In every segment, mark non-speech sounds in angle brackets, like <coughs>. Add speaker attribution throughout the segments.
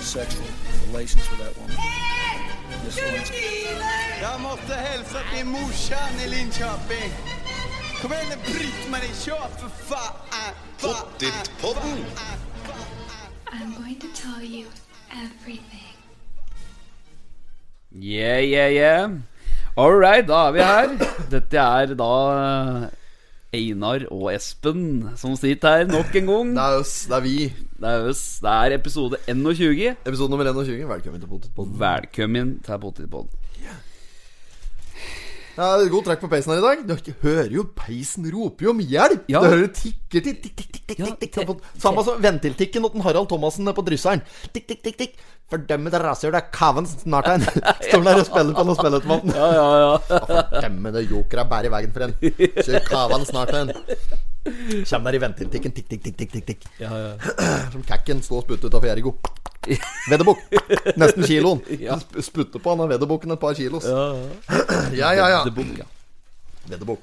Speaker 1: sexual relations with that woman. Miss Lewinsky.
Speaker 2: Jeg måtte hilse til morsan i Linköping. Kom igjen, Britt-Marie, kjør, for faen!
Speaker 3: Pottit-podden.
Speaker 4: I'm going to tell you everything.
Speaker 5: Yeah, yeah, yeah. All right, da er vi her. Dette er da eh, Einar og Espen som sitter her nok en gang.
Speaker 3: Det er oss, det er vi.
Speaker 5: Det er, oss. det er episode 21.
Speaker 3: Episode nummer 21. Velkommen til Potetpodden.
Speaker 5: Velkommen til Potetpodden.
Speaker 3: Ja, det er god trekk på peisen her i dag. Du ikke- hører jo peisen roper jo om hjelp!
Speaker 5: Ja.
Speaker 3: Du hører det tikker tikk, tikk, tikk, tikk, tikk,
Speaker 5: Ja,
Speaker 3: tikk, tikk, sånn på- Samme som ventiltikken til Harald Thomassen nede på Drysseren. Tikk, tikk, tikk, tikk. Fordømme det rasshølet, det er kaven snart
Speaker 5: <laughs>
Speaker 3: en. Står der og spiller på noe spilleautomaten.
Speaker 5: Ja, ja, ja.
Speaker 3: Fordømme det jokeret bærer i veien for en. Kjør kaven snart en. Kjem der i ventiltikken, tikk, tikk, tikk, tikk, tikk, tikk.
Speaker 5: ja, ja.
Speaker 3: Som kakken stå og sputte ut av Ergo. Vedderbukk. Nesten kiloen.
Speaker 5: Ja.
Speaker 3: Sp- Sputte på han av vedderbukken et par kilos.
Speaker 5: ja, ja.
Speaker 3: Ja, ja, ja.
Speaker 5: Det bunk, ja.
Speaker 3: Vedderbukk.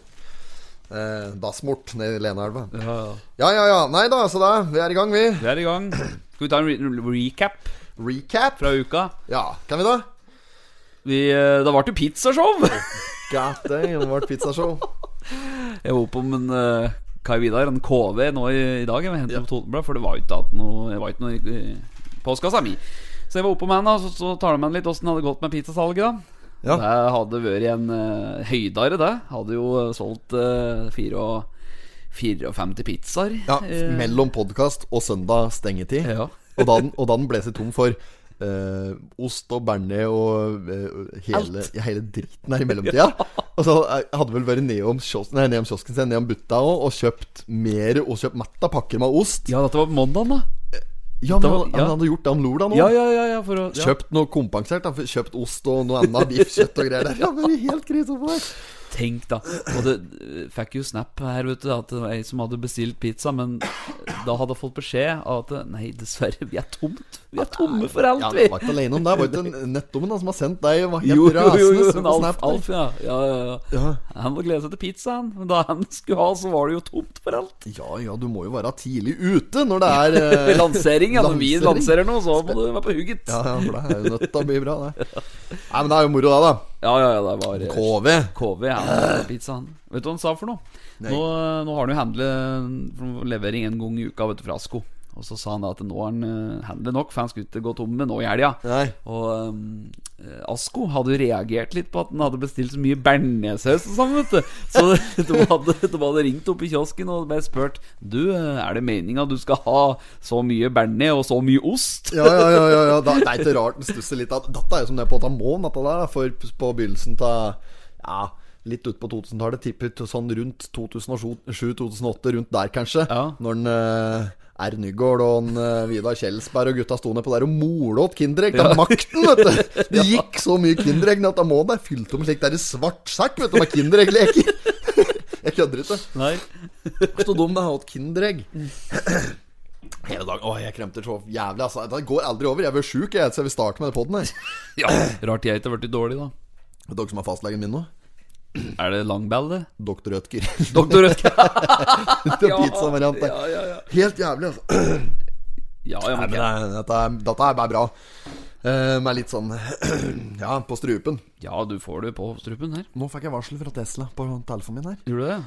Speaker 3: Eh, Dassmort nede i Lenaelva.
Speaker 5: ja, ja.
Speaker 3: Ja, ja, ja. Nei da, så da. Vi er i gang, vi.
Speaker 5: Vi er i gang. Skal vi ta en re recap
Speaker 3: Recap.
Speaker 5: fra uka?
Speaker 3: Ja, kan vi da?
Speaker 5: Vi, eh, det ble jo <laughs> pizzashow.
Speaker 3: God damn, vårt pizzashow.
Speaker 5: Jeg var oppe om en eh, Kai Vidar, en KV, nå i, i dag. Jeg hentet opp Totenblad, for det var jo ikke at noe, det var ikke noe i- i postkassa mi. Så jeg var oppe med han, da, så, så tar de med han litt åssen det hadde gått med pizzasalget. da
Speaker 3: Ja.
Speaker 5: Det hadde vært en eh, høydare, det. Hadde jo eh, solgt eh, fire og 54 pizzaer.
Speaker 3: Ja,
Speaker 5: Eh,
Speaker 3: Mellom podkast og søndag stengetid.
Speaker 5: Ja.
Speaker 3: Og, da den, og da den ble seg tom for eh, ost og bearnés og eh, hele, ja, hele driten her
Speaker 5: <laughs>
Speaker 3: i mellomtida. Og så eh, hadde vel vært nedom, kios- nei, nedom kiosken sin, nedom butta òg, og kjøpt mer og kjøpt matta pakker med ost.
Speaker 5: ja, dette var på mandagen, da.
Speaker 3: Ja, men
Speaker 5: Det var-
Speaker 3: han,
Speaker 5: ja.
Speaker 3: han hadde gjort det om lorda nå.
Speaker 5: Ja, ja, ja, ja, for å, ja.
Speaker 3: Kjøpt noe kompensert. Da. Kjøpt ost og noe annet biff, kjøtt og greier der. Ja, men helt krise på meg.
Speaker 5: Tenk da Og det eh, fikk jo snap her vet du At det var en som hadde bestilt pizza Men da hadde jeg fått beskjed av at Nei dessverre vi er tomt Vi er tomme for alt
Speaker 3: Ja,
Speaker 5: vi
Speaker 3: jeg var ikke alene om det. Det var ikke Nettommen da, som har sendt deg var helt
Speaker 5: Jo jo jo, jo
Speaker 3: rasende
Speaker 5: men
Speaker 3: på
Speaker 5: Alf,
Speaker 3: Snap, da.
Speaker 5: Alf ja. Ja, ja, ja
Speaker 3: Ja.
Speaker 5: Han må glede seg til pizzaen Men da han skulle ha så var det jo tomt for alt
Speaker 3: Ja ja, du må jo være tidlig ute når det
Speaker 5: <laughs>
Speaker 3: er eh,
Speaker 5: Lansering ja Når altså. vi lanserer
Speaker 3: lansering.
Speaker 5: noe så må du være på hugget
Speaker 3: Ja,
Speaker 5: Ja
Speaker 3: ja, for det er jo nødt til å bli bra, det. Nei, men det er jo moro, da. da
Speaker 5: ja ja det var eh,
Speaker 3: KV.
Speaker 5: KV ja, pizzaen Vet du hva han sa for noe?
Speaker 3: Øh. Nei.
Speaker 5: Nå, eh, nå har han jo handlet eh, for levering en gang i uka vet du, fra Asko Og så sa han da at nå har han eh, handlet nok For han skulle ikke gå tomme nå i helga
Speaker 3: Nei.
Speaker 5: Og ehm, eh, Asko hadde jo reagert litt på at han hadde bestilt så mye bearnéssaus og sånn, vet du. Så <laughs> de hadde, de hadde ringt opp i kiosken og bare spurt Du, eh, er det meninga du skal ha så mye bearnés og så mye ost?
Speaker 3: <laughs> Ja, ja, ja. ja, ja. Da, det er ikke rart den stusser litt. at- Dette er jo som det er på Tamon, dette der. da, For på begynnelsen av Ja, litt ut på 2000-tallet. Tipper til sånn rundt 2007-2008, rundt der kanskje.
Speaker 5: Ja.
Speaker 3: Når den eh, R. Nygaard og en, eh, Vidar Kjelsberg og gutta sto ned på der og mola åt Kinderegg. Det er makten, vet du! Det gikk så mye Kinderegg at Tamon er fylt om slik der i svart sekk, vet du, med Kinderegg-leker. <laughs> Jeg kødder ikke.
Speaker 5: Nei.
Speaker 3: Så dum det har hatt Kinderegg.
Speaker 5: Mm.
Speaker 3: <clears throat> Hele dagen. Åh, jeg kremter så jævlig. Altså. Det går aldri over. Jeg blir sjuk, jeg, så jeg vil starte med den podden her.
Speaker 5: Ja, Rart jeg ikke har blitt dårlig, da.
Speaker 3: Vet dere som er fastlegen min nå?
Speaker 5: Er det langball,
Speaker 3: <laughs>
Speaker 5: det?
Speaker 3: Doktor
Speaker 5: <laughs>
Speaker 3: Rødtger.
Speaker 5: Doktor Rødtke.
Speaker 3: Doktor Pizza-variant der.
Speaker 5: Ja, ja, ja.
Speaker 3: Helt jævlig, altså.
Speaker 5: ja, ja
Speaker 3: Nei,
Speaker 5: men,
Speaker 3: men det,
Speaker 5: det-
Speaker 3: er- dette, er, dette er bare bra. Eh, med litt sånn <clears throat> Ja, på strupen.
Speaker 5: ja, du får det på strupen her.
Speaker 3: Nå fikk jeg varsel fra Tesla på telefonen min her.
Speaker 5: Gjorde du det?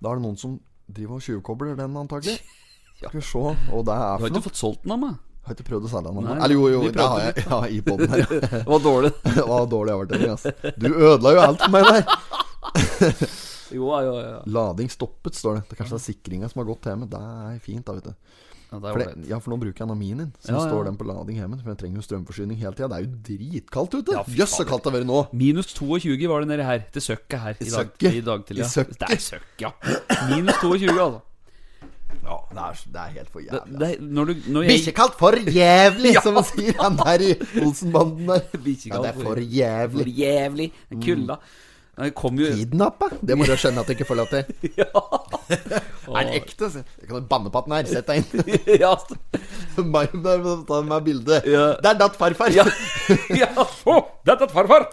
Speaker 3: Da er det noen som driver og tjuvkobler den, antagelig.
Speaker 5: <laughs>
Speaker 3: Skal vi se hva det er
Speaker 5: Du har
Speaker 3: for
Speaker 5: ikke
Speaker 3: noe.
Speaker 5: fått solgt den av
Speaker 3: <laughs>
Speaker 5: meg.
Speaker 3: Har ikke prøvd å selge den.
Speaker 5: Nei,
Speaker 3: Eller jo, jo,
Speaker 5: vi
Speaker 3: det har jeg. Ja, i podden her. ja.
Speaker 5: Det var
Speaker 3: <laughs>
Speaker 5: dårlig.
Speaker 3: Det var dårlig overtenning, ass. Du ødela jo alt for meg der.
Speaker 5: Jo, ja, ja, ja.
Speaker 3: Lading stoppet, står det. Det er kanskje det er sikringa som har gått hjemme. Det er fint, da, vet du.
Speaker 5: ja det er
Speaker 3: For, det,
Speaker 5: ålreit.
Speaker 3: ja, for nå bruker jeg Naminen, som
Speaker 5: Ja, ja.
Speaker 3: står den på lading hjemme. For jeg trenger jo strømforsyning hele tida. Det er jo dritkaldt ute.
Speaker 5: Ja,
Speaker 3: Jøss,
Speaker 5: fy
Speaker 3: så
Speaker 5: faen.
Speaker 3: kaldt det har vært nå.
Speaker 5: Minus 22 var det nede her, til søkket her. I,
Speaker 3: søkket?
Speaker 5: dag, i dag til,
Speaker 3: I
Speaker 5: ja.
Speaker 3: søkket?
Speaker 5: Det er søkk, ja. Minus 22, altså.
Speaker 3: Ja, det er, <laughs> det er helt for
Speaker 5: Det,
Speaker 3: jævlig.
Speaker 5: det, når du, når jeg,
Speaker 3: Bikkjekaldt for jævlig, som man sier han der i Olsenbanden der.
Speaker 5: Bikkjekaldt
Speaker 3: Ja, det er
Speaker 5: for-
Speaker 3: for jævlig.
Speaker 5: for jævlig
Speaker 3: Mm.
Speaker 5: kulda. Jeg kom jo <laughs>
Speaker 3: Kidnappa? Det må du skjønne at du ikke får lov til.
Speaker 5: Å,
Speaker 3: Er den ekte? så- Jeg kan jo banne på at den er. Sett deg inn.
Speaker 5: <laughs>
Speaker 3: <laughs>
Speaker 5: ja,
Speaker 3: Meg med, med, med bildet.
Speaker 5: Ja.
Speaker 3: <laughs> Der datt farfar.
Speaker 5: ja, ja, å, Tatt at farfar!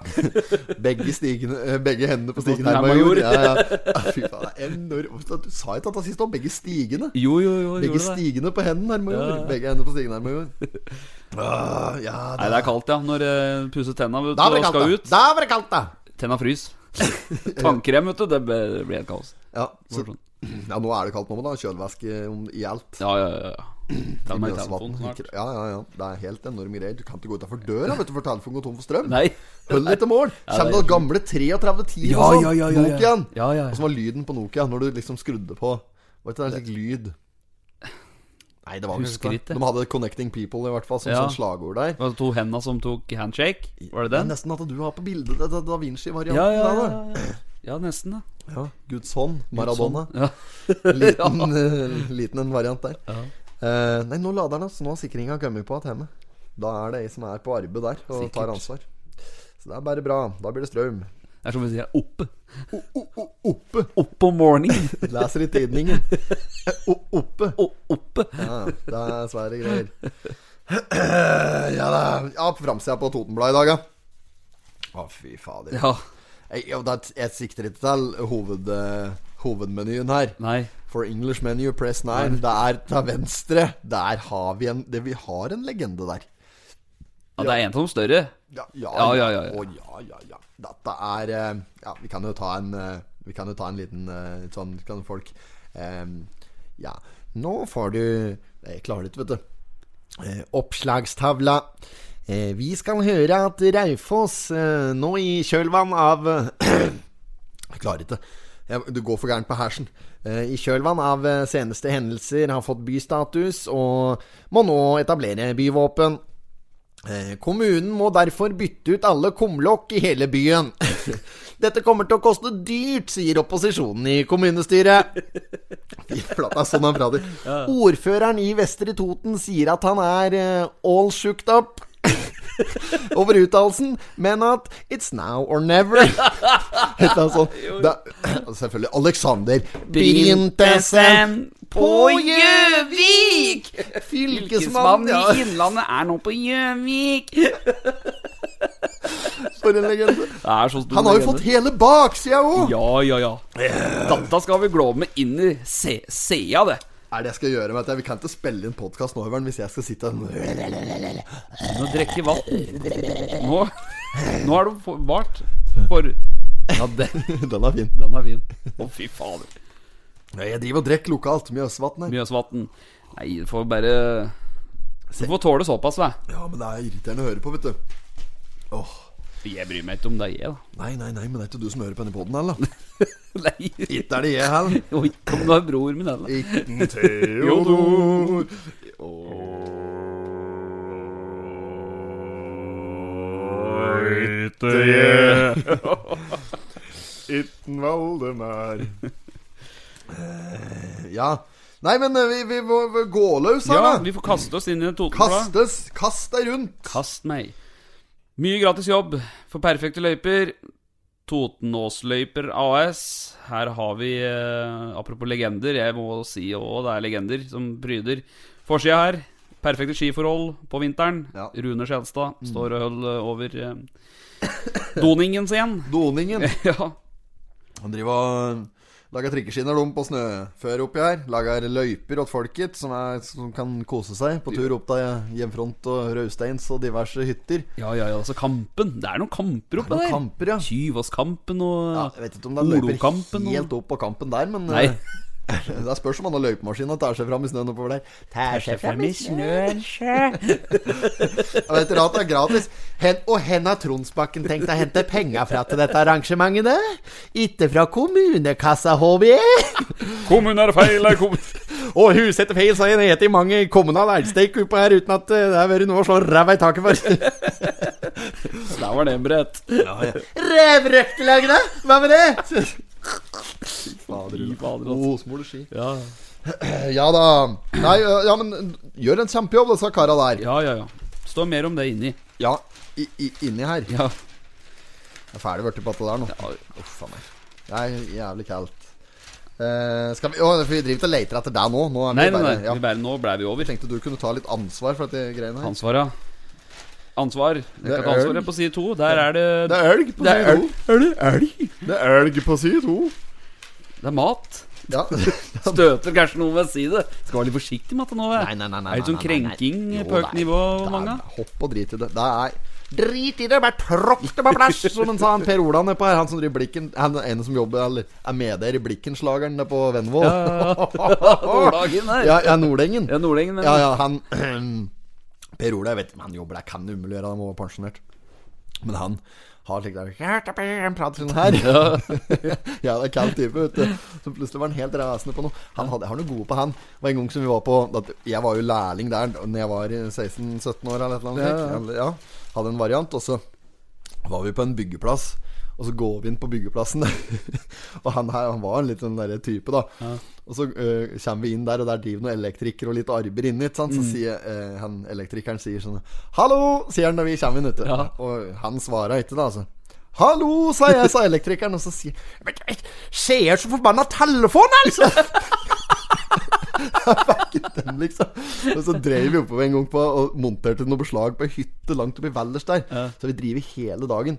Speaker 3: Begge, stigene, eh, begge hendene på stigen
Speaker 5: Nei,
Speaker 3: her,
Speaker 5: major.
Speaker 3: major. Ja, ja. ja, fy faen, det er enormt. Du sa ikke at det sist om begge stigene.
Speaker 5: Jo, jo, jo.
Speaker 3: Begge
Speaker 5: gjorde det.
Speaker 3: stigene på hendene her, major.
Speaker 5: Ja, ja.
Speaker 3: Begge hendene på stigen her, major. Ah, ja,
Speaker 5: Nei, det er kaldt, ja. Når jeg pusser tenna vet du,
Speaker 3: Da var
Speaker 5: og
Speaker 3: det kaldt,
Speaker 5: skal
Speaker 3: da.
Speaker 5: ut.
Speaker 3: Da var det kaldt, da.
Speaker 5: Tenna <laughs> frys. Tannkrem, vet du. Det ble- blir helt kaos.
Speaker 3: Ja, så,
Speaker 5: Sånn.
Speaker 3: ja, nå er det kaldt nå, men da. Kjølvæske om- i alt.
Speaker 5: Ja, ja, ja. ja. Ta
Speaker 3: I
Speaker 5: meg
Speaker 3: Mjøsvatn.
Speaker 5: telefonen snart.
Speaker 3: Ja, ja, ja. Det er helt enorme greier. Du kan ikke gå utafor døra vet du, for telefonen går tom for strøm.
Speaker 5: Nei.
Speaker 3: Hold litt til mål.
Speaker 5: Ja, det
Speaker 3: Kjem
Speaker 5: er
Speaker 3: det gamle 3310
Speaker 5: Ja, ja, ja, ja, ja.
Speaker 3: sånn. Nokiaen?
Speaker 5: Ja, ja, ja.
Speaker 3: Og så var lyden på Nokia når du liksom skrudde på Var ikke det en slik lyd? Nei, det var
Speaker 5: Husker
Speaker 3: kanskje
Speaker 5: ikke.
Speaker 3: De hadde 'Connecting People' i hvert fall som
Speaker 5: Ja.
Speaker 3: sånn slagord der.
Speaker 5: Det var to henda som tok handshake. Var det
Speaker 3: Det er
Speaker 5: den?
Speaker 3: nesten at du har på bildet det- det- Da Vinci-varianten
Speaker 5: Ja, ja, ja.
Speaker 3: der. da.
Speaker 5: ja. Ja, nesten, da. sånn.
Speaker 3: Ja, Guds hånd, Maradona.
Speaker 5: <laughs> Ja.
Speaker 3: Liten, eh, liten en variant der. Eh, nei, nå lader den, altså. Nå har sikringa kommet på igjen hjemme. Da er det ei som er på arbeid der og tar
Speaker 5: Sikkert.
Speaker 3: ansvar. Så det er bare bra. Da blir det strøm.
Speaker 5: Det er som vi sier oppe.
Speaker 3: O -o -o oppe!
Speaker 5: Opp om morgenen.
Speaker 3: Leser
Speaker 5: <laughs>
Speaker 3: i tidningen. O oppe.
Speaker 5: O oppe.
Speaker 3: Ja, det er svære greier. <clears throat> Ja da. Ja, på framsida på Totenbladet i dag, ja. Å, fy fader.
Speaker 5: Ja.
Speaker 3: Jeg, ja, det er- jeg sikter ikke til hoved, eh, hovedmenyen her.
Speaker 5: Nei.
Speaker 3: For English menu, press 9. Det er til venstre. Der har vi en det, Vi har en legende der.
Speaker 5: Ja, det er en av de større.
Speaker 3: Ja, ja,
Speaker 5: Ja, ja, ja, ja.
Speaker 3: Å, ja, ja, ja. Dette er eh, Ja, vi kan jo ta en eh, Vi kan jo ta en liten eh, litt sånn Kan folk eh, Ja, nå får du Jeg klarer det ikke, vet du. Eh, oppslagstavla. Eh, vi skal høre at Raufoss eh, nå i kjølvann av <clears throat> Jeg klarer ikke. Jeg, du går for gærent på hersen. Eh, I kjølvann av eh, seneste hendelser har fått bystatus og må nå etablere byvåpen. Eh, Kommunen må derfor bytte ut alle kumlokk i hele byen. <laughs> Dette kommer til å koste dyrt, sier opposisjonen i kommunestyret. <laughs> Fy flate, det er sånn han prater. Ordføreren i Vestre Toten sier at han er eh, all shooked up <laughs> over uttalelsen, men at it's now or never. <laughs> Et eller annet sånt. Da- <clears throat> Selvfølgelig. Alexander Brintesen på Gjøvik! Fylkesmann,
Speaker 5: Fylkesmannen
Speaker 3: ja.
Speaker 5: i Innlandet er nå på Gjøvik.
Speaker 3: <laughs> For en legende.
Speaker 5: Det er så stor
Speaker 3: Mm. Han har jo
Speaker 5: legende.
Speaker 3: fått hele baksida òg!
Speaker 5: Ja, ja, ja. Dette skal vi glå med inn i se- sea, det.
Speaker 3: Er det jeg skal gjøre? Vet jeg. Vi kan ikke spille inn podkast nå, Øveren, hvis jeg skal sitte
Speaker 5: Nå drikker vann. Nå, nå er det for- vart for Ja, den,
Speaker 3: <laughs> Den er fin.
Speaker 5: den er fin. Å, fy fader.
Speaker 3: Nei, Jeg driver og drikker lokalt. Mjøsvatn her.
Speaker 5: Mjøsvatn. Nei, du får bare Du får tåle såpass, da.
Speaker 3: Ja, men det er irriterende å høre på, vet du. Åh.
Speaker 5: Jeg bryr meg ikke om det er jeg, da.
Speaker 3: Nei, nei, nei, men det er ikke du som hører på denne poden heller. <laughs>
Speaker 5: Nei.
Speaker 3: Ikke er det jeg heller.
Speaker 5: Og ikke om du er bror min heller. <laughs>
Speaker 3: Ikke Theodor. <laughs> Itten Valdemar. Eh, Ja. Nei, men eh, vi, vi må må gå løs
Speaker 5: Ja,
Speaker 3: her, Sånn, da.
Speaker 5: vi får kaste oss inn i Totenbladet.
Speaker 3: Kastes. Kast deg rundt.
Speaker 5: Kast meg. Mye gratis jobb for perfekte løyper. Totenåsløyper AS. Her har vi, eh, apropos legender, jeg må si òg det er legender som pryder forsida her. Perfekte skiforhold på vinteren.
Speaker 3: Ja.
Speaker 5: Rune Skjelstad står og holder over eh, doningen sin. <laughs>
Speaker 3: Doningen.
Speaker 5: ja.
Speaker 3: Han driver og um, lager trikkeskinner de på snøføre oppi her. Lager løyper åt folket som, er, som kan kose seg på tur opp til hjemfront og Rausteins og diverse hytter.
Speaker 5: ja, ja, ja. Altså Kampen. Det er noen kamper oppe
Speaker 3: Noen
Speaker 5: der.
Speaker 3: kamper, ja.
Speaker 5: Tyvåskampen og
Speaker 3: ja. Jeg vet ikke om det er løyper
Speaker 5: Orokampen og-
Speaker 3: helt opp på kampen der, men
Speaker 5: Nei.
Speaker 3: eh, <laughs> det er spørs om han har løypemaskin og tar seg fram i snøen oppover der. Tar seg fram i
Speaker 5: snøen sjø.
Speaker 3: Jeg vet dere at det er gratis. Hen, og hen har Tronsbakken tenkt å hente penga fra til dette arrangementet? da? Ikke fra kommunekassa, E. håper jeg?
Speaker 5: Kommunen er feil, er kommun- <laughs>
Speaker 3: Og huset feil, så jeg heter i mange kommunale elgsteik oppå her uten at eh, det har vært noe å slå ræva i taket for.
Speaker 5: <laughs> Der var det brett.
Speaker 3: Revrøktelagene, hva med det?
Speaker 5: Fy fader, altså.
Speaker 3: Osmoleski.
Speaker 5: Ja,
Speaker 3: <clears throat> Ja da. Nei, eh, ja, men gjør en kjempejobb, disse kara der.
Speaker 5: ja, ja. ja. Står mer om det inni.
Speaker 3: Ja, i, i, inni her. Jeg
Speaker 5: Ja.
Speaker 3: er ferdig blitt på dette der nå.
Speaker 5: Ja.
Speaker 3: Uff a meg. Det er jævlig kaldt. Eh, skal vi Å, vi driver ikke og leter etter deg nå. Nå er vi
Speaker 5: Nei, nei,
Speaker 3: bare
Speaker 5: nei.
Speaker 3: ja.
Speaker 5: Vi bare, nå ble vi over.
Speaker 3: Tenkte du kunne ta litt ansvar for dette greiene her.
Speaker 5: Ansvaret. ansvar. Jeg
Speaker 3: Det
Speaker 5: kan
Speaker 3: er
Speaker 5: ta
Speaker 3: elg.
Speaker 5: ansvaret på side to. Der er det
Speaker 3: Det er elg på
Speaker 5: Det er
Speaker 3: side
Speaker 5: elg.
Speaker 3: to. Det er elg på side to.
Speaker 5: Det er mat.
Speaker 3: Ja.
Speaker 5: Støter kanskje noe ved side. Skal være litt forsiktig med det nå. vet du.
Speaker 3: <laughs> nei,
Speaker 5: Er det litt sånn krenking
Speaker 3: nei.
Speaker 5: på
Speaker 3: Jo,
Speaker 5: høyt
Speaker 3: nei.
Speaker 5: nivå?
Speaker 3: Det er-
Speaker 5: Mange?
Speaker 3: Hopp og drit i det. Det er Drit i det, bare tråkk det på plass, som han sa han Per Ola nedpå her. Han som driver Blikken Han er ene som jobber Eller er med der i Blikken-slageren nede på Vennevoll.
Speaker 5: Ja, Nordhagen der.
Speaker 3: <laughs> ja, ja, Nordengen.
Speaker 5: Ja, Nordengen, men
Speaker 3: Ja, ja, han <clears throat> Per Ola, jeg vet ikke om han jobber der, kan det umulig gjøre, han må være pensjonert. Men han har slik der Han prater sånn her. <laughs> ja, det er kald type, vet du. Så plutselig var han helt rasende på noe. Han hadde, jeg har noe gode på han. Det var en gang som vi var på at Jeg var jo lærling der Når jeg var i 16-17 år eller et eller annet. Ja, ja. Hadde en variant, og så var vi på en byggeplass. Og så går vi inn på byggeplassen, <laughs> og han her han var en litt sånn derre type, da. Og så øh, kommer vi inn der, og der driver noen elektrikere og litt arbeider inne. ikke sant? Så sier eh, han elektrikeren sier sånn 'Hallo!' sier han da vi kommer inn, vet du.
Speaker 5: Ja.
Speaker 3: Og han svarer ikke, da, altså. 'Hallo', sa jeg, sa elektrikeren, og så sier «Men, jeg Ser så forbanna telefon, altså! Fucket dem, liksom. Og så drev vi oppover en gang på og monterte noe beslag på ei hytte langt oppe i Valdres der. Så vi driver hele dagen.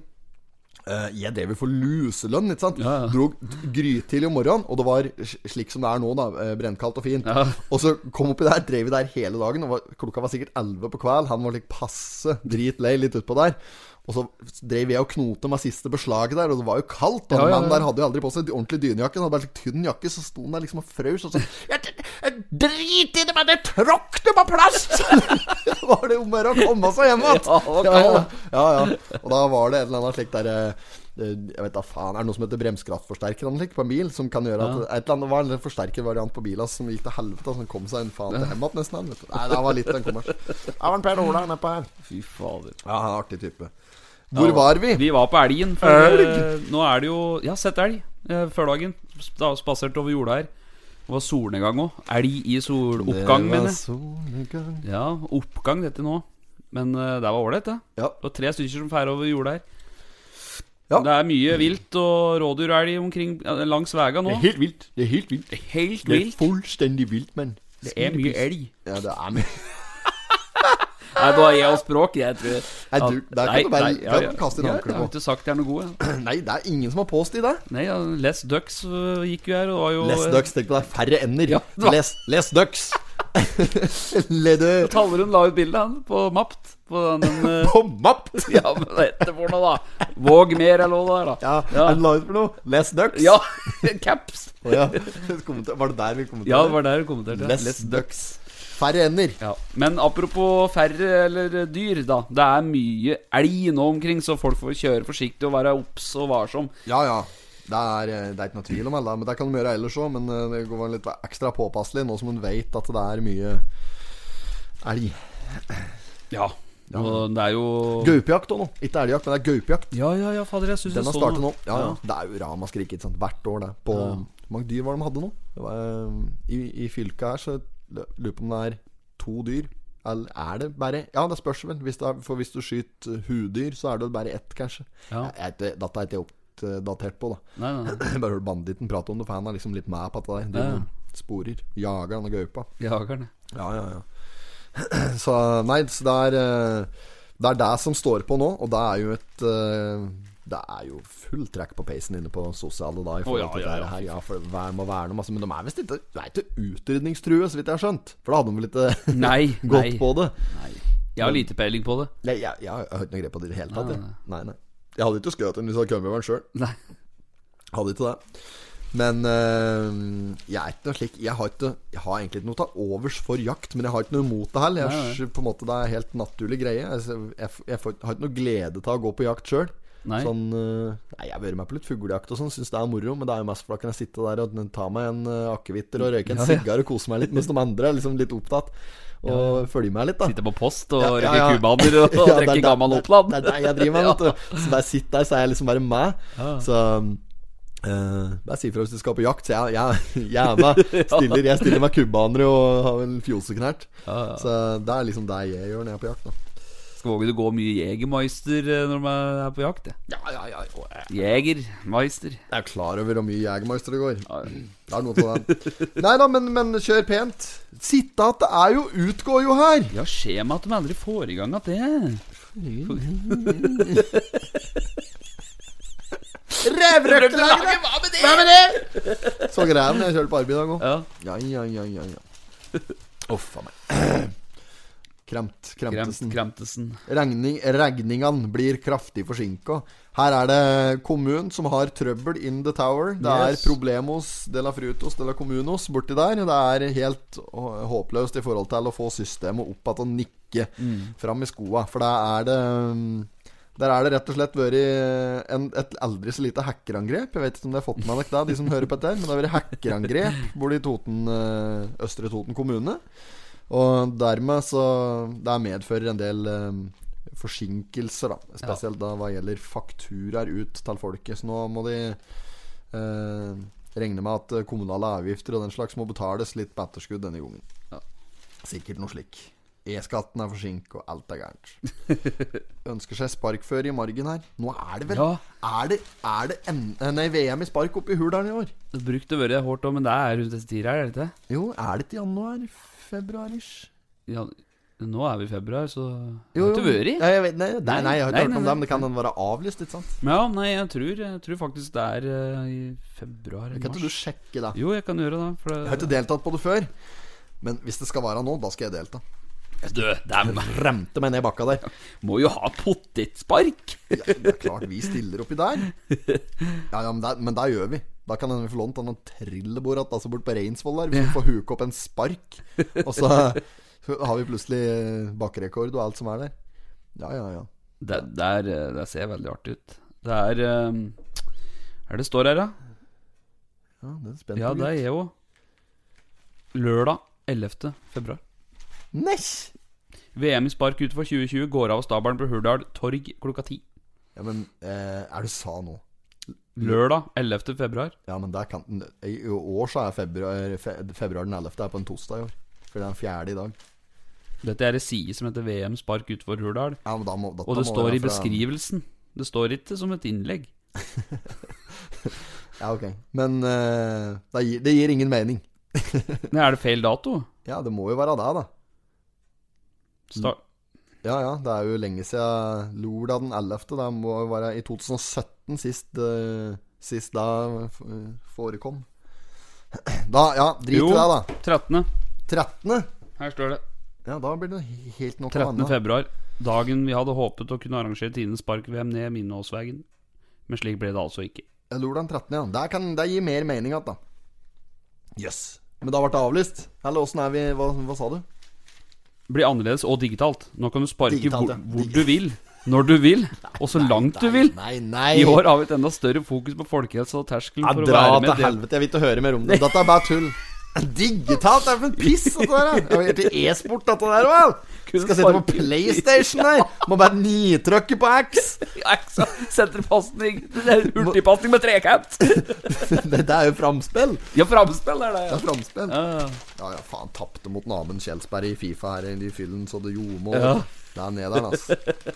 Speaker 3: Eh, jeg drev jo for luselønn, ikke sant.
Speaker 5: Ja, ja.
Speaker 3: Drog d- grytidlig om morgenen, og det var s- slik som det er nå, da. eh, Brennkaldt og fint.
Speaker 5: Ja.
Speaker 3: Og så kom oppi der, drev vi der hele dagen. Og var, klokka var sikkert 11 på kveld. Han var litt passe dritlei litt utpå der. Og så drev jeg og knote med siste beslaget der, og det var jo kaldt. Og
Speaker 5: Ja, ja, ja.
Speaker 3: mannen der hadde jo aldri på seg ordentlig dynejakke. Han hadde bare slik tynn jakke, så sto han der liksom og frøs og sånn. «Jeg d- jeg Drit i det, men jeg tråkk det på plass! <laughs> Så var det om å gjøre å komme seg hjem igjen.
Speaker 5: <laughs> Ja, det var
Speaker 3: ja, ja,
Speaker 5: kaldt.
Speaker 3: ja, ja. Og da var det et eller annet slikt der eh, Jeg vet da faen, er det noe som heter bremskraftforsterker eller noe slikt på en bil? Som kan gjøre at et eller annet, Det var en sånn forsterkervariant på bilen som gikk til helvete, som kom seg en faen til hjem igjen nesten. Vet du. Nei, det var litt
Speaker 5: <laughs>
Speaker 3: en kommers. Det var en Per Ola nedpå her.
Speaker 5: Fy fader.
Speaker 3: Ja, han er en artig type. Hvor var vi?
Speaker 5: Vi var på elgen. For,
Speaker 3: Elg?
Speaker 5: eh, nå er det jo Jeg har sett elg eh, før dagen. Da Spaserte over jorda her. Det var solnedgang òg. Elg i soloppgang, mener jeg.
Speaker 3: jeg.
Speaker 5: Ja, oppgang dette nå. Men eh, det var ålreit, det.
Speaker 3: Ja.
Speaker 5: Det var tre stykker som feirer over jorda her.
Speaker 3: Ja.
Speaker 5: Det er mye vilt og rådyr og elg omkring eh, langs vega nå.
Speaker 3: helt vilt. Det er helt vilt.
Speaker 5: Helt
Speaker 3: Det er
Speaker 5: vilt.
Speaker 3: fullstendig vilt, men.
Speaker 5: Det er mye elg.
Speaker 3: Ja, det er mye. <laughs>
Speaker 5: Nei, det var jeg og språk, jeg tror
Speaker 3: Nei, du, der kan du bare- kan du kaste en
Speaker 5: ja,
Speaker 3: håndkle
Speaker 5: Jeg har
Speaker 3: på.
Speaker 5: ikke sagt jeg er noe god, jeg.
Speaker 3: Nei, det er ingen som har påstått det.
Speaker 5: Nei, ja, Les Ducks øh, gikk jo her, og det var jo
Speaker 3: Les
Speaker 5: øh,
Speaker 3: Ducks, tenk på det er færre ender.
Speaker 5: Ja, det var-
Speaker 3: Les, les Ducks. <laughs> Leder
Speaker 5: Tallerud la ut bilde, han, på Mapt. På den, den
Speaker 3: <laughs>
Speaker 5: øh,
Speaker 3: på mapp.
Speaker 5: Ja, men hva heter det for noe, da? Våg mer, eller hva det er, da.
Speaker 3: Ja,
Speaker 5: Ja.
Speaker 3: han la ut for noe. Les Ducks.
Speaker 5: Ja, <laughs> caps.
Speaker 3: Å, ja. Kommenter- Var det der vi kommenterte?
Speaker 5: Ja, det var der du kommenterte.
Speaker 3: Les, Ducks. Færre ender.
Speaker 5: Ja. Men apropos færre eller dyr, da. Det er mye elg nå omkring, så folk får kjøre forsiktig og være obs og varsom.
Speaker 3: Ja, ja. Det er, eh, det er ikke noe tvil om det. Men det kan de gjøre ellers òg. Men eh, det går vel litt ekstra påpasselig nå som hun veit at det er mye elg.
Speaker 5: Ja. Og det er jo
Speaker 3: Gaupejakt òg nå. Ikke elgjakt, men det er gaupejakt.
Speaker 5: Ja, ja, ja, fader, jeg syns
Speaker 3: Den
Speaker 5: jeg
Speaker 3: har
Speaker 5: så
Speaker 3: startet
Speaker 5: noe.
Speaker 3: nå. Ja, ja. Det er jo ramaskrik ikke sant? hvert år, det. På Hvor mange dyr var det de hadde nå? Det var, eh, I, I fylket her, så l- lurer på om det er to dyr. Eller er det bare Ja, det spørs vel. Hvis det er, for hvis du skyter hudyr, så er det bare ett, kanskje.
Speaker 5: Ja.
Speaker 3: Jeg, jeg, vet ikke- dette er ikke jeg oppdatert på, da. <clears throat>
Speaker 5: Nei, nei, nei.
Speaker 3: Jeg bare hørte banditten prate om det, for han er liksom litt med på dette der.
Speaker 5: Ja,
Speaker 3: Driver
Speaker 5: ja.
Speaker 3: og Sporer. Jager denne gaupa.
Speaker 5: Jageren, ja.
Speaker 3: Ja, ja, ja. <clears throat> Så nei, så det er eh, Det er det som står på nå, og det er jo et eh, det er jo fullt trekk på peisen inne på sosiale da. I forhold
Speaker 5: ja,
Speaker 3: til
Speaker 5: ja,
Speaker 3: dette
Speaker 5: ja.
Speaker 3: her Ja, for vær må verne om altså, Men de er visst ikke De er ikke utrydningstrue, så vidt jeg har skjønt. For da hadde de vel ikke <laughs>
Speaker 5: Nei,
Speaker 3: gått
Speaker 5: nei.
Speaker 3: på det.
Speaker 5: Jeg har lite peiling på det.
Speaker 3: Nei, jeg, jeg, har- jeg har ikke noe grep på det i det hele tatt.
Speaker 5: Nei,
Speaker 3: jeg. Nei, nei. Jeg hadde ikke skutt den hvis jeg hadde kommet over den sjøl.
Speaker 5: Nei.
Speaker 3: Hadde ikke det. Men eh, jeg er ikke noe slik Jeg har, ikke, jeg har egentlig ikke noe til overs for jakt, men jeg har ikke noe imot det heller.
Speaker 5: Nei, nei.
Speaker 3: Jeg s- På en måte, det er helt naturlig greie. Jeg, jeg, jeg får, har ikke noe glede til å gå på jakt sjøl.
Speaker 5: Nei.
Speaker 3: Sånn, eh, nei, jeg har vært med på litt fuglejakt og sånn, syns det er moro, men det er jo mest for da kan jeg sitte der og ta meg en eh, akevitter og røyke en
Speaker 5: Ja, ja.
Speaker 3: sigar og kose meg litt, mens de andre er liksom litt opptatt. Og følge med litt, da.
Speaker 5: Sitte på post og
Speaker 3: Ja,
Speaker 5: røyke
Speaker 3: ja, ja.
Speaker 5: kubaner og
Speaker 3: <laughs> Ja, det er
Speaker 5: drikke
Speaker 3: der-
Speaker 5: gammel
Speaker 3: det-
Speaker 5: Oppland.
Speaker 3: Det er det jeg driver med. vet du. Så bare sitt der, så er jeg liksom bare med. Så eh, bare si ifra hvis du skal på jakt, så jeg, jeg,
Speaker 5: <laughs>
Speaker 3: jeg er med. Stiller, jeg stiller med kubbanere og har en fjoseknert. Så det er liksom det jeg gjør når jeg er på jakt. Da.
Speaker 5: Skal våge du gå mye Jegermeister eh, når man er på jakt? jeg.
Speaker 3: Ja, ja, ja, og jeg
Speaker 5: Jegermeister.
Speaker 3: jeg er klar over hvor mye Jegermeister det går. Det er noe til det. Nei da, men, men kjør pent. Sitte at det er jo utgår jo her.
Speaker 5: Ja, skjer meg at de aldri får i gang at det.
Speaker 3: Revrøktelaget! Hva med det?! Hva med det? Så greien jeg kjørte på arbeid i dag òg.
Speaker 5: Ja.
Speaker 3: Ja, ja, ja, ja, ja. Uff a meg. Kremt.
Speaker 5: Kremt,
Speaker 3: Kremtesen.
Speaker 5: Kremtesen.
Speaker 3: Regning, regningene blir kraftig forsinka. Her er det kommunen som har trøbbel in the tower. Det er
Speaker 5: Yes.
Speaker 3: problemos de la frutos de la communos borti der. Det er helt hå- håpløst i forhold til å få systemet opp igjen og nikke fram i skoa. For der er det mm, der er det rett og slett vært en, et aldri så lite hackerangrep. Jeg vet ikke om de har fått med dere det, de som hører på dette, her, men det har vært hackerangrep borti Toten, eh, Østre Toten kommune. Og dermed så Det medfører en del eh, forsinkelser, da. Spesielt da hva gjelder fakturaer ut til folket. Så nå må de eh, regne med at eh, kommunale avgifter og den slags må betales litt på etterskudd denne gangen.
Speaker 5: Ja.
Speaker 3: Sikkert noe slik. E-skatten er forsinket, og alt er gærent.
Speaker 5: <laughs>
Speaker 3: Ønsker seg sparkføre i margen her. Nå er det vel
Speaker 5: Ja.
Speaker 3: Er det, er det en, eh, nei, VM i spark oppe i Hurdalen i år?
Speaker 5: Det brukte å være hårdt òg, men det er rundt disse tider her, er det ikke?
Speaker 3: Jo, er det til januar? Februar-ish?
Speaker 5: Ja, nå er vi i februar, så
Speaker 3: Jo,
Speaker 5: Har ikke
Speaker 3: jo.
Speaker 5: vært i?
Speaker 3: Ja, jeg vet, nei, nei, nei, jeg har ikke
Speaker 5: Nei,
Speaker 3: hørt
Speaker 5: nei,
Speaker 3: om
Speaker 5: nei.
Speaker 3: det, men det kan den være avlyst, ikke sant?
Speaker 5: Ja, nei, jeg tror, jeg tror faktisk det er eh, i februar eller
Speaker 3: Kan ikke du
Speaker 5: mars.
Speaker 3: sjekke det?
Speaker 5: Jo, jeg kan gjøre det. For
Speaker 3: Jeg har ikke deltatt på det før, men hvis det skal være nå, da skal jeg delta.
Speaker 5: Du, det er,
Speaker 3: Remte meg ned bakka der.
Speaker 5: må jo ha pottetspark!
Speaker 3: <laughs> Ja, det er klart vi stiller oppi der. Ja, ja, men der, men der gjør vi. Da kan hende vi få lånt en trillebord att, altså bort på Reinsvoll der. Hvis vi får huke opp en spark, og så så har vi plutselig eh, bakkerekord og alt som er der. Ja, ja, ja.
Speaker 5: Det, det, er, eh, det ser veldig artig ut. Det er eh, Er det står her, da?
Speaker 3: Ja, det er spent.
Speaker 5: Ja, det er jeg òg. Lørdag 11. februar.
Speaker 3: Nei!
Speaker 5: VM i spark utenfor 2020 går av stabelen på Hurdal torg klokka ti.
Speaker 3: Ja, men eh, er du sa nå? Mm.
Speaker 5: Lørdag 11. februar.
Speaker 3: Ja, men der kan I i år så er februar, fe, februar den 11. er på en torsdag i år. For det er den fjerde i dag.
Speaker 5: Dette er ei side som heter VM spark utenfor Hurdal.
Speaker 3: Ja, men da må, dette
Speaker 5: Og det
Speaker 3: må
Speaker 5: står
Speaker 3: være
Speaker 5: i
Speaker 3: fra-
Speaker 5: beskrivelsen. Det står ikke som et innlegg.
Speaker 3: Ja, ok. Men eh, det, gir, det gir ingen mening.
Speaker 5: Nei, er det feil dato?
Speaker 3: Ja, det må jo være det, da.
Speaker 5: Start.
Speaker 3: Ja ja, det er jo lenge siden lordag den 11. Det må jo være i 2017 sist, eh, sist da f- forekom. <clears throat> Da, ja, drit i
Speaker 5: Jo.
Speaker 3: det, da.
Speaker 5: 13.
Speaker 3: 13.
Speaker 5: Her står det.
Speaker 3: Ja, da blir det he- helt noe
Speaker 5: 13.
Speaker 3: annet.
Speaker 5: februar. Dagen vi hadde håpet å kunne arrangere Tines Park-VM ned Minnåsvegen. Men slik ble det altså ikke.
Speaker 3: Ja, Lordag den 13., ja. Der kan det gir mer mening igjen, da. Jøss. Yes. Men da ble det avlyst? Eller åssen er vi Hva, hva sa du?
Speaker 5: Blir annerledes og digitalt. Nå kan du sparke
Speaker 3: Digitalt,
Speaker 5: hvor,
Speaker 3: ja.
Speaker 5: hvor du vil, når du vil, og så langt du vil.
Speaker 3: Nei, nei.
Speaker 5: I år har vi et enda større fokus på folkehelse og terskelen
Speaker 3: ja,
Speaker 5: for å
Speaker 3: Dra
Speaker 5: være
Speaker 3: til
Speaker 5: med. <laughs> Det.
Speaker 3: helvete. Jeg vil ikke høre mer om det. Dette er bare tull. Digitalt? Det er for en piss, dette der. ja. Jeg vil til e-sport, dette der òg.
Speaker 5: Kunne
Speaker 3: Skal sitte på
Speaker 5: sparke-
Speaker 3: PlayStation her. Må bare nitrykke på X.
Speaker 5: Ja, ikke sant? Senterpasning, hurtigpasning med trekant.
Speaker 3: Dette er jo framspill.
Speaker 5: Ja, framspill er det,
Speaker 3: Det
Speaker 5: ja.
Speaker 3: er framspill.
Speaker 5: Ja.
Speaker 3: Ja ja, faen. Tapte mot naboen Kjelsberg i Fifa her i fyllen så det ljomer.
Speaker 5: Ja.
Speaker 3: Det er ned der, altså.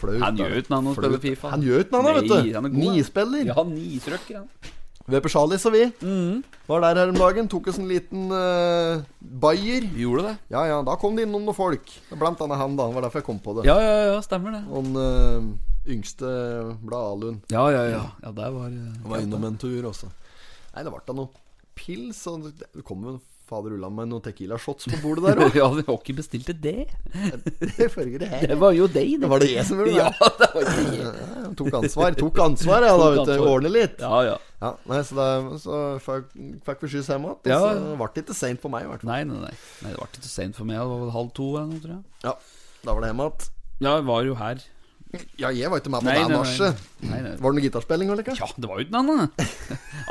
Speaker 3: Flaut.
Speaker 5: Han
Speaker 3: da.
Speaker 5: gjør ikke noe annet enn å
Speaker 3: Flaut.
Speaker 5: spille Fifa.
Speaker 3: Han gjør ikke noe annet,
Speaker 5: Nei, han er
Speaker 3: vet du.
Speaker 5: god, han.
Speaker 3: Nispiller.
Speaker 5: Ja, Mm. nitrøkker han.
Speaker 3: Vi er på Charlies og vi. Var der her om dagen. Tok oss en liten eh, bayer.
Speaker 5: Gjorde det?
Speaker 3: Ja ja, da kom det innom noen folk. Blant annet han, da. Det var derfor jeg kom på det.
Speaker 5: Ja, ja, ja, stemmer det.
Speaker 3: Han eh, yngste Blad Alund
Speaker 5: Ja, ja, ja. Ja, der var eh,
Speaker 3: var innom en tur også. Nei, det ble da noe pils. Og det kom jo en fader ulla med noen Tequila shots på bordet der
Speaker 5: <laughs>
Speaker 3: òg.
Speaker 5: Ja, vi har ikke bestilt det.
Speaker 3: det
Speaker 5: var jo deg,
Speaker 3: Det var det jeg som gjorde
Speaker 5: <laughs>
Speaker 3: det.
Speaker 5: Ja, det var ikke jeg.
Speaker 3: Ja, jeg tok ansvar. Tok ansvar, ja. da
Speaker 5: Tok
Speaker 3: vet du,
Speaker 5: ansvar.
Speaker 3: Ordne litt.
Speaker 5: Ja, ja.
Speaker 3: Ja, nei, Så, da, så fikk, fikk vi skyss hjem igjen. Og
Speaker 5: Ja.
Speaker 3: så ble det ikke seint for meg, i hvert fall.
Speaker 5: Nei, nei, nei. nei det var ikke så sent for meg. Det var vel halv to eller noe, tror jeg.
Speaker 3: Ja, da var det hjemme igjen.
Speaker 5: Ja, jeg var jo her.
Speaker 3: Ja, jeg var ikke med på
Speaker 5: Nei,
Speaker 3: det
Speaker 5: nei,
Speaker 3: nachet.
Speaker 5: Nei, nei.
Speaker 3: Var det noe gitarspilling, eller? hva?
Speaker 5: Ja, det var jo den
Speaker 3: <laughs>
Speaker 5: andre.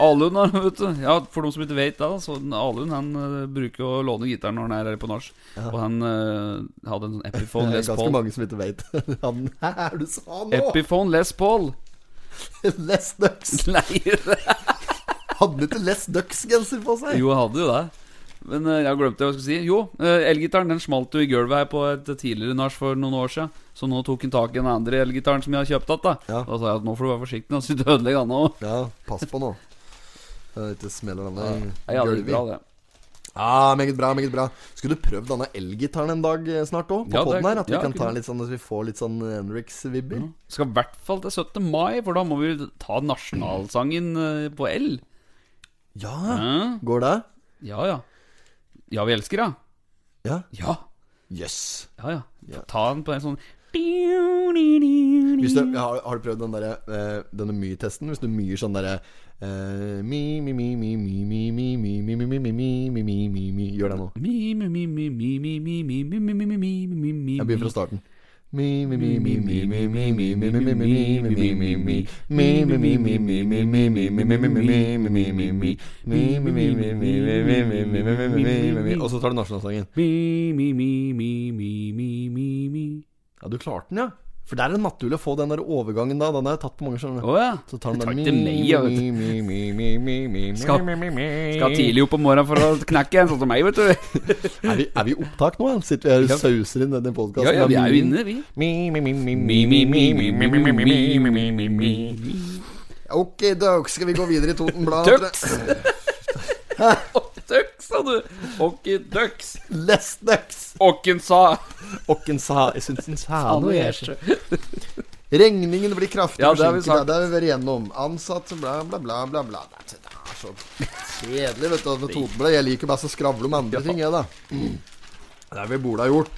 Speaker 5: Alun, han, vet du. Ja, for de som ikke vet da, så den Alun han eh, bruker å låne gitaren når han er her på nach. Og han eh, hadde en sånn Epiphone
Speaker 3: <laughs> det er
Speaker 5: Les
Speaker 3: ganske
Speaker 5: Paul.
Speaker 3: mange som ikke veit. Han Hæ, er det du sa nå?
Speaker 5: Epiphone Les Paul. <laughs>
Speaker 3: Les Ducks.
Speaker 5: Nei,
Speaker 3: Hadde han ikke Les Ducks-genser på seg?
Speaker 5: jo, han hadde jo det. Men eh, jeg glemte hva jeg skulle si. Jo, eh, elgitaren den smalt jo i gulvet her på et tidligere nach for noen år siden. Så nå tok han tak i den andre elgitaren som jeg har kjøpt igjen.
Speaker 3: Ja.
Speaker 5: Da sa jeg at nå får du være forsiktig, nå, så du ikke ødelegger han òg.
Speaker 3: Ja, pass på nå. Så det ikke smeller denne
Speaker 5: Ja, det gikk bra,
Speaker 3: gulvet.
Speaker 5: det.
Speaker 3: Ja, meget bra, meget bra. Skulle du prøvd denne elgitaren en dag eh, snart òg? På
Speaker 5: Ja, det er
Speaker 3: podden her? At vi
Speaker 5: ja,
Speaker 3: kan
Speaker 5: ikke
Speaker 3: ta
Speaker 5: sant.
Speaker 3: litt sånn, så vi får litt sånn Henriks-vibber?
Speaker 5: Skal i hvert fall til 17. mai, for da må vi ta nasjonalsangen eh, på L.
Speaker 3: Ja.
Speaker 5: Hæ?
Speaker 3: Går det?
Speaker 5: Ja, ja. Ja, vi elsker, ja.
Speaker 3: Ja.
Speaker 5: Ja,
Speaker 3: Jøss. Yes.
Speaker 5: ja. ja.
Speaker 3: Ja.
Speaker 5: Ta den på en sånn
Speaker 3: Hvis du, har, har du prøvd den derre, eh, denne my-testen? Hvis du myr sånn derre eh, Mi, mi, mi, mi, mi, mi, mi, mi, mi, mi, mi, mi, mi, mi, mi, mi, mi Gjør det nå.
Speaker 5: Mi, mi, mi, mi, mi, mi, mi, mi, mi, mi, mi, mi, mi, mi, mi, mi.
Speaker 3: Jeg begynner fra starten. Og så tar du nasjonalsangen.
Speaker 5: Mi, mi, mi, mi, mi, mi, mi, mi.
Speaker 3: Ja, du klarte den, ja. For det er en naturlig å få den der overgangen da. Den er tatt på mange skjønner.
Speaker 5: Å ja.
Speaker 3: Så tar den
Speaker 5: Jeg tar
Speaker 3: der
Speaker 5: ikke lei, jeg vet du. Skal- Skal tidlig opp om morgenen for å knekke en sånn som meg, vet du.
Speaker 3: Er vi, er vi i opptak nå? eller? Sitter vi her og sauser inn denne podkasten?
Speaker 5: Ja, ja, vi er jo inne, vi.
Speaker 3: Ok, dog, skal vi gå videre i Toten Blad?
Speaker 5: Tøks! Tøks, sa du. Åkke døks.
Speaker 3: Les ducks!
Speaker 5: Åkken sa.
Speaker 3: Åkken sa Jeg syns den sa noe, jeg.
Speaker 5: Allierte.
Speaker 3: Regningen blir kraftig
Speaker 5: Ja, det har vi
Speaker 3: forsinket.
Speaker 5: sagt.
Speaker 3: Det har vi vært igjennom. Ansatte, bla, bla, bla, bla, bla. Det er det er så kjedelig, vet du. Med Totenbladet. Jeg liker best å skravle om andre ting, jeg, da. Det er vi burde ha gjort.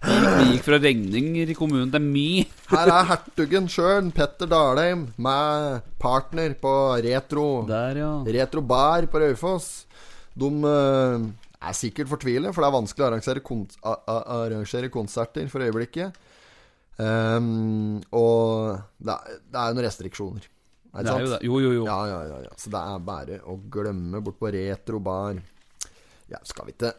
Speaker 5: Vi gikk fra regninger i kommunen til mi.
Speaker 3: Her er hertugen sjøl, Petter Dalheim, med partner på Retro.
Speaker 5: Der, ja.
Speaker 3: Retro Bar på Raufoss. De eh, er sikkert fortvilet, for det er vanskelig å arrangere, kon a a arrangere konserter for øyeblikket. Ehm, og det er, det er jo noen restriksjoner. Er
Speaker 5: Det er jo det. Jo, jo, jo.
Speaker 3: Ja, ja, ja, ja. Så det er bare å glemme bort på Retro Bar. Ja, skal vi ikke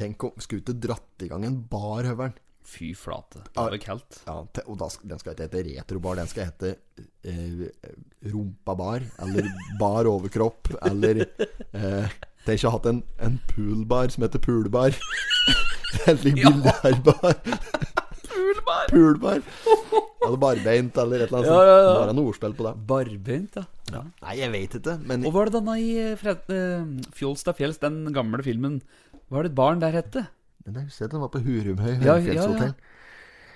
Speaker 3: Tenk om Skulle ikke dratt i gang en bar, Høveren?
Speaker 5: Fy flate. Det var kaldt.
Speaker 3: Ja, te- og da, sk- den skal ikke hete retrobar, den skal hete eh, rumpabar, eller bar overkropp, eller eh, Tenk å ha hatt en, en poolbar som heter poolbar. <laughs> Eller billiardbar.
Speaker 5: Ulbar.
Speaker 3: Poolbar. Eller barbeint, eller et eller annet
Speaker 5: Ja, ja, ja.
Speaker 3: sånt. Bare noe ordspill på det.
Speaker 5: Barbeint, ja. ja.
Speaker 3: Nei, jeg veit ikke, men
Speaker 5: Og hva er det denne i eh, Fred, eh, Fjols til fjells, den gamle filmen Hva er det et barn der hette?
Speaker 3: Men jeg husker at den var på Hurumhøy
Speaker 5: Ja, ja,
Speaker 3: høyfjellshotell.
Speaker 5: ja.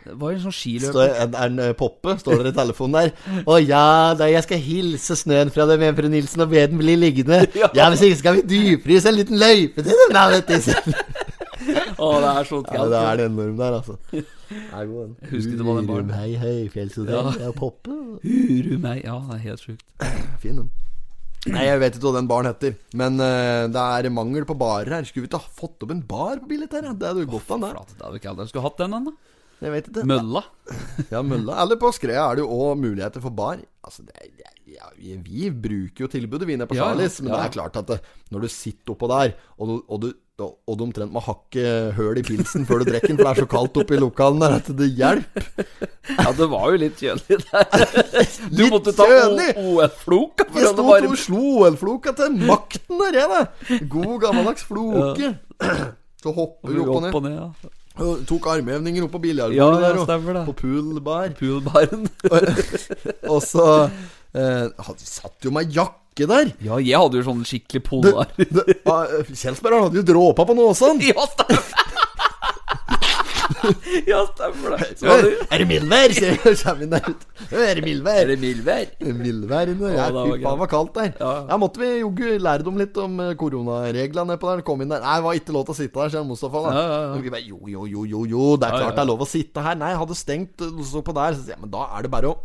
Speaker 5: Det var jo en sånn skiløper.
Speaker 3: Står, er den eh, Poppe? Står dere i telefonen der? 'Å ja, da jeg skal hilse snøen fra dem hjemme, fru Nilsen, og be den bli liggende.' <laughs> 'Ja, hvis ikke skal vi dypfryse en liten løype til dem, da, <laughs> vet du.'
Speaker 5: Å, det er så
Speaker 3: Ja,
Speaker 5: kaldt.
Speaker 3: det er den enorm der, <laughs> altså. Er god, den.
Speaker 5: husker ikke hva den var.
Speaker 3: Hurumhei høyfjellshotell. Ja. Poppe.
Speaker 5: Huru meg. Ja, det er helt sjukt.
Speaker 3: Fin, den. Nei, jeg vet ikke hva den baren heter, men eh, det er mangel på barer her. Skulle vi ikke ha fått opp en bar på bildet her? ja? Det hadde jo gått an, det.
Speaker 5: Flate, det er jo kaldt. Jeg skulle hatt den, den, da.
Speaker 3: Jeg vet ikke.
Speaker 5: Mølla.
Speaker 3: Ja, mølla. Eller på Skrea er det jo òg muligheter for bar. Altså, det er, det er, ja, vi- vi bruker jo tilbudet, vi nede på
Speaker 5: Ja, ja,
Speaker 3: Charlies. Men
Speaker 5: ja.
Speaker 3: det er klart at det, når du sitter oppå der, og du, og du og du omtrent må hakke høl i pilsen før du drikker den, for det er så kaldt oppe i lokalen der at det hjelper.
Speaker 5: Ja, det var jo litt kjølig der. <laughs> Du
Speaker 3: Litt
Speaker 5: måtte ta
Speaker 3: kjølig!
Speaker 5: OL-floka for
Speaker 3: Jeg
Speaker 5: å
Speaker 3: sto
Speaker 5: bare
Speaker 3: og slo OL-floka til eh, makten der, jeg, da. God gammeldags floke. <clears throat> Så hopper vi opp og ned.
Speaker 5: opp og ned. Ja,
Speaker 3: Og Tok armhevninger opp på biljarden
Speaker 5: ja,
Speaker 3: der,
Speaker 5: ja
Speaker 3: og
Speaker 5: stemmer det.
Speaker 3: på poolbar. <laughs>
Speaker 5: Poolbaren.
Speaker 3: Og så eh, han satt jo med jakke der.
Speaker 5: Ja, jeg hadde jo sånn skikkelig
Speaker 3: Det-
Speaker 5: polar.
Speaker 3: det- ah, Kjelsberg han hadde jo dråpa på noe også,
Speaker 5: <laughs>
Speaker 3: han.
Speaker 5: Ja,
Speaker 3: <laughs>
Speaker 5: stemmer Ja, stemmer det. Så hadde
Speaker 3: Er det mildvær? sier jeg, så er vi der ute. Er det
Speaker 5: Er
Speaker 3: mildvær?
Speaker 5: det mildvær?
Speaker 3: Mildvær
Speaker 5: Ja,
Speaker 3: inne. Ja,
Speaker 5: det var
Speaker 3: Fy faen,
Speaker 5: greit.
Speaker 3: var kaldt der.
Speaker 5: Ja.
Speaker 3: Ja, måtte vi jogge lære dem litt om eh, koronareglene på der. Kom inn der. Nei, det var ikke lov til å sitte der, sier Mustafa. da.
Speaker 5: Ja, ja, ja.
Speaker 3: Og vi bare, jo, jo, jo, jo, jo, det er
Speaker 5: Ja,
Speaker 3: klart
Speaker 5: ja,
Speaker 3: det er lov å sitte her. Nei, jeg hadde stengt eh, så på der. Så sier jeg, men da er det bare å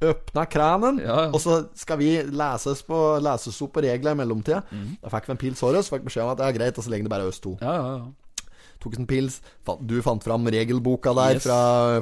Speaker 3: Øpna kranen,
Speaker 5: Ja, ja.
Speaker 3: og så skal vi leses, på, leses opp på regler i mellomtida. Da fikk vi en pils Horus, fikk beskjed om at det er greit, og så lenge det bare er oss to.
Speaker 5: Mhm. Ja, ja, ja.
Speaker 3: Tok oss en pils. Fa- Du fant fram regelboka der
Speaker 5: Yes.
Speaker 3: fra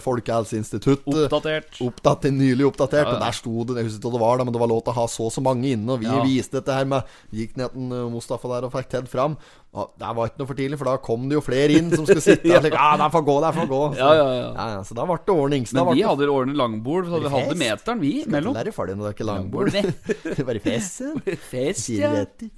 Speaker 3: Folkehelseinstituttet.
Speaker 5: Oppdatert.
Speaker 3: Oppdatert, Nylig oppdatert.
Speaker 5: Ja, ja.
Speaker 3: Og der sto det, jeg husker ikke hva det var, da, men det var lov til å ha så og så mange inne. Og vi
Speaker 5: Ja.
Speaker 3: viste dette her med Gikk ned til eh, Mustafa der og fikk Ted fram. Og det var ikke noe for tidlig, for da kom det jo flere inn som
Speaker 5: <laughs>
Speaker 3: skulle sitte der. Slik, ja, der får gå, der får gå. Så,
Speaker 5: Ja, ja, ja.
Speaker 3: så da ble det ordnings. da
Speaker 5: Men
Speaker 3: ble
Speaker 5: vi
Speaker 3: det-
Speaker 5: hadde ordnet langbord, så vi
Speaker 3: Fest.
Speaker 5: hadde meteren, vi,
Speaker 3: Skal
Speaker 5: mellom.
Speaker 3: ikke lære ferdig når det er ikke langbord. <laughs> Det er Bare fesen.
Speaker 5: Fest, ja.
Speaker 3: Siletter.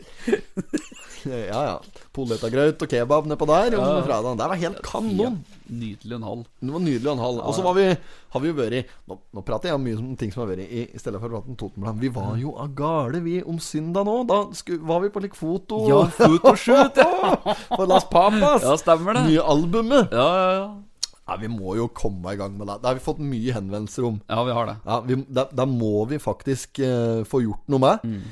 Speaker 3: Ja, ja. Poletagraut og kebab nedpå der.
Speaker 5: Ja.
Speaker 3: Og fredagen. Det var helt kanon.
Speaker 5: Nydelig en halv.
Speaker 3: Det var nydelig en halv. Og så var vi, har vi jo vært i nå, nå prater jeg om mye om ting som har vært i, i stedet for å prate om Totenbladet. Vi var jo av gårde, vi, om søndag nå. Da sku, var vi på litt foto.
Speaker 5: Ja, fotoshoot,
Speaker 3: <laughs> ja. For Las
Speaker 5: <laughs>
Speaker 3: Papas.
Speaker 5: Ja, stemmer det.
Speaker 3: Nye albumet.
Speaker 5: Ja, ja, ja.
Speaker 3: Nei, vi må jo komme i gang med det. Det har vi fått mye henvendelser om.
Speaker 5: Ja, vi har det.
Speaker 3: Ja, vi, da, da må vi faktisk eh, få gjort noe med.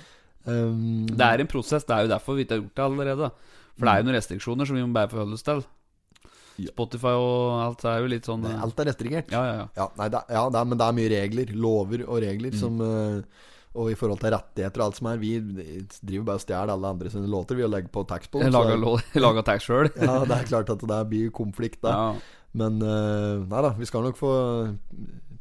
Speaker 3: Um,
Speaker 5: Det er en prosess. Det er jo derfor vi ikke har gjort det allerede. For det er jo noen restriksjoner som vi må bare forholde oss til. Spotify og alt er jo litt sånn Ja,
Speaker 3: alt er restrigert.
Speaker 5: ja, ja.
Speaker 3: Ja, nei, det, er- ja det er, men det er mye regler. Lover og regler som eh, Og i forhold til rettigheter og alt som er. Vi driver bare og stjeler alle andre sine låter. Vi og legger på tax på dem,
Speaker 5: Jeg
Speaker 3: så-
Speaker 5: laga, lå- <laughs> jeg laga tag sjøl.
Speaker 3: ja, det er klart at det der blir konflikt da.
Speaker 5: Ja.
Speaker 3: Men eh, nei da, vi skal nok få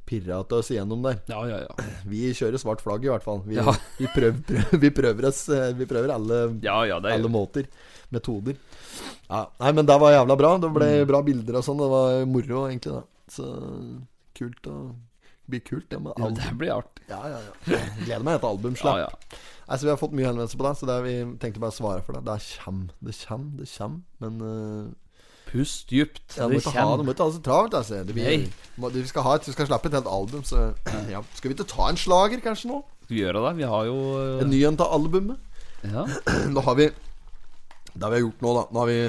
Speaker 3: pirra til oss igjennom der.
Speaker 5: ja, ja, ja.
Speaker 3: Vi kjører svart flagg i hvert fall. Vi,
Speaker 5: Ja.
Speaker 3: vi, prøv, prøv, vi prøver oss eh, Vi prøver alle,
Speaker 5: Ja, ja, det
Speaker 3: alle
Speaker 5: er
Speaker 3: måter. Metoder. Ja, nei, men det var jævla bra. Det ble
Speaker 5: Mm.
Speaker 3: bra bilder og sånn. Det var moro, egentlig. Da. Så kult å blir kult, det med
Speaker 5: ja,
Speaker 3: album.
Speaker 5: Det blir artig.
Speaker 3: Ja, ja, ja. Gleder meg til album
Speaker 5: Ja,
Speaker 3: slapp.
Speaker 5: ja.
Speaker 3: Nei, så Vi har fått mye henvendelser på det, så det er, vi tenkte bare å svare for det. Det er kjem, det kjem, det kjem. Men eh,
Speaker 5: Pust dypt.
Speaker 3: ja, du må
Speaker 5: Det
Speaker 3: ikke ha, du
Speaker 5: kommer.
Speaker 3: må ikke ha det så travelt. Altså. Det blir,
Speaker 5: Nei.
Speaker 3: må, du, skal ha et, du skal slappe et helt album, så <clears throat> ja. Skal vi ikke ta en slager, kanskje, nå?
Speaker 5: Skal vi gjøre det? Vi har jo
Speaker 3: En ny en til albumet.
Speaker 5: Ja,
Speaker 3: <clears throat> Nå har vi Det har vi gjort nå, da. Nå har vi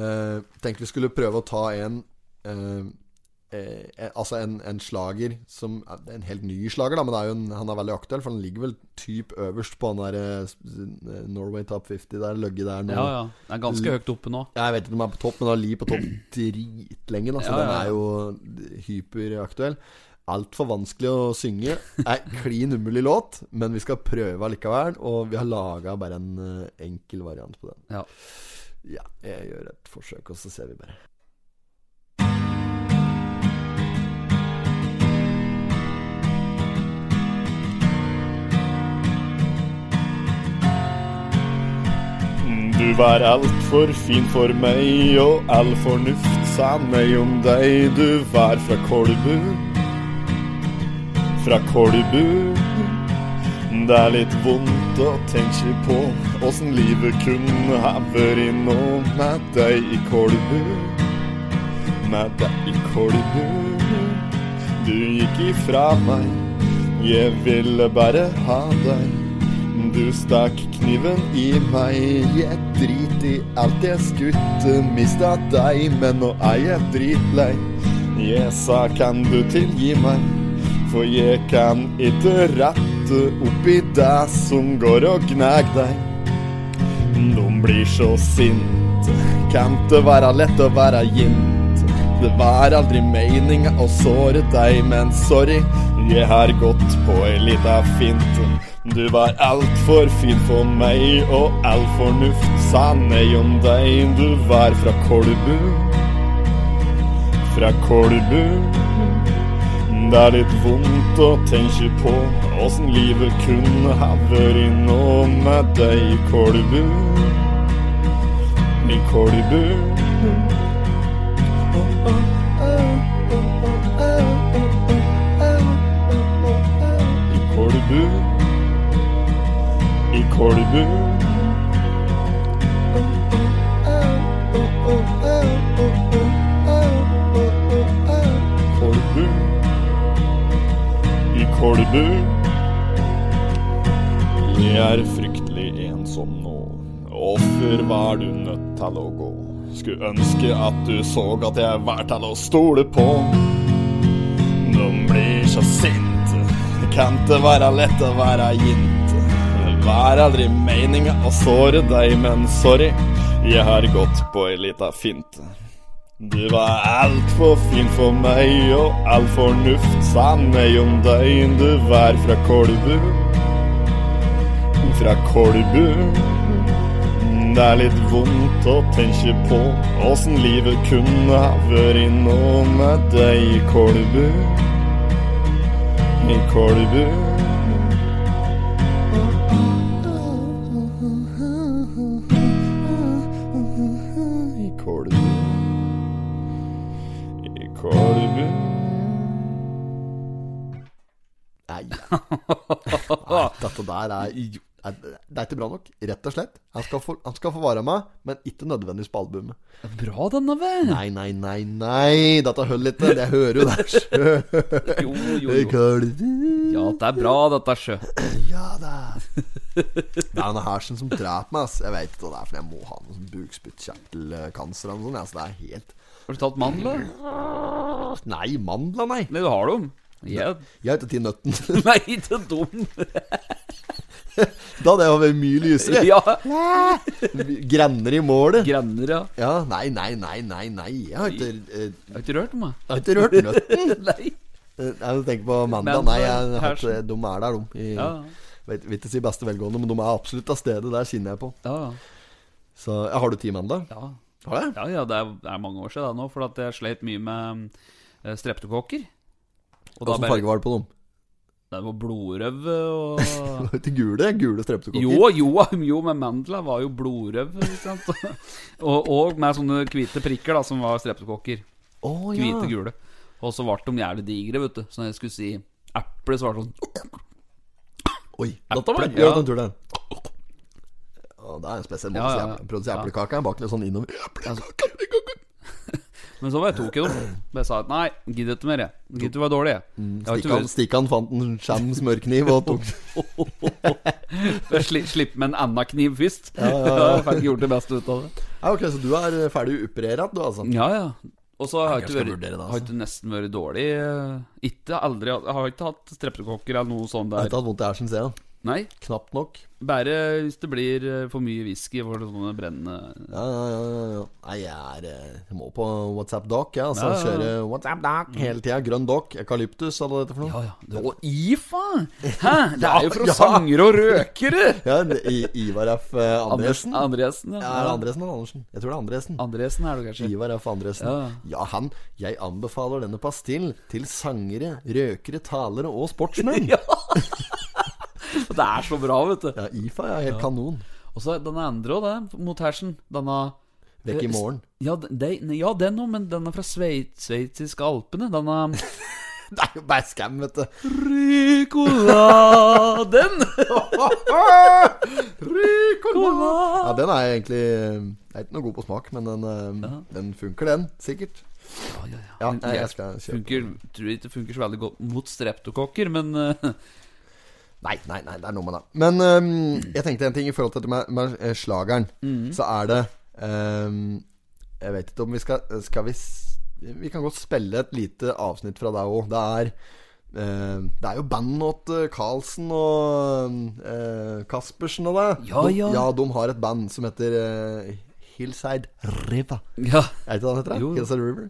Speaker 3: eh, tenkt vi skulle prøve å ta en eh, eh, Altså en, en slager som det er En helt ny slager, da, men det er jo en, han er veldig aktuell, for han ligger vel typ øverst på han der eh, Norway Top 50 der, løgget der nå.
Speaker 5: ja. ja. Det er ganske høyt oppe nå.
Speaker 3: Jeg vet ikke om den er på topp, men den har ligget på topp dritlenge. da,
Speaker 5: Ja,
Speaker 3: Så
Speaker 5: ja, ja.
Speaker 3: den er jo hyperaktuell. Altfor vanskelig å synge. Er klin umulig låt, men vi skal prøve allikevel. Og vi har laga bare en eh, enkel variant på den.
Speaker 5: Ja.
Speaker 3: Ja, jeg gjør et forsøk, og så ser vi bare.
Speaker 6: Du var altfor fin for meg, og all fornuft sa nei om deg. Du var fra Kolbu, fra Kolbu. Det er litt vondt å tenke på åssen livet kunne ha vært nå med deg i Kolbu, med deg i Kolbu. Du gikk ifra meg, jeg ville bare ha deg. Du stakk kniven i meg, jeg drit i alt jeg skutte, mista deg, men nå er jeg dritlei. Jeg sa kan du tilgi meg, for jeg kan ikke rette opp i det som går og gnag deg. De blir så sinte, kan det være lett å være jint? Det var aldri meninga å såre deg, men sorry, jeg har gått på ei lita finte. Du var altfor fin for meg, og all fornuft sa nei om deg. Du var fra Kolbu, fra Kolbu. Det er litt vondt å tenke på åssen livet kunne ha vært nå med deg i Kolbu, i Kolbu. I Kolbu. I Kolbu. Kolbu. I Kolbu. Jeg er fryktelig ensom nå. Hvorfor var du nødt til å gå? Skulle ønske at du så at jeg var til å stole på. De blir så sinte. Det kan ikke være lett å være jinte. Det var aldri meninga å såre deg, men sorry, jeg har gått på ei lita finte. Du var altfor fin for meg, og all fornuft sa nei om deg. Du var fra Kolbu, fra Kolbu. Det er litt vondt å tenke på åssen livet kunne ha vært nå med deg i Kolbu. I Kolbu. I Kolbu. I Kolbu.
Speaker 5: <laughs>
Speaker 3: Nei, Nei dette der er
Speaker 5: Jo,
Speaker 3: Nei, Det det er ikke bra nok, rett og slett. Han skal få, han skal få være med, men ikke nødvendigvis på albumet.
Speaker 5: Bra, denne, vel?
Speaker 3: Nei, nei, nei, nei, dette holder ikke. Jeg hører jo det sjøl.
Speaker 5: <laughs> Jo, jo, jo. Ja, det er bra, dette, sjø.
Speaker 3: Ja da. Det er denne hersen som dreper meg, ass. Jeg vet ikke hva det er, for jeg må ha noe sånn bukspyttkjertelkancer eller noe sånt. ja, så det er helt
Speaker 5: Har du tatt mandler?
Speaker 3: Nei, mandla, nei.
Speaker 5: Nei, du har dem. Ja.
Speaker 3: Jeg heter Tinn Nøtten. <laughs>
Speaker 5: Nei, ikke dum.
Speaker 3: Da hadde jeg vært mye lysere.
Speaker 5: Ja.
Speaker 3: Grenner i målet.
Speaker 5: Grenner, ja.
Speaker 3: Ja, nei, nei, nei, nei, nei. Jeg har ikke, eh,
Speaker 5: Jeg har ikke rørt meg.
Speaker 3: jeg har ikke rørt nøtten.
Speaker 5: Nei.
Speaker 3: Eh, Jeg tenker på mandag.
Speaker 5: Men-
Speaker 3: Nei, jeg har ikke,
Speaker 5: hersen.
Speaker 3: de er der, de. I,
Speaker 5: Ja,
Speaker 3: Vet, vil ikke si beste velgående, men de er absolutt av stedet. Der kjenner jeg på.
Speaker 5: ja.
Speaker 3: Så ja, Har du ti mandag?
Speaker 5: ja.
Speaker 3: Har jeg?
Speaker 5: Ja, ja, det er, det er mange år siden da nå, for at jeg sleit mye med eh, streptokokker. Og da
Speaker 3: Åssen
Speaker 5: bare,
Speaker 3: farge var det på dem?
Speaker 5: det var blodrøv <laughs>
Speaker 3: <laughs>
Speaker 5: og
Speaker 3: Til gule? Gule strømpekokker?
Speaker 5: Jo, jo, jo, men mandla var jo blodrøv, ikke sant. <laughs> og, og med sånne hvite prikker, da, som var streptokokker.
Speaker 3: Å, ja.
Speaker 5: Hvite, gule. Og så ble de jævlig digre, vet du. Så når jeg skulle si eple, så var det sånn
Speaker 3: Oi,
Speaker 5: Dette var-
Speaker 3: ja.
Speaker 5: ja.
Speaker 3: den turen. Å, det er en spesiell måte
Speaker 5: Ja, ja,
Speaker 3: å
Speaker 5: ja.
Speaker 3: si eple- produsere eplekake Bak litt sånn innover. Eplekake, eplekake.
Speaker 5: Men så var jeg tok i dem. Bare sa at nei, gidder ikke mer, jeg. Gidder ikke være dårlig, jeg.
Speaker 3: Mm.
Speaker 5: jeg har ikke
Speaker 3: Stikkan, Stikkan fant en skjem smørkniv og tok
Speaker 5: <laughs> vært- Sli, Slipp med en annen kniv først. <laughs> Ja,
Speaker 3: ja, ja.
Speaker 5: Fikk gjort det beste ut av det.
Speaker 3: ja, Ok, så du er eh, ferdig operert, du, altså?
Speaker 5: Ja, ja. Og så har
Speaker 3: Jeg
Speaker 5: jeg
Speaker 3: skal
Speaker 5: ikke vært-
Speaker 3: vurdere det, altså.
Speaker 5: har ikke nesten vært dårlig. eh, Ikke aldri hatt- Jeg har ikke hatt streptokokker eller noe sånt
Speaker 3: Jeg har
Speaker 5: der.
Speaker 3: ikke hatt vondt i hersen, ser jeg.
Speaker 5: Nei.
Speaker 3: Knapt nok.
Speaker 5: Bare hvis det blir eh, for mye whisky for sånne brennende
Speaker 3: Ja, ja, ja, ja, ja. Nei, jeg er eh, Jeg må på WhatsApp Doc, jeg. Altså,
Speaker 5: Ja, ja, ja.
Speaker 3: Kjøre WhatsApp Doc hele tida. Grønn Doc, Eukalyptus, hva er dette for noe?
Speaker 5: Ja, ja. Du, og IFA! Hæ?
Speaker 3: <laughs>
Speaker 5: Det er jo fra
Speaker 3: Ja, ja.
Speaker 5: sangere og røkere!
Speaker 3: Ja, I, Ivar F.
Speaker 5: <laughs>
Speaker 3: eh, Andresen. Ja,
Speaker 5: Andresen, ja.
Speaker 3: er det Andresen eller Andersen? Jeg tror det er Andresen.
Speaker 5: Andresen er det kanskje.
Speaker 3: Ivar F. Andresen.
Speaker 5: Ja.
Speaker 3: Ja, han Jeg anbefaler denne pastill til sangere, røkere, talere og
Speaker 5: <laughs>
Speaker 3: sportsmenn.
Speaker 5: <laughs> Ja. Det er så bra, vet du.
Speaker 3: Ja, IFA er helt kanon.
Speaker 5: Og så denne andre òg, den mot hersen. Denne
Speaker 3: Vekk
Speaker 5: Eh,
Speaker 3: i morgen. <laughs>
Speaker 5: Ja, de, ja den òg, men den er fra Svei- sveitsiske alpene. Denne
Speaker 3: Det er jo bare skam,
Speaker 5: <laughs>
Speaker 3: vet du.
Speaker 5: Ricoladen!
Speaker 3: Ja, den er egentlig eh, Jeg er ikke noe god på smak, men den, eh, den funker, den. Sikkert.
Speaker 5: Ja, ja,
Speaker 3: Ja,
Speaker 5: Men
Speaker 3: jeg,
Speaker 5: jeg
Speaker 3: jeg skal kjøpe
Speaker 5: Funker, tror ikke det funker så veldig godt mot streptokokker, men eh, <laughs>
Speaker 3: Nei, nei, nei, det er noe med det. Men øhm, jeg tenkte en ting i forhold til dette med, med eh, slageren.
Speaker 5: Mm.
Speaker 3: Så er det øhm, Jeg vet ikke om vi skal Skal vi s- Vi kan godt spille et lite avsnitt fra deg òg. Det er øhm, Det er jo band åt eh, Carlsen og øh, Caspersen og det.
Speaker 5: Ja,
Speaker 3: de,
Speaker 5: ja.
Speaker 3: de har et band som heter eh, Hillside River.
Speaker 5: ja.
Speaker 3: Er det ikke det han heter?
Speaker 5: Jo.
Speaker 3: da? Hillside River.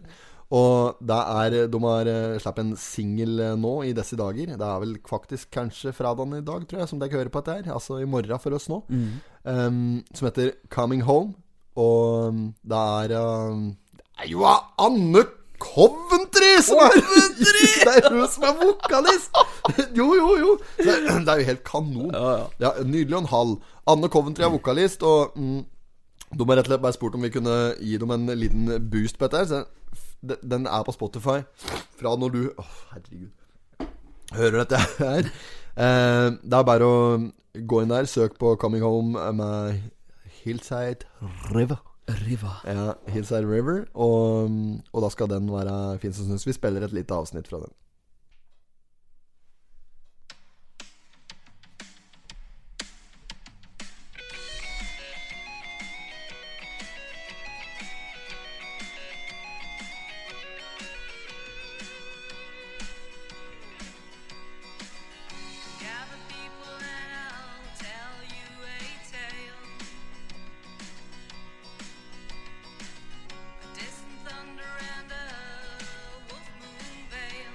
Speaker 3: Og det er, de har eh, slapp en singel eh, nå i disse dager. Det er vel faktisk kanskje fredagen i dag, tror jeg, som dere hører på dette her. Altså i morgen for oss nå.
Speaker 5: Mm.
Speaker 3: Em, som heter 'Coming Home'. Og um, det er um, Det er jo Anne Coventry som er
Speaker 5: <laughs>
Speaker 3: Det er hun som er vokalist! <laughs> Jo, jo, jo. Det er, det er jo helt kanon.
Speaker 5: Ja, ja.
Speaker 3: Nydelig og en halv. Anne Coventry er vokalist, og mm, de har rett og slett bare spurt om vi kunne gi dem en liten boost på dette. her, Så f- de- den er på Spotify fra når du Å, herregud. Hører dette her. Eh, det er bare å gå inn der, søk på 'Coming Home' med Hillside River.
Speaker 5: Riva.
Speaker 3: Ja, Hillside River. Og, og da skal den være fin som snus. Vi spiller et lite avsnitt fra den.
Speaker 7: Gather people and I'll tell you a tale. A distant thunder and a wolf moon veil.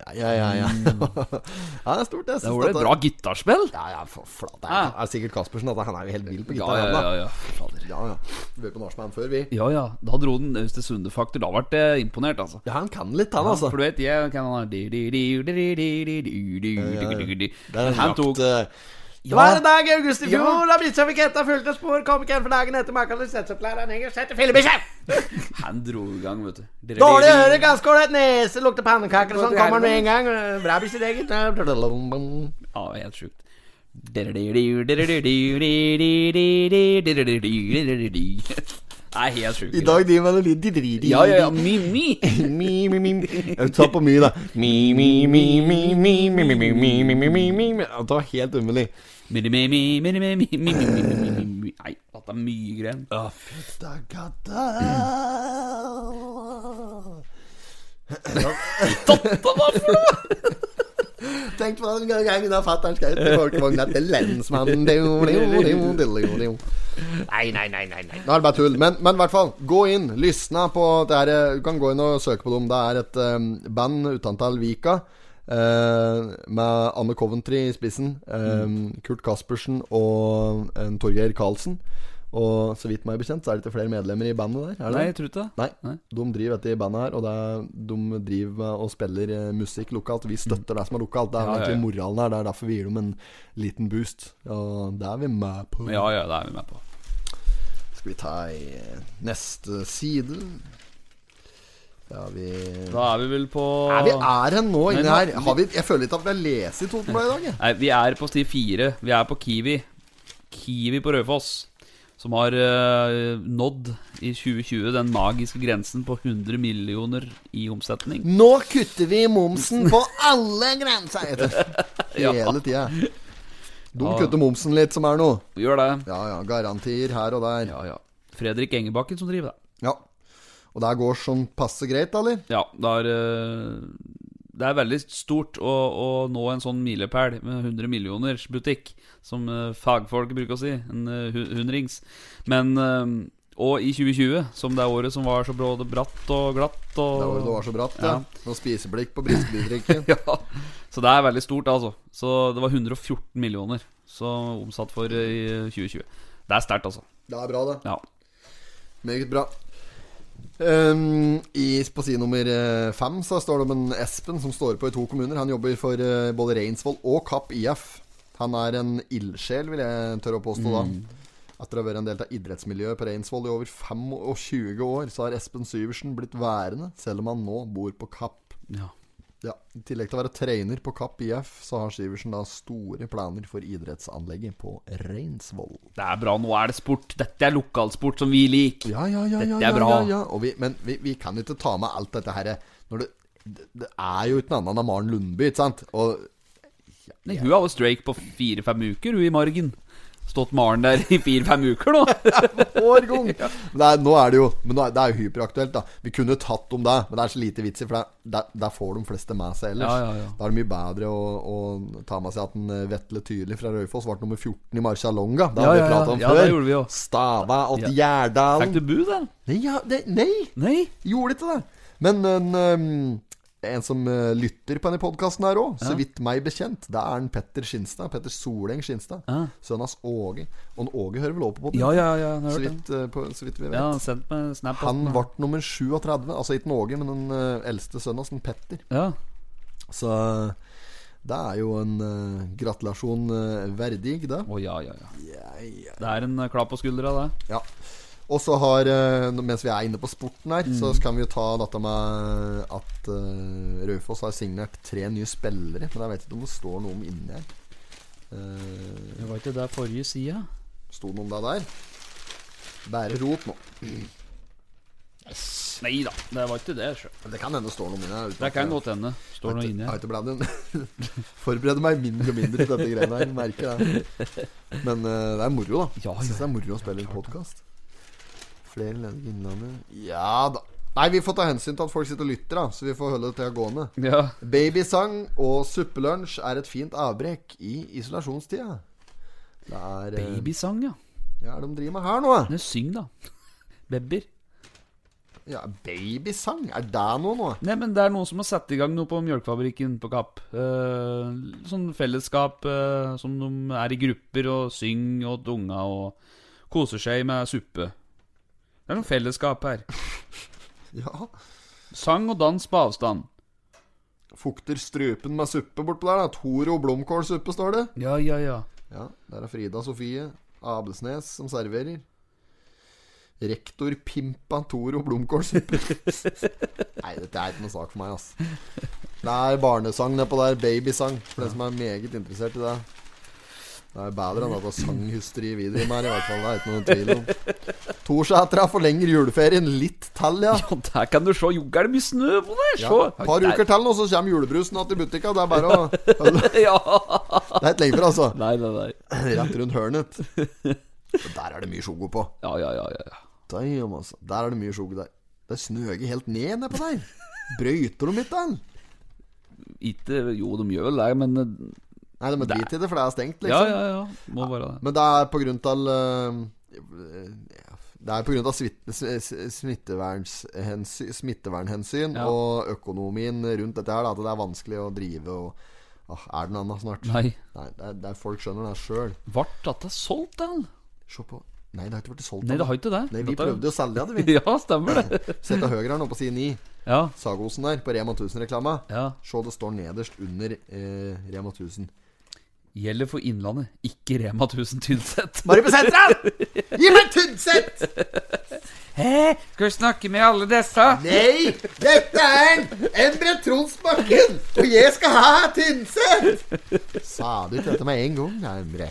Speaker 3: ja, ja. ja. <laughs> ja det er stort, det.
Speaker 5: Mm. Det var det bra gitarspill.
Speaker 3: Ja, ja, for flate. Det
Speaker 5: Ja.
Speaker 3: er sikkert Kaspersen. At han er jo helt vill på
Speaker 5: Ja,
Speaker 3: gitar.
Speaker 5: ja,
Speaker 3: han, da.
Speaker 5: ja. ja. Fader.
Speaker 3: Ja, ja. Vi var på Nachman før, vi.
Speaker 5: Ja, ja. Da dro den Østersunde-faktor. Da ble jeg imponert, altså.
Speaker 3: Ja, han kan litt, han, altså.
Speaker 5: For du vet, jeg kan ha Men
Speaker 3: Der
Speaker 5: Han
Speaker 3: han
Speaker 5: tok
Speaker 3: Det var en dag i august i
Speaker 5: Ja.
Speaker 3: fjor da biltrafiketta fulgte spor. Kom ikke igjen for dagen etter maken til setsopplærer. Henger sett i fillebikkje.
Speaker 5: Han dro i gang, vet du.
Speaker 3: Dårlig øre, ganske ålreit nese, lukter pannekaker og sånn. Kommer han med en gang. Bra bikkje, det, gitt.
Speaker 5: Ja,
Speaker 3: Ja,
Speaker 5: helt sjukt. Det er helt sjukt.
Speaker 3: I dag driver man og lider de driver
Speaker 5: Ja, ja, ja. Mimi.
Speaker 3: Mi, mi, mi. Jeg tar på mye, da. Mi, mi, mi, mi, mi, mi, mi, mi, mi, mi, mi, mi, mi, mi. Ja, Det var helt umulig.
Speaker 5: Nei, dette er mye greier.
Speaker 3: Tenk på den gangen da fatter'n skjøt i folkevogna til lensmannen Dio, dio, dio, dio, dio. Nei, nei, nei, nei, nei. Nå er det bare tull. Men, men i hvert fall, gå inn. Lysna på det her, eh, Du kan gå inn og søke på dem. Det er et eh, band utentil Vika. eh, med Anne Coventry i spissen. eh, Kurt Caspersen og en Torgeir Karlsen. Og så vidt meg bekjent, så er det ikke flere medlemmer i bandet der. Er det?
Speaker 5: Nei, jeg tror ikke det.
Speaker 3: Nei.
Speaker 5: Nei.
Speaker 3: De driver dette i bandet her, og det er, de driver med og spiller eh, musikk lokalt. Vi støtter det som er lokalt. Det
Speaker 5: Ja,
Speaker 3: er
Speaker 5: ja,
Speaker 3: egentlig
Speaker 5: ja.
Speaker 3: moralen her. Det er derfor vi gir dem en liten boost. Og det er vi med på.
Speaker 5: Ja, ja, det er vi med på.
Speaker 3: Skal vi ta i eh, neste side? Ja, vi
Speaker 5: Da er vi vel på
Speaker 3: er vi er hen nå
Speaker 5: Men
Speaker 3: inni
Speaker 5: hva-
Speaker 3: her. Har vi, jeg føler ikke at vi har lest i Totenbladet i dag. jeg.
Speaker 5: Nei, vi er på sti fire. Vi er på Kiwi. Kiwi på Raufoss. Som har eh, nådd i 2020 den magiske grensen på 100 millioner i omsetning.
Speaker 3: Nå kutter vi momsen på alle grenser! heter
Speaker 5: <laughs>
Speaker 3: det. Hele tida. De
Speaker 5: Ja.
Speaker 3: kutter momsen litt, som er noe.
Speaker 5: Vi gjør det.
Speaker 3: Ja ja, garantier her og der.
Speaker 5: Ja, ja. Fredrik Engebakken som driver det.
Speaker 3: Ja. Og det her går sånn passe greit, da, eller?
Speaker 5: Ja, det er, eh, det er veldig stort å, å nå en sånn milepæl med 100 millioners butikk, som eh, fagfolk bruker å si. En eh, hu- hundrings. Men eh, Og i 2020, som det er året som var så både bratt og glatt og
Speaker 3: Det var, det var så bratt, ja.
Speaker 5: Ja.
Speaker 3: Og spiseblikk på
Speaker 5: <laughs>
Speaker 3: briskebydrikken.
Speaker 5: Ja, så det er veldig stort, altså. Så det var 114 millioner som omsatt for eh, i 2020. Det er sterkt, altså.
Speaker 3: Det er bra, det.
Speaker 5: Ja.
Speaker 3: Meget bra. Ehm, i, på side nummer eh, fem så står det om en Espen som står på i to kommuner. Han jobber for eh, både Reinsvoll og Kapp IF. Han er en ildsjel, vil jeg tørre å påstå da. Etter å ha vært en del av idrettsmiljøet på Reinsvoll i over 25 år, så har Espen Syversen blitt værende, selv om han nå bor på Kapp.
Speaker 5: ja.
Speaker 3: Ja, I tillegg til å være trener på Kapp IF, så har Sivertsen da store planer for idrettsanlegget på Reinsvoll.
Speaker 5: Det er bra. Nå er det sport. Dette er lokalsport som vi liker.
Speaker 3: Ja, ja, ja. ja,
Speaker 5: Dette er
Speaker 3: ja,
Speaker 5: bra.
Speaker 3: Ja, ja. Og vi, men vi, vi kan jo ikke ta med alt dette her når det, det, det er jo uten annet enn Maren Lundby, ikke sant? Og
Speaker 5: Nei, hun har jo streik på fire-fem uker, hun i margen. Stått Maren der i fire-fem uker nå.
Speaker 3: årgang! <laughs> Men det er, nå er det jo Men nå er, det er jo hyperaktuelt, da. Vi kunne tatt om det, men det er så lite vits i, for det- der, der får de fleste med seg ellers.
Speaker 5: Ja, ja, ja.
Speaker 3: Da er det mye bedre å, å ta med seg at en eh, Vetle Tyrli fra Raufoss ble nummer 14 i Marcialonga. Det
Speaker 5: Ja,
Speaker 3: har
Speaker 5: ja,
Speaker 3: vi
Speaker 5: ja.
Speaker 3: pratet om
Speaker 5: Ja,
Speaker 3: før.
Speaker 5: det gjorde vi jo.
Speaker 3: Stava
Speaker 5: Ja. <laughs>
Speaker 3: åt
Speaker 5: Fikk
Speaker 3: Gjerdalen.
Speaker 5: du bu, da?
Speaker 3: Nei, ja, det, nei,
Speaker 5: Nei?
Speaker 3: gjorde ikke det. Men en, ehm, en som eh, lytter på denne podkasten her òg, så vidt meg bekjent, det er en Petter Skinstad. Petter Soleng Skinstad.
Speaker 5: Ja.
Speaker 3: Sønnen hans Åge. Og en Åge hører vel òg på podden?
Speaker 5: Ja, ja, ja. Jeg har
Speaker 3: så,
Speaker 5: hørt det.
Speaker 3: vidt, eh, på, så vidt vi vet.
Speaker 5: Ja, han sendte meg en snap.
Speaker 3: Han ble nummer 37. Altså ikke en Åge, men den eh, eldste sønnen hans, en Petter.
Speaker 5: Ja.
Speaker 3: Så eh, det er jo en eh, gratulasjon eh, verdig, det.
Speaker 5: Å, ja, ja, ja. Det er en eh, klapp på skuldra, det.
Speaker 3: Ja. Og så har eh, Mens vi er inne på sporten her, så
Speaker 5: Mm.
Speaker 3: kan vi jo ta dette med at eh, Raufoss har signert tre nye spillere. Men jeg vet ikke om det står noe om inni her. Uh,
Speaker 5: Det var ikke det forrige sida.
Speaker 3: sto det noe om det der? Bære rot nå.
Speaker 5: Nei da, det var ikke det. sjø.
Speaker 3: Men Det kan hende det står noe om inni her. uten
Speaker 5: Det
Speaker 3: at
Speaker 5: kan
Speaker 3: jeg-
Speaker 5: godt hende. Står noe inni her.
Speaker 3: Jeg har ikke bladet den. <laughs> Forbereder meg mindre og mindre til dette greiene her. Merker det. Men eh, det er moro, da.
Speaker 5: Ja,
Speaker 3: Jeg Syns det er moro å spille en podkast. Flere ledige i Innlandet Ja da. Nei, vi får ta hensyn til at folk sitter og lytter, da. Så vi får holde det til gående.
Speaker 5: Ja.
Speaker 3: Babysang og suppelunsj er et fint avbrekk i isolasjonstida. Det er eh,
Speaker 5: Babysang, ja.
Speaker 3: Ja, er det de driver med her nå? eh?
Speaker 5: Nei, syng, da. Babyer.
Speaker 3: Ja, Babysang? Er det noe nå?
Speaker 5: Nei, men det er noen som har satt i gang noe på mjølkefabrikken på Kapp. Eh, sånn fellesskap eh, som de er i grupper og synger og dunga og koser seg med suppe. Det er sånn fellesskap her.
Speaker 3: Ja.
Speaker 5: Sang og dans på avstand.
Speaker 3: Fukter strupen med suppe bortpå der. da Toro blomkålsuppe, står det.
Speaker 5: Ja, ja, ja.
Speaker 3: Ja, Der er Frida Sofie Abelsnes som serverer. Rektor Pimpa Toro blomkålsuppe. Nei, dette er ikke noe sak for meg, ass. Det er barnesang nedpå der. Babysang. For den som er meget interessert i det. Det er bedre enn at det er sanghysteri vi driver med her, i hvert fall. Det er ikke noen tvil om. Torsætra forlenger juleferien litt til, ja.
Speaker 5: Ja, Der kan du se, jogger det mye snø på der! Se!
Speaker 3: Ja, et par uker til, og så kommer julebrusen igjen i butikka. Det er bare å
Speaker 5: <laughs>
Speaker 3: Det
Speaker 5: Ja.
Speaker 3: er ikke lenge fra, altså.
Speaker 5: Nei, nei, nei.
Speaker 3: Rett rundt hørnet. Og Der er det mye sjogo på.
Speaker 5: Ja, ja, ja. ja. ja.
Speaker 3: Damn, altså. Der er det mye sjogo der. Det snøger helt ned nedpå der. Brøyter de ikke den?
Speaker 5: Ikke Jo, de gjør vel det, men eh,
Speaker 3: Nei, de må drite i det, for det er stengt,
Speaker 5: Ja,
Speaker 3: liksom.
Speaker 5: ja, ja. Må være det.
Speaker 3: Men det er på grunn av eh, Det er på grunn av smitte, smittevernhensyn, smittevernhensyn
Speaker 5: Ja.
Speaker 3: og økonomien rundt dette her, da, at det er vanskelig å drive og ah, Er det noe annet snart?
Speaker 5: Nei.
Speaker 3: Nei det er, det er folk skjønner det sjøl.
Speaker 5: Ble dette solgt, den?
Speaker 3: Se på Nei, det har ikke blitt solgt.
Speaker 5: Nei, det har
Speaker 3: ennå.
Speaker 5: ikke det.
Speaker 3: Nei, vi prøvde jo å selge det,
Speaker 5: <laughs>
Speaker 3: vi.
Speaker 5: Ja, stemmer det.
Speaker 3: Sett til høyre her nå på side 9.
Speaker 5: Ja.
Speaker 3: Sagosen der, på Rema 1000-reklama.
Speaker 5: ja.
Speaker 3: Se, det står nederst under eh, Rema 1000.
Speaker 5: Gjelder for Innlandet, ikke Rema 1000 Tynset.
Speaker 3: Bare på sentral! Gi meg Tynset!
Speaker 5: <laughs> Hæ? Skal vi snakke med alle disse?
Speaker 3: Nei! Dette er Endre Tronsbakken, og jeg skal ha Tynset! Sa du ikke dette med en gang, da, Endre?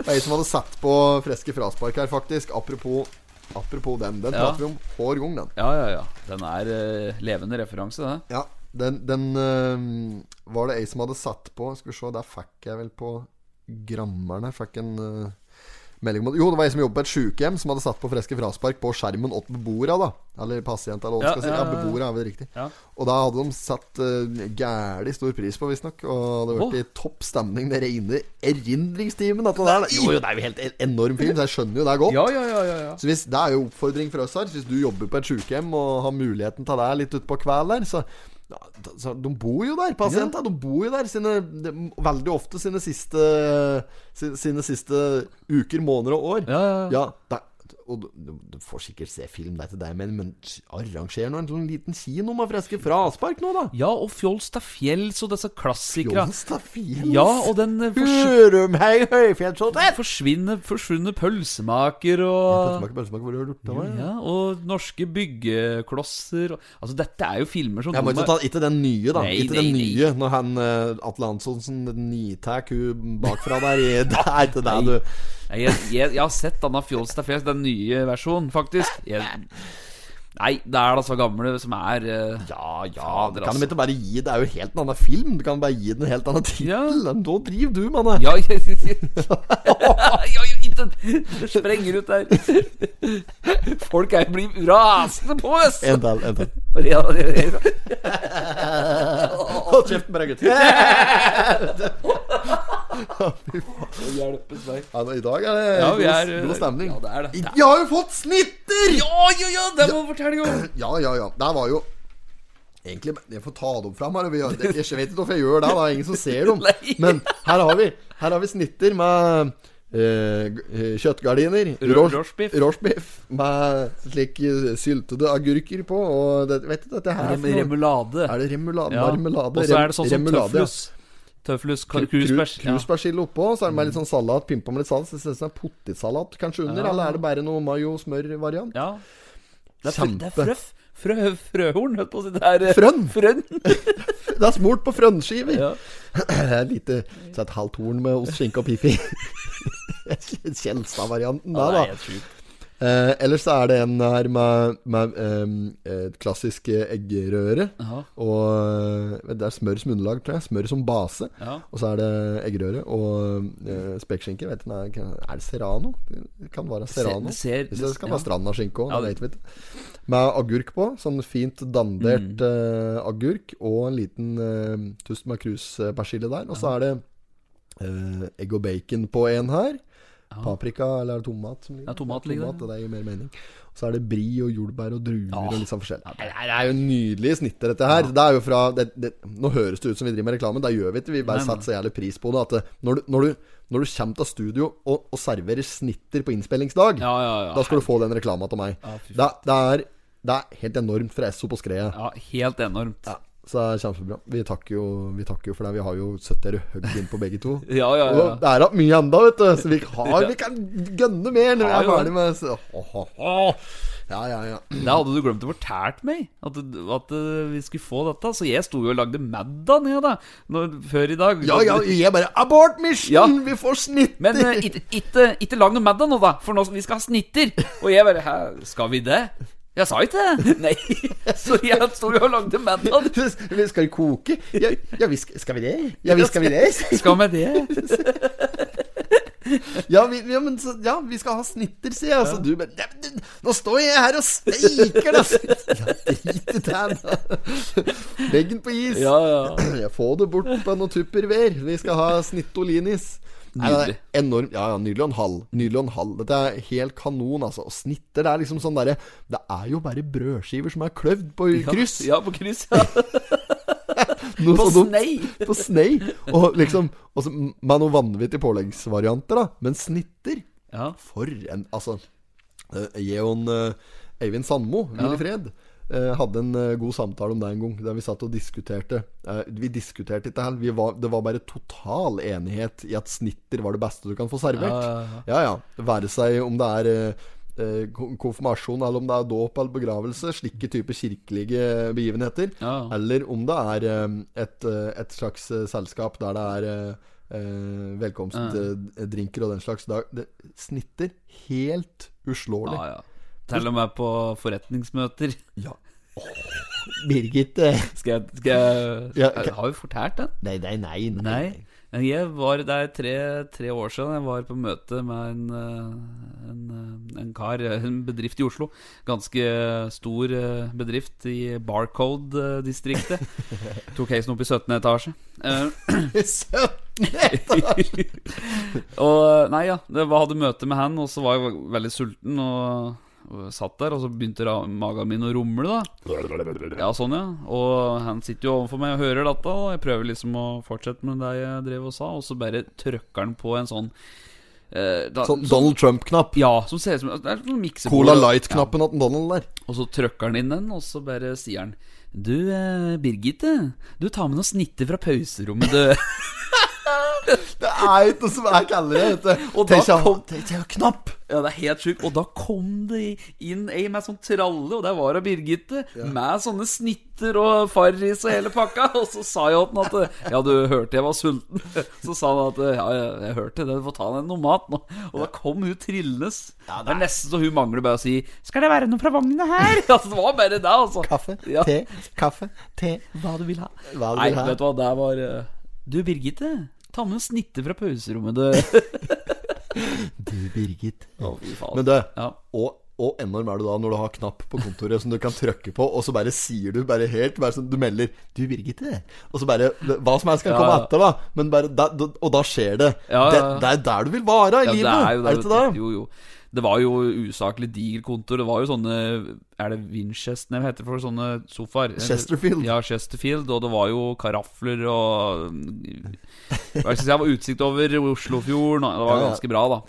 Speaker 3: Det er ei som hadde satt på friske fraspark her, faktisk. Apropos, apropos den. Den
Speaker 5: Ja.
Speaker 3: prater vi om hver gang, den.
Speaker 5: Ja, ja, ja. Den er eh, levende referanse, det.
Speaker 3: Ja, den, den øhm, var det ei som hadde satt på Skal vi se, der fikk jeg vel på grammeren her Fikk en øh, melding om at Jo, det var ei som jobbet på et sjukehjem, som hadde satt på friske fraspark på skjermen åt beboere, da. Eller pasient, eller hva man
Speaker 5: Ja,
Speaker 3: skal si.
Speaker 5: ja, ja,
Speaker 3: Ja,
Speaker 5: ja.
Speaker 3: beboere er vel riktig.
Speaker 5: Ja.
Speaker 3: Og da hadde de satt uh, gæli stor pris på, visstnok. Og det hadde vært i topp stemning den reine erindringstimen. dette der, da. Jo, jo, det er jo helt en- enorm film, så jeg skjønner jo det er godt.
Speaker 5: Ja, ja, ja, ja, ja.
Speaker 3: Så hvis, Det er jo oppfordring fra oss her. så Hvis du jobber på et sykehjem og har muligheten til det litt utpå kvelden der, så ja, da- så De bor jo der, pasienter. De bor jo der sine, de, veldig ofte sine siste sine, sine siste uker, måneder og år.
Speaker 5: Ja, ja, ja.
Speaker 3: det- og du- du, du får sikkert se film, det er ikke det, men, men arranger nå en sånn liten kino med friske fraspark nå, da.
Speaker 5: Ja, og Fjolstad Fjells og disse klassikere.
Speaker 3: Jonstad Fields.
Speaker 5: Ja, og den eh, forsv
Speaker 3: Hørumhei høyfjellshotell!
Speaker 5: forsvinne, forsvunne pølsemaker og
Speaker 3: Pølsemaker, pølsemaker, hvor har du gjort av meg?
Speaker 5: ja, Og norske byggeklosser. og- Altså, dette er jo filmer som
Speaker 3: Jeg
Speaker 5: de
Speaker 3: må ikke
Speaker 5: har-
Speaker 3: ta Ikke den nye, da.
Speaker 5: Nei,
Speaker 3: ikke
Speaker 5: nei,
Speaker 3: den
Speaker 5: nei.
Speaker 3: nye når han eh, Atle Antonsen nitar hun bakfra der. i- <laughs> Det er ikke det, du.
Speaker 5: Nei, jeg, jeg, jeg har sett denne Fjolstad Fjells, den nye versjonen, faktisk. Jeg, nei, det er da så gamle som er eh,
Speaker 3: Ja, ja.
Speaker 5: Fader,
Speaker 3: Du kan
Speaker 5: altså.
Speaker 3: de ikke bare gi Det er jo helt en annen film. Du kan bare gi den en helt annen tittel.
Speaker 5: Ja.
Speaker 3: Da driver du, mann.
Speaker 5: Ja, jeg, jeg, jeg, Ja, ja, ikke- Det sprenger ut der. Folk er, blir rasende på oss!
Speaker 3: En til, en til.
Speaker 5: Ja, ja, ja.
Speaker 3: Hold kjeften på deg, <laughs> gutt.
Speaker 5: Hjelpes meg.
Speaker 3: Ja, nå, I dag er det
Speaker 5: Ja, vi
Speaker 3: god-
Speaker 5: er, eh,
Speaker 3: god stemning.
Speaker 5: ja, det er det. Det er-
Speaker 3: Vi har jo fått snitter!
Speaker 5: Ja, ja, ja, det må vi fortelle om!
Speaker 3: Ja, ja, ja. Der var jo Egentlig Jeg får ta dem fram her. og vi har- Jeg jeg vet ikke hvorfor jeg gjør det. Det er ingen som ser dem.
Speaker 5: <laughs> Nei.
Speaker 3: Men her har vi Her har vi snitter med eh, g- eh, kjøttgardiner.
Speaker 5: Rå-
Speaker 3: rås-
Speaker 5: rorsbiff.
Speaker 3: rorsbiff Med slik eh, syltede agurker på. Og det, vet du dette her er for noe?
Speaker 5: Remulade.
Speaker 3: Er det remulade?
Speaker 5: Ja.
Speaker 3: Marmelade?
Speaker 5: Og så er det sånn som
Speaker 3: remulade, ja.
Speaker 5: tøflus. Tøflus,
Speaker 3: Kru-
Speaker 5: kar-
Speaker 3: krus-
Speaker 5: krusbærs. Ja. Mm.
Speaker 3: Krusbærskille oppå, så er det med litt sånn salat. Pimpa med litt salat. Så det ser ut som en potetsalat kanskje under.
Speaker 5: Ja.
Speaker 3: Eller er det bare noe mayo-smør-variant?
Speaker 5: ja. Det er, frø, det er
Speaker 3: Kjempe.
Speaker 5: frøff. Frø, frøhorn, holdt på å si. Det er eh,
Speaker 3: Frønn!
Speaker 5: Frønn.
Speaker 3: Det er smurt på frønnskiver!
Speaker 5: Ja.
Speaker 3: Et lite Så et halvt horn med ost, skinke og piffi. <laughs> Kjelstad-varianten
Speaker 5: Ja,
Speaker 3: der,
Speaker 5: det
Speaker 3: da.
Speaker 5: er helt sjukt.
Speaker 3: Eh, ellers så er det en her med, med ehm, et klassisk eh, eggerøre.
Speaker 5: Ja.
Speaker 3: Og eh, det er smør som underlag, tror jeg. Smør som base.
Speaker 5: Ja.
Speaker 3: Og så er det eggerøre og eh, spekeskinke. Vet du, nei, kan- er det serrano? Det kan være serrano.
Speaker 5: det ser-
Speaker 3: Hvis det skal
Speaker 5: ja.
Speaker 3: være strandaskinke òg,
Speaker 5: Ja,
Speaker 3: det
Speaker 5: det-
Speaker 3: vet vi ikke. Med agurk på. Sånn fint dandert
Speaker 5: Mm.
Speaker 3: eh, agurk. Og en liten eh, tust makruspersille der. Og så er det eh, egg og bacon på en her. Paprika eller er det tomat som ligger
Speaker 5: Ja, tomat ligger der.
Speaker 3: Det gir mer mening. Og så er det bri og jordbær og druer
Speaker 5: Ah.
Speaker 3: og litt sånn forskjellig. Nei, Det er jo nydelige snitter, dette her. Det er jo fra det, det, Nå høres det ut som vi driver med reklame, det gjør vi ikke. Vi bare
Speaker 5: Nei, nei.
Speaker 3: setter så jævlig pris på det. At det, når, du, når, du, når du kommer til studio og, og serverer snitter på innspillingsdag,
Speaker 5: Ja, ja, ja.
Speaker 3: da skal du få den reklama til meg.
Speaker 5: Ja, fy
Speaker 3: det, det, er, det er helt enormt fra Esso på skredet.
Speaker 5: Ja, helt enormt. Ja,
Speaker 3: Så det er kjempebra. Vi takker jo, vi takker jo for det. Vi har jo 70 høgg inn på begge to.
Speaker 5: <laughs> ja, ja.
Speaker 3: Og det er da mye enda, vet du.
Speaker 5: <laughs>
Speaker 3: Så vi har, vi kan gønne mer når vi
Speaker 5: Ja,
Speaker 3: er
Speaker 5: jo.
Speaker 3: ferdig med så. Åh, åh.
Speaker 5: Åh,
Speaker 3: Ja, ja, ja.
Speaker 5: det hadde du glemt å fortelle meg, at, at eh, vi skulle få dette. Så jeg sto jo og lagde middag ned da, når, før i dag.
Speaker 3: Ja, ja, jeg bare Abort mission!
Speaker 5: Ja.
Speaker 3: Vi får snitter!
Speaker 5: Men eh, ikke- ikke ikke lag noe middag nå, da, for nå, vi skal ha snitter. Og jeg bare Hæ, skal vi det? Jeg sa ikke det. <laughs> Nei. Så jeg sto jo og lagde middag.
Speaker 3: <laughs> Vi skal koke? Ja, ja vi skal, skal vi det? Ja, vi skal vi
Speaker 5: <laughs>
Speaker 3: det?
Speaker 5: Skal vi det?
Speaker 3: Ja, vi, ja, men så, ja, vi skal ha snitter, sier jeg. Og så du bare ja, men, du, Nå står jeg her og steiker,
Speaker 5: <laughs>
Speaker 3: da! Ja, drit i det, da. Legg den på is.
Speaker 5: Ja, ja.
Speaker 3: Jeg får det bort på noen tupperware. Vi skal ha snittolinis. Nei, det er Enorm, ja, ja, nydelig og en halv. Nydelig og en halv. Dette er helt kanon, altså. Og snitter, det er liksom sånn derre Det er jo bare brødskiver som er kløvd på kryss.
Speaker 5: Ja, på kryss.
Speaker 3: <laughs>
Speaker 5: Ja.
Speaker 3: Noe
Speaker 5: På
Speaker 3: så dumt.
Speaker 5: snei.
Speaker 3: På snei. Og liksom og så Med noen vanvittige påleggsvarianter, da. Men snitter
Speaker 5: Ja.
Speaker 3: For en Altså, eh, Jeon eh, Eivind Sandmo, hvil
Speaker 5: Ja.
Speaker 3: i fred, eh, hadde en eh, god samtale om det en gang, der vi satt og diskuterte. Eh, vi diskuterte ikke her, vi var, det var bare total enighet i at snitter var det beste du kan få servert.
Speaker 5: Ja, ja,
Speaker 3: ja. Være seg om det er eh, eh, ko- konfirmasjon, eller om det er dåp eller begravelse, slike typer kirkelige begivenheter.
Speaker 5: Ja.
Speaker 3: Eller om det er eh, et, eh, et slags eh, selskap der det er eh, eh, velkomstdrinker og den slags. Da, det snitter helt uslåelig.
Speaker 5: Ja, ja. Til og med på forretningsmøter. <laughs>
Speaker 3: Birgit eh,
Speaker 5: Skal jeg, skal jeg,
Speaker 3: Ja,
Speaker 5: jeg Har jo fortalt den?
Speaker 3: Nei, nei, nei. nei.
Speaker 5: Nei. Men jeg var der tre, tre år siden. Jeg var på møte med en, eh, en, eh, en kar, eh, en bedrift i Oslo. Ganske stor eh, bedrift i
Speaker 3: <laughs>
Speaker 5: Barcode-distriktet. Tok heisen opp i 17. etasje. Eh,
Speaker 3: Søtt!
Speaker 5: <laughs> og eh, nei, ja. Det var, hadde møte med han, og så var jeg veldig sulten. Og, og satt der, og så begynte ra- magen min å rumle, da. Ja, sånn, ja. Og han sitter jo overfor meg og hører dette, og jeg prøver liksom å fortsette med det jeg drev og sa, og så bare trykker han på en sånn eh, da,
Speaker 3: Sånn Donald Trump-knapp.
Speaker 5: Ja, som ser ut som det er sånn miksebord.
Speaker 3: Cola Light-knappen til Donald der.
Speaker 5: Og så trykker han inn den, og så bare sier han Du, eh, Birgitte, du tar med noen snitter fra pauserommet, du. <laughs>
Speaker 3: Det er jo ikke noe som er kaldere, vet du.
Speaker 5: Og da
Speaker 3: Tenk seg-
Speaker 5: kom-
Speaker 3: tenk seg å knapp!
Speaker 5: ja, det er helt sjukt. Og da kom det inn ei med sånn tralle, og der var hun Birgitte, med sånne snitter og farris og hele pakka. <laughs> Og så sa jeg til han at Ja, du hørte jeg var sulten. <laughs> Så sa han at ja, jeg, jeg hørte det, du får ta deg noe mat nå. Og da kom hun trillende. det er nesten så hun mangler bare å si Skal det være noe fra vogna her? <laughs> altså, det var bare det, altså.
Speaker 3: Kaffe,
Speaker 5: Ja.
Speaker 3: te, kaffe, te.
Speaker 5: Hva du vil ha.
Speaker 3: Hva du
Speaker 5: Nei,
Speaker 3: vil ha.
Speaker 5: vet du hva, der var eh, Du, Birgitte, ta med noen snitter fra pauserommet, <laughs> du.
Speaker 3: Du, Birgit.
Speaker 5: Å, fy faen.
Speaker 3: Men du,
Speaker 5: ja.
Speaker 3: Og, og enorm er du da når du har knapp på kontoret som du kan trykke på, og så bare sier du bare helt bare sånn, Du melder 'Du, Birgitte', og så bare Hva som helst kan
Speaker 5: Ja,
Speaker 3: komme
Speaker 5: ja.
Speaker 3: etter, da. Men bare, da, da og da skjer det.
Speaker 5: Ja, ja, ja.
Speaker 3: Det, det er der du vil være i
Speaker 5: Ja,
Speaker 3: livet.
Speaker 5: det er jo det.
Speaker 3: det
Speaker 5: vet
Speaker 3: ikke
Speaker 5: du.
Speaker 3: det?
Speaker 5: Jo, jo. Det var jo usaklig diger kontor. Det var jo sånne Er det Winchester Nei, hva heter det for sånne sofaer?
Speaker 3: Chesterfield.
Speaker 5: Ja, Chesterfield. Og det var jo karafler og Hva skal jeg si, det var utsikt over Oslofjorden. og Det
Speaker 3: Ja,
Speaker 5: var
Speaker 3: ja.
Speaker 5: ganske bra, da.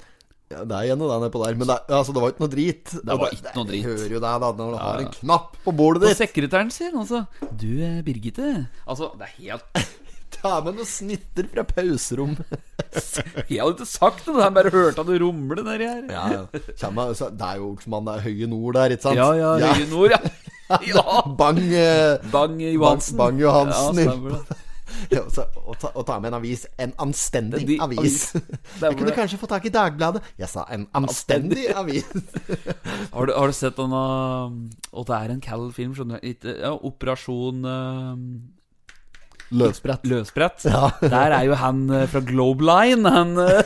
Speaker 3: Ja, det er igjen det der nedpå der. Men det, er- altså, det var ikke noe drit. Det
Speaker 5: var ikke noe drit.
Speaker 3: Jeg hører jo det da når du
Speaker 5: ja.
Speaker 3: har en knapp på bordet
Speaker 5: Og
Speaker 3: ditt.
Speaker 5: sekretæren sin, altså. Du, eh, Birgitte. Altså, det er helt <laughs>
Speaker 3: Ta med noen snitter fra pauserommet.
Speaker 5: Jeg hadde ikke sagt det, han bare hørte at det rumle nedi her.
Speaker 3: Ja, ja. Kjem meg- så Det er jo Olsmann, det er høye nord der, ikke sant?
Speaker 5: ja, ja, Høye Nord, ja. <laughs> ja.
Speaker 3: Bang, eh,
Speaker 5: Bang Johansen.
Speaker 3: Bang Johansen.
Speaker 5: Ja, stemmer det.
Speaker 3: Ja, og så- og ta, og ta med en avis. En anstendig
Speaker 5: De-
Speaker 3: avis.
Speaker 5: avis.
Speaker 3: <laughs> Jeg kunne
Speaker 5: det.
Speaker 3: kanskje få tak i Dagbladet. Jeg sa en anstendig avis.
Speaker 5: <laughs> Har du, har du sett denne Og det er en kall film, skjønner du. Ikke- Ja, Operasjon eh,
Speaker 3: Løsbrett.
Speaker 5: Løsbrett.
Speaker 3: Ja.
Speaker 5: <laughs> Der er jo han eh, fra Globe Line, han eh,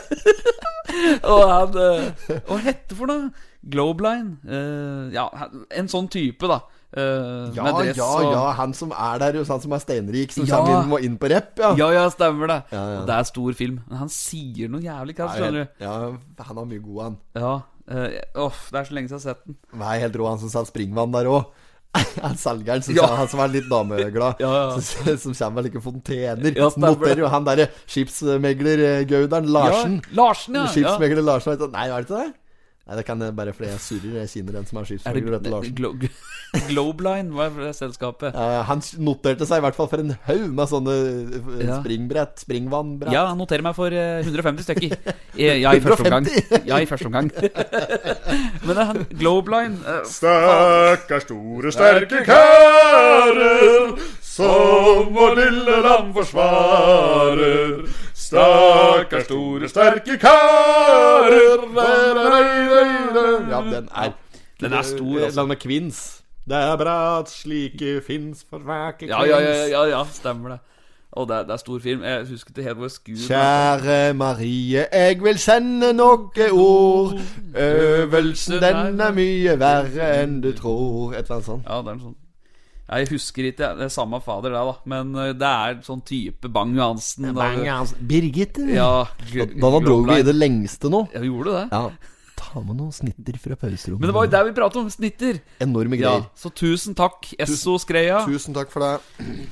Speaker 5: <laughs> Og han eh, Hva heter det for noe? Globe Line? Eh, ja, han- en sånn type, da. eh,
Speaker 3: Ja,
Speaker 5: med dress
Speaker 3: ja,
Speaker 5: og
Speaker 3: ja. Han som er der, hos han som er steinrik, som
Speaker 5: Ja.
Speaker 3: ja. må inn på rep, ja.
Speaker 5: Ja, ja, stemmer det.
Speaker 3: Ja, ja.
Speaker 5: Og det er stor film. Men han sier noe jævlig krass,
Speaker 3: ja,
Speaker 5: skjønner du.
Speaker 3: ja, han har mye god, han.
Speaker 5: Ja. eh, Åh, det er så lenge siden jeg har sett den.
Speaker 3: Han er helt rå, han som sa springvann der òg. <laughs> Han selgeren, som
Speaker 5: Ja.
Speaker 3: sa- han som er litt dameglad,
Speaker 5: Ja, ja.
Speaker 3: Som, som kommer med like fontener.
Speaker 5: Ja, stemmer det.
Speaker 3: Noterer jo han derre skipsmegler-gauderen Larsen.
Speaker 5: Ja, Larsen, ja. ja.
Speaker 3: Skipsmegler Larsen vet du. Nei, er det ikke det? Nei, det kan jeg bare fordi jeg surrer. Jeg kjenner en som er
Speaker 5: Er det
Speaker 3: skipsmegler, dette Larsen.
Speaker 5: Glo <laughs> Globeline, hva er det selskapet?
Speaker 3: Ja, ja, han noterte seg i hvert fall for en haug med sånne eh,
Speaker 5: Ja.
Speaker 3: springbrett, springvannbrett.
Speaker 5: Ja, jeg noterer meg for eh, 150 stykker. Eh, Ja, i første omgang. Ja, i første
Speaker 3: <laughs>
Speaker 5: omgang. Men det er han- Globeline eh,
Speaker 6: Stakkars store, sterke karer som vår lille land forsvarer. Stakkars store, sterke karer
Speaker 3: Ja, den er
Speaker 5: Den er stor, altså.
Speaker 3: Land med kvinns. Det er bra at slike fins for hver
Speaker 5: Ja, ja, ja, ja, ja stemmer det. Og det, er- det er stor film. Jeg husker ikke helt hvor skuen er.
Speaker 3: Kjære Marie, jeg vil sende noe ord. Øvelsen, den er mye verre enn du tror. Et eller annet sånt.
Speaker 5: Ja, det er en sånn Jeg husker ikke, jeg. det er samme fader det, da. Men eh, det er sånn type Bang-Johansen.
Speaker 3: Birgitte.
Speaker 5: Ja,
Speaker 3: Da, da dro vi i det lengste nå.
Speaker 5: Ja, vi gjorde det.
Speaker 3: Ja. Ta med noen snitter fra pauserommet.
Speaker 5: Men det var jo der vi pratet om snitter.
Speaker 3: Enorme
Speaker 5: Ja,
Speaker 3: greier.
Speaker 5: Så tusen takk, Esso Skreia.
Speaker 3: Tusen takk for det.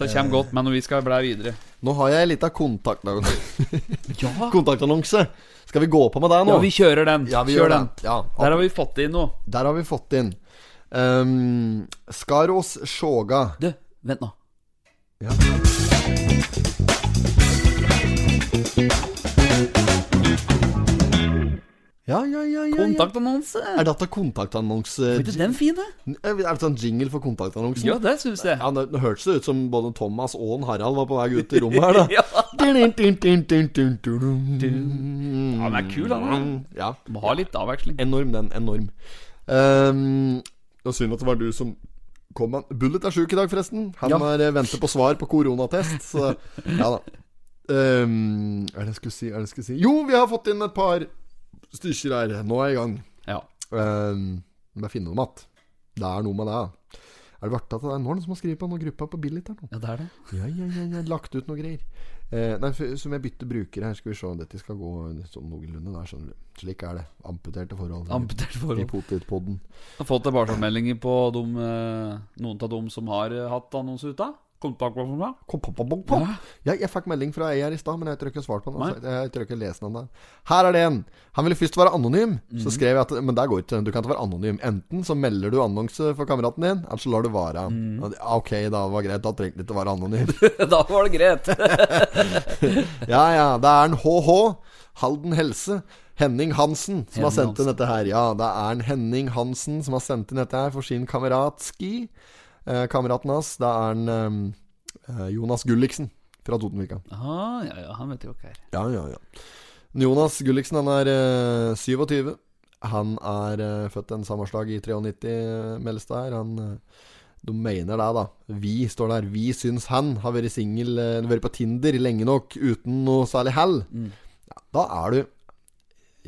Speaker 5: Det kommer godt med når vi skal blæ videre.
Speaker 3: Nå har jeg litt av kontaktannonse.
Speaker 5: Ja,
Speaker 3: <laughs> kontaktannonse. Skal vi gå på med deg nå?
Speaker 5: ja vi kjører den.
Speaker 3: Ja, vi
Speaker 5: Kjør
Speaker 3: gjør
Speaker 5: den.
Speaker 3: det. Ja,
Speaker 5: Der har vi fått inn noe.
Speaker 3: Der har vi fått inn um, Skaros Shoga.
Speaker 5: Du, vent nå.
Speaker 3: Ja, ja, ja, ja, ja.
Speaker 5: Kontaktannonse.
Speaker 3: Er dette kontaktannonse
Speaker 5: Er ikke den fin, det?
Speaker 3: Er det sånn jingle for kontaktannonsen?
Speaker 5: Ja, det syns jeg.
Speaker 3: Ja, Nå nå hørtes det ut som både Thomas og en Harald var på vei
Speaker 5: <laughs>
Speaker 3: ut i rommet her, da.
Speaker 5: Ja.
Speaker 3: Ja,
Speaker 5: Han er kul, han.
Speaker 3: Ja.
Speaker 5: da. Må ha litt avveksling.
Speaker 3: Enorm, den. Enorm. Um, det var synd at det var du som kom med den. Bullet er sjuk i dag, forresten. Han
Speaker 5: Ja.
Speaker 3: er, eh, venter på svar på
Speaker 5: <laughs>
Speaker 3: koronatest, så ja da. Um, hva er det jeg skulle si? Hva Er det jeg skulle si? Jo, vi har fått inn et par stykker her. Nå er jeg i gang.
Speaker 5: Ja.
Speaker 3: Um, må jeg finne dem igjen. Det er noe med det. ja. Er det verdt at det er noen som har skrevet på noen gruppa på Billit her nå?
Speaker 5: ja, det er det.
Speaker 3: Ja, ja, ja, ja, lagt ut noen greier. Eh, nei, for, som jeg bytter bruker her, skal vi se. Dette skal gå sånn noenlunde der, skjønner du. Slik er det. Amputerte forhold.
Speaker 5: Amputert
Speaker 3: I
Speaker 5: forhold.
Speaker 3: potetpodden.
Speaker 5: Har fått tilbakemeldinger på dem, eh, noen av dem som har eh, hatt annonse ute. Kontaktannonse.
Speaker 3: Kom, pom, pom, pom, pom. Ja, jeg fikk melding fra ei her i stad, men jeg tror ikke jeg svarte på den. Altså. Jeg tror ikke jeg leser den der. Her er det en. Han ville først være anonym. Så skrev jeg at Men der går ikke. Du kan ikke være anonym. Enten så melder du annonse for kameraten din, eller så lar du være. Og det- ah, Ok, da var det greit. Da trengte du ikke å være anonym.
Speaker 5: <laughs> da var det greit.
Speaker 3: ja ja, det er en HH. Halden Helse. Henning Hansen som har
Speaker 5: Henning
Speaker 3: sendt inn dette her. Ja, det er en Henning Hansen som har sendt inn dette her for sin kamerat Ski. Eh, kameraten hans, det er en ehm, eh, Jonas Gulliksen fra Totenvika.
Speaker 5: Ah, ja, ja, han vet jo hva det er.
Speaker 3: Ja, ja, ja. Jonas Gulliksen han er eh, 27. Han er eh, født en sammenslag i 93, eh, meldes det her. Han, eh, de mener det, da. Vi står der. Vi syns han har vært singel, eh, vært på Tinder lenge nok uten noe særlig hell.
Speaker 5: Mm.
Speaker 3: Ja, da er du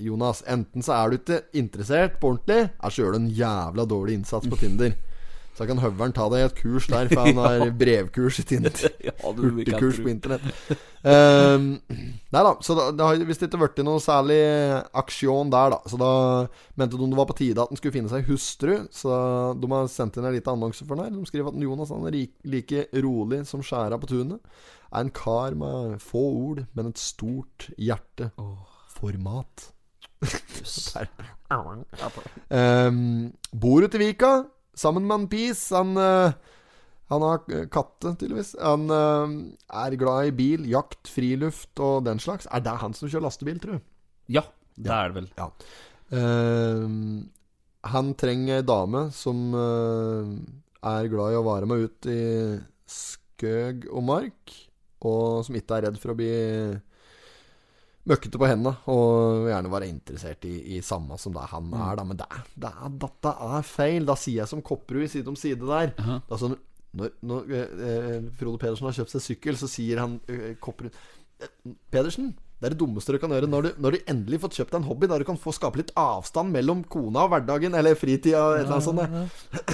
Speaker 3: Jonas, enten så er du ikke interessert på ordentlig, eller så gjør du en jævla dårlig innsats på Tinder. Så kan høveren ta deg i et kurs der, for han har brevkurs i Tinder.
Speaker 5: Ja, du, vi kan
Speaker 3: Hurtigkurs
Speaker 5: tro.
Speaker 3: på internett. Ehm, nei da, så da, det har visst ikke blitt noe særlig aksjon der, da. Så da mente de det var på tide at han skulle finne seg hustru, så de har sendt inn en liten annonse for den her. De skriver at Jonas han er rik, like rolig som skjæra på tunet. Er en kar med få ord, men et stort hjerte. For mat. <laughs> Der. Ehm, bor ute i Vika, sammen med en pis. Han eh, han har eh, katte, tydeligvis. Han eh, er glad i bil, jakt, friluft og den slags. Er det han som kjører lastebil, tror du?
Speaker 5: Ja, det er det vel.
Speaker 3: Eh, han trenger ei dame som eh, er glad i å være med ut i skøg og mark, og som ikke er redd for å bli møkkete på henda, og gjerne være interessert i, i samme som det han er, da. Men det, er- det er, dette er feil. Da sier jeg som Kopperud i Side om side der.
Speaker 5: Aha.
Speaker 3: Det er sånn, når når eh, eh, Frode Pedersen har kjøpt seg sykkel, så sier han eh, Kopperud eh, Pedersen, det er det dummeste du kan gjøre når du, når du endelig fått kjøpt deg en hobby der du kan få skape litt avstand mellom kona og hverdagen, eller fritida, eller noe sånt.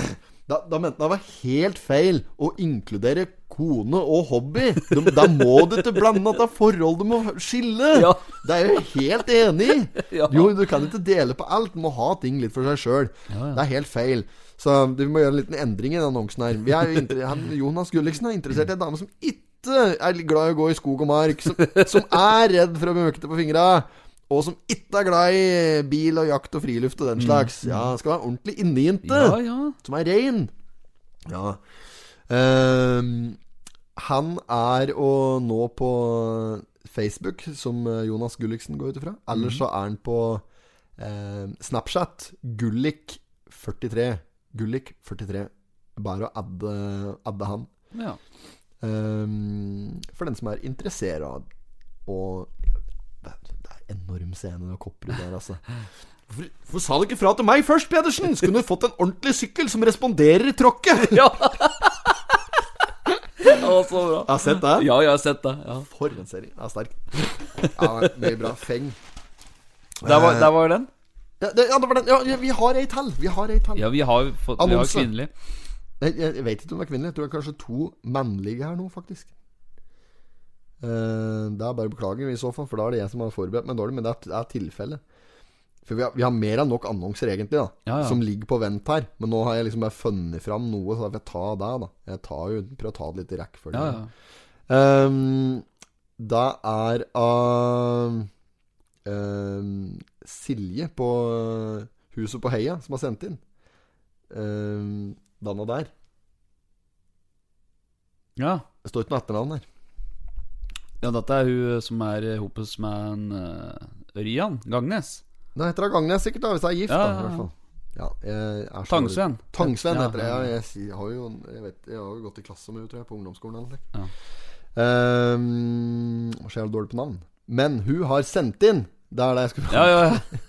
Speaker 3: Da, da mente han det var helt feil å inkludere kone og hobby. De, da må du ikke blande at det er forhold du må skille.
Speaker 5: Ja.
Speaker 3: Det er jeg jo helt enig i.
Speaker 5: Ja.
Speaker 3: Jo, du kan ikke dele på alt. Du må ha ting litt for seg sjøl. Det er helt feil. Så vi må gjøre en liten endring i den annonsen her. Vi er jo inter- han, Jonas Gulliksen er interessert i en dame som ikke er glad i å gå i skog og mark. Som, som er redd for å bli møkkete på fingra. Og som ikke er glad i bil og jakt og friluft og den slags. Ja, skal være ordentlig innejente.
Speaker 5: Mm. Ja, ja.
Speaker 3: Som er rein. Ja. Ehm, han er å nå på Facebook, som eh, Jonas Gulliksen går ut ifra. Eller så er han på eh, Snapchat. Gullik43. Gullik43. Bare å adde, adde han.
Speaker 5: ja.
Speaker 3: Ehm, for den som er interessert av og Det er enorm scene når Kopperud der, altså. Hvorfor, hvorfor sa du ikke fra til meg først, Pedersen? Skulle du fått en ordentlig sykkel som responderer i <laughs> tråkket?
Speaker 5: Ja. ja, så bra.
Speaker 3: Jeg har sett det.
Speaker 5: Ja, jeg har sett det. Ja.
Speaker 3: For en serie. Ja, sterk. Ja, mye bra. Feng.
Speaker 5: Der, var, der var den.
Speaker 3: Ja, det, ja, det var den. Ja, ja, vi har ei til. Vi har ei til.
Speaker 5: Ja, vi har fått vi har
Speaker 3: Annonse.
Speaker 5: kvinnelig.
Speaker 3: Nei, Jeg, jeg vet ikke om det er kvinnelig. Jeg tror det er kanskje to mannlige her nå, faktisk. Eh, det er bare å beklage i så fall, for da er det jeg som har forberedt meg dårlig. Men det er, det er tilfellet. For vi har, vi har mer enn nok annonser, egentlig, da
Speaker 5: Ja, ja.
Speaker 3: som ligger på vent her. Men nå har jeg liksom bare funnet fram noe, så da får jeg ta det, da. Jeg tar jo, prøver å ta det litt i rekkefølge.
Speaker 5: Ja, ja.
Speaker 3: Ehm, det er av ehm, Silje på eh, Huset på Heia som har sendt inn. Um, Danna der.
Speaker 5: ja.
Speaker 3: Det står ikke noe etternavn her.
Speaker 5: Ja, dette er hun som er hopes med en eh, Ørjan Gagnes.
Speaker 3: Det heter da Gagnes sikkert, da hvis jeg er gift.
Speaker 5: Ja,
Speaker 3: da,
Speaker 5: ja,
Speaker 3: i
Speaker 5: ja.
Speaker 3: hvert fall. Ja, jeg er så-
Speaker 5: Tangsven.
Speaker 3: Tangsven
Speaker 5: Ja,
Speaker 3: heter det. Ja,
Speaker 5: ja.
Speaker 3: jeg, si- har jo, jeg, vet, jeg har jo gått i klasse med henne, tror jeg, på ungdomsskolen. Eller noe.
Speaker 5: Ja.
Speaker 3: Ehm, og så er jeg dårlig på navn. Men hun har sendt inn Det er det jeg skulle
Speaker 5: Ja, ja, ja.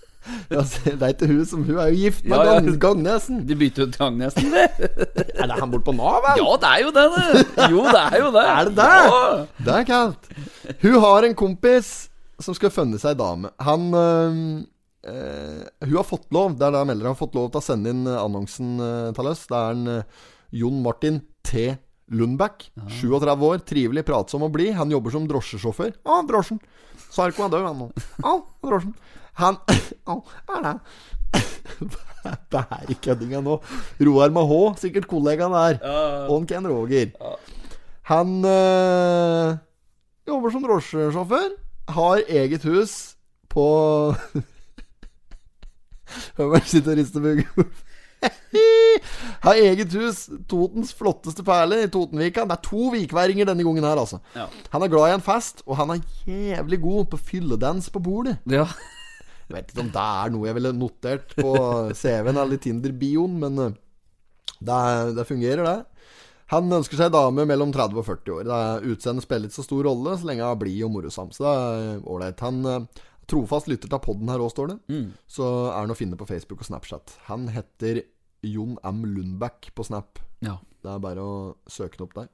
Speaker 3: Ja, se, Det er ikke hun som Hun er jo gift med
Speaker 5: Ja, ja.
Speaker 3: Gang- Gagnesen.
Speaker 5: De bytter ut
Speaker 3: <laughs>
Speaker 5: Gagnesen, det.
Speaker 3: Er det han borte på Nav, vel?
Speaker 5: Ja, det er jo det, det. Jo, det er jo det.
Speaker 3: Er det det?
Speaker 5: Ja.
Speaker 3: Det er kaldt. Hun har en kompis som skal funne seg dame. Han øhm, øh, Hun har fått lov, det er det han melder, han har fått lov til å sende inn øh, annonsen øh, til oss. Det er en øh, Jon Martin T. Lundbæk. 37 år, trivelig, pratsom og blid. Han jobber som drosjesjåfør. Å, drosjen. Sarko er død, han nå. Å, drosjen. Han <coughs> Å, er det <coughs> Det er ikke køddinga nå. Roar med H, sikkert kollegaen der. Og en Ken Roger. Han øh, jobber som drosjesjåfør. Har eget hus på <laughs> Høveren sitter og rister på hodet. <laughs> Har eget hus, Totens flotteste perle i Totenvika. Det er to vikværinger denne gangen her, altså.
Speaker 5: Ja.
Speaker 3: Han er glad i en fest, og han er jævlig god på fylledans på bordet.
Speaker 5: Ja.
Speaker 3: Jeg vet ikke om det er noe jeg ville notert på CV-en eller Tinder-bioen, men eh, det, er- det fungerer, det. Han ønsker seg dame mellom 30 og 40 år. Det er Utseendet spiller ikke så stor rolle, så lenge hun er blid og morosam. Så det er ålreit. Han eh, trofast lytter til podden her òg, står det.
Speaker 5: Mm.
Speaker 3: Så er han å finne på Facebook og Snapchat. Han heter Jon M. Lundbæk på Snap.
Speaker 5: Ja.
Speaker 3: Det er bare å søke den opp der.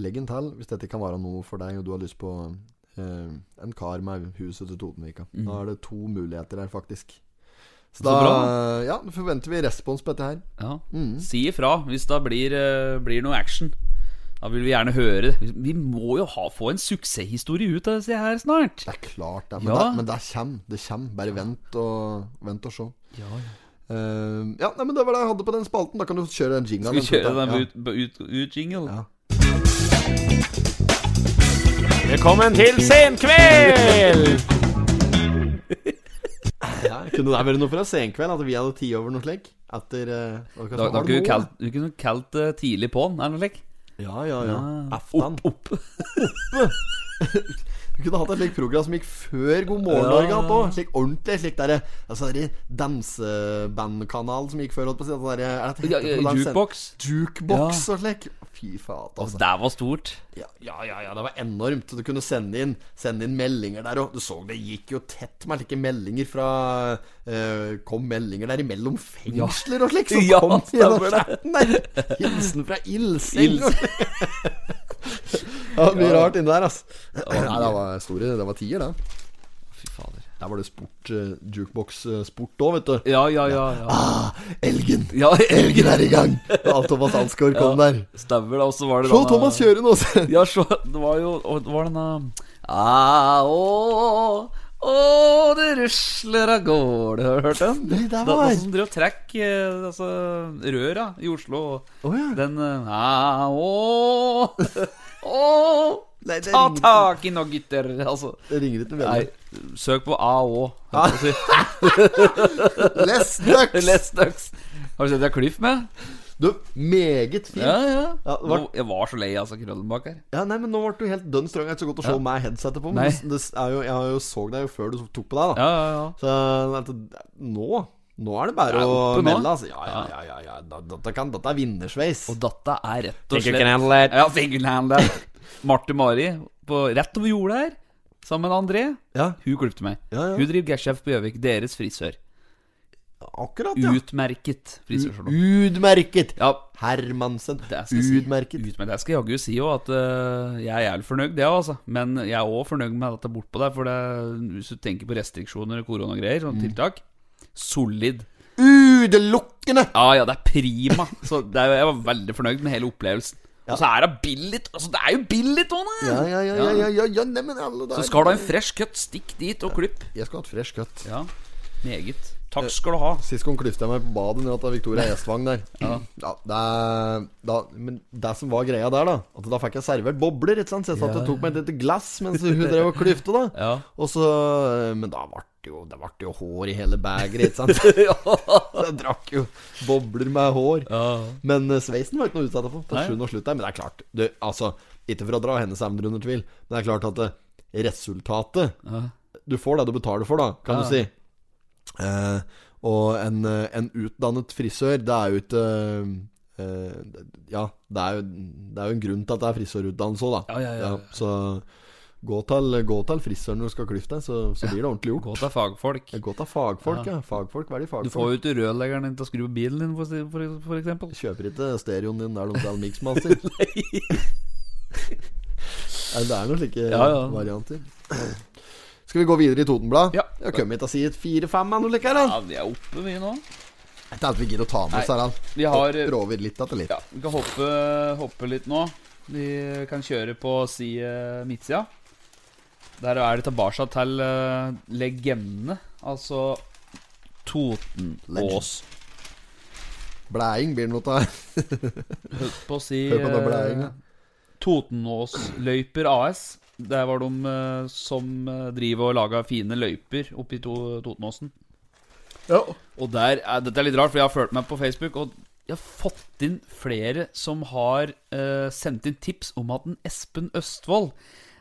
Speaker 3: Legg en til hvis dette kan være noe for deg, og du har lyst på eh, en kar med huset til Totenvika. Da er det to muligheter her, faktisk. Så,
Speaker 5: Mm. Så
Speaker 3: da
Speaker 5: bra.
Speaker 3: Ja, nå forventer vi respons på dette her.
Speaker 5: ja.
Speaker 3: Mm.
Speaker 5: Si ifra hvis det blir, eh, blir noe action. Da vil vi gjerne høre det. Vi- Vi må jo ha, få en suksesshistorie ut av disse her snart.
Speaker 3: Det er klart, det. Men,
Speaker 5: Ja.
Speaker 3: det, men det kommer. Det kommer. Bare vent og Vent og se.
Speaker 5: Ja,
Speaker 3: Eh, ja, nei, men det var det jeg hadde på den spalten. Da kan du kjøre den jinglen.
Speaker 5: Skal vi kjøre
Speaker 3: den slutten.
Speaker 5: den
Speaker 3: Ja.
Speaker 5: ut, ut, ut jingle?
Speaker 3: Ja.
Speaker 6: Velkommen til Senkveld!
Speaker 3: Ja, kunne det vært noe fra senkveld? At vi hadde ti over noe slik? Etter uh,
Speaker 5: Da, da kunne vi kalt- vi kunne kalt det tidlig på'n, eller noe slikt.
Speaker 3: Ja, ja, ja.
Speaker 5: Ja.
Speaker 3: Aftan.
Speaker 5: Ah. Opp.
Speaker 3: <laughs> Du kunne hatt et slikt program som gikk før God morgen
Speaker 5: Ja.
Speaker 3: Norge. På. Slik ordentlig. Slik derre altså, der dansebandkanalen som gikk før. Holdt på å si, at det der, er det et
Speaker 5: Ja, ja,
Speaker 3: hette på den scenen?
Speaker 5: Jukebox.
Speaker 3: Jukebox og slik. Fy faen,
Speaker 5: Altså,
Speaker 3: altså.
Speaker 5: det var stort.
Speaker 3: Ja, ja, ja, ja, det var enormt. Du kunne sende inn, sende inn meldinger der òg. Du så det gikk jo tett med slike meldinger fra eh, Kom meldinger der imellom fengsler og slik. Som
Speaker 5: Ja,
Speaker 3: <laughs> kom gjennom
Speaker 5: stemmer
Speaker 3: chatten der. Hilsen fra ildseng.
Speaker 5: Ildseng.
Speaker 3: <laughs> ja, mye rart inni der, altså. Nei, det var store. Det var tier, det.
Speaker 5: Fy fader.
Speaker 3: Der var det sport eh, jukebox-sport òg, vet du.
Speaker 5: Ja, ja, ja. ja.
Speaker 3: Ah, elgen!
Speaker 5: ja <laughs>
Speaker 3: Elgen er i gang! Da Thomas Alsgaard kom
Speaker 5: Ja.
Speaker 3: der.
Speaker 5: Stemmer det. Og så var det
Speaker 3: Se
Speaker 5: denne-
Speaker 3: Thomas kjøre nå! se.
Speaker 5: Ja, så Det var jo og Det var denne ah, Å, å, det rusler av gårde. Har du hørt den?
Speaker 3: Nei, der
Speaker 5: Da,
Speaker 3: var
Speaker 5: da
Speaker 3: jeg.
Speaker 5: som drev og trekk eh, altså, røra i Oslo. og
Speaker 3: Å ja.
Speaker 5: Den eh, ah, Å, <laughs> å,
Speaker 3: Nei, det
Speaker 5: ta
Speaker 3: ringer-
Speaker 5: tak i nå, gutter. Altså,
Speaker 3: Det ringer ikke
Speaker 5: nei,
Speaker 3: veldig.
Speaker 5: søk på AÅ.
Speaker 3: Ah. Les Ducks!
Speaker 5: <laughs> Les Ducks. Har du sett det er Cliff med?
Speaker 3: Du, meget fin.
Speaker 5: Ja,
Speaker 3: Ja.
Speaker 5: ja.
Speaker 3: det var-
Speaker 5: Nå- Jeg var så lei, altså, Krøllenbakk her.
Speaker 3: nei, men nå ble du helt dønn strøng. Det er ikke så godt å se
Speaker 5: Ja.
Speaker 3: meg headsetet på.
Speaker 5: Nei.
Speaker 3: Men det er jo, jeg har jo så deg jo før du tok på deg, da.
Speaker 5: Ja, ja, ja.
Speaker 3: Så at det- nå Nå er det bare
Speaker 5: Ja,
Speaker 3: å
Speaker 5: oppe nå.
Speaker 3: melde, altså. Ja, ja, ja. ja, ja. Da- Dette, kan, dette er vinnersveis.
Speaker 5: Og dette er rett og
Speaker 3: Think you
Speaker 5: slett
Speaker 3: can handle it.
Speaker 5: Ja, think you can handle it. Marte Mari på rett over jordet her, sammen med André.
Speaker 3: Ja,
Speaker 5: Hun klipte meg.
Speaker 3: Ja, ja.
Speaker 5: Hun driver Gashef på Gjøvik, deres frisør.
Speaker 3: akkurat, ja.
Speaker 5: Utmerket frisørsalong.
Speaker 3: Utmerket!
Speaker 5: Ja,
Speaker 3: Hermansen.
Speaker 5: det skal jeg si.
Speaker 3: Utmerket.
Speaker 5: Ut med det skal jeg jaggu si òg, at eh, jeg er fornøyd, det òg, altså. Men jeg er òg fornøyd med dette bortpå der, for det, hvis du tenker på restriksjoner og koronagreier, sånne
Speaker 3: Mm.
Speaker 5: tiltak Solid.
Speaker 3: Utelukkende!
Speaker 5: Ja, ja, det er prima. Så det er, jeg var veldig fornøyd med hele opplevelsen. Og så er det billig. Altså, det er jo billig, Tone!
Speaker 3: Ja, ja, ja, ja, ja, ja, ja neimen alle der.
Speaker 5: Så skal du ha en fresh cut, stikk dit og klipp.
Speaker 3: Jeg skulle hatt fresh cut.
Speaker 5: Ja, meget. Takk skal du ha.
Speaker 3: Sist gang klyfta jeg meg på badet nede til Victoria Gjestvang der. Ja. det er, da, men det som var greia der, da At da fikk jeg servert bobler. Ikke sant? Så jeg satt og tok meg et lite glass mens hun drev og klyfta, da.
Speaker 5: <laughs> Ja.
Speaker 3: Og så, eh, men da ble det jo, det ble jo hår i hele begeret, ikke sant? Så jeg drakk jo bobler med hår. Men eh, sveisen var ikke noe å utsette på. På
Speaker 5: Nei.
Speaker 3: sjuende og slutt der. Men det er klart, du, altså, ikke for å dra hennes evner under tvil, men det er klart at eh, resultatet Du får det du betaler for, da, kan
Speaker 5: Ja.
Speaker 3: du si. Eh, og en, eh, en utdannet frisør, det er jo ikke eh, eh, Ja, det er jo, det er jo en grunn til at det er frisørutdannelse òg, da.
Speaker 5: Ja, ja, ja, ja.
Speaker 3: så gå til, gå til frisøren når du skal klyfte deg, så, så blir det ordentlig
Speaker 5: Gå
Speaker 3: gjort. Eh,
Speaker 5: til fagfolk.
Speaker 3: Gå til fagfolk, ja. Fagfolk, hva er de
Speaker 5: Du
Speaker 3: fagfolk?
Speaker 5: får jo ikke rørleggeren din til å skru på bilen din, for, si- for, for eksempel.
Speaker 3: Kjøper ikke stereoen din der de selger
Speaker 5: <laughs>
Speaker 3: Mixmaster. Nei, det er noen slike
Speaker 5: Ja, ja.
Speaker 3: varianter. Skal vi gå videre i Totenblad?
Speaker 5: Ja.
Speaker 3: Jeg kommer ikke til å si et fire-fem eller noe likt. her, da.
Speaker 5: Ja, vi er oppe, vi nå.
Speaker 3: Jeg tenkte vi gidder å ta med oss
Speaker 5: Nei,
Speaker 3: her.
Speaker 5: vi har-
Speaker 3: Rover litt etter litt.
Speaker 5: Ja, vi kan hoppe, hoppe litt nå. Vi kan kjøre på side midtsida. Der er det tilbake til uh, legendene, altså Totenås.
Speaker 3: Blæing blir det noe av.
Speaker 5: <laughs> Holdt på å si
Speaker 3: Hør på den blæinga.
Speaker 5: eh, Totenåsløyper AS. Der var de eh, som eh, driver og lager fine løyper oppe i to Totenåsen.
Speaker 3: Ja.
Speaker 5: Og der er, Dette er litt rart, for jeg har fulgt meg på Facebook, og jeg har fått inn flere som har eh, sendt inn tips om at en Espen Østfold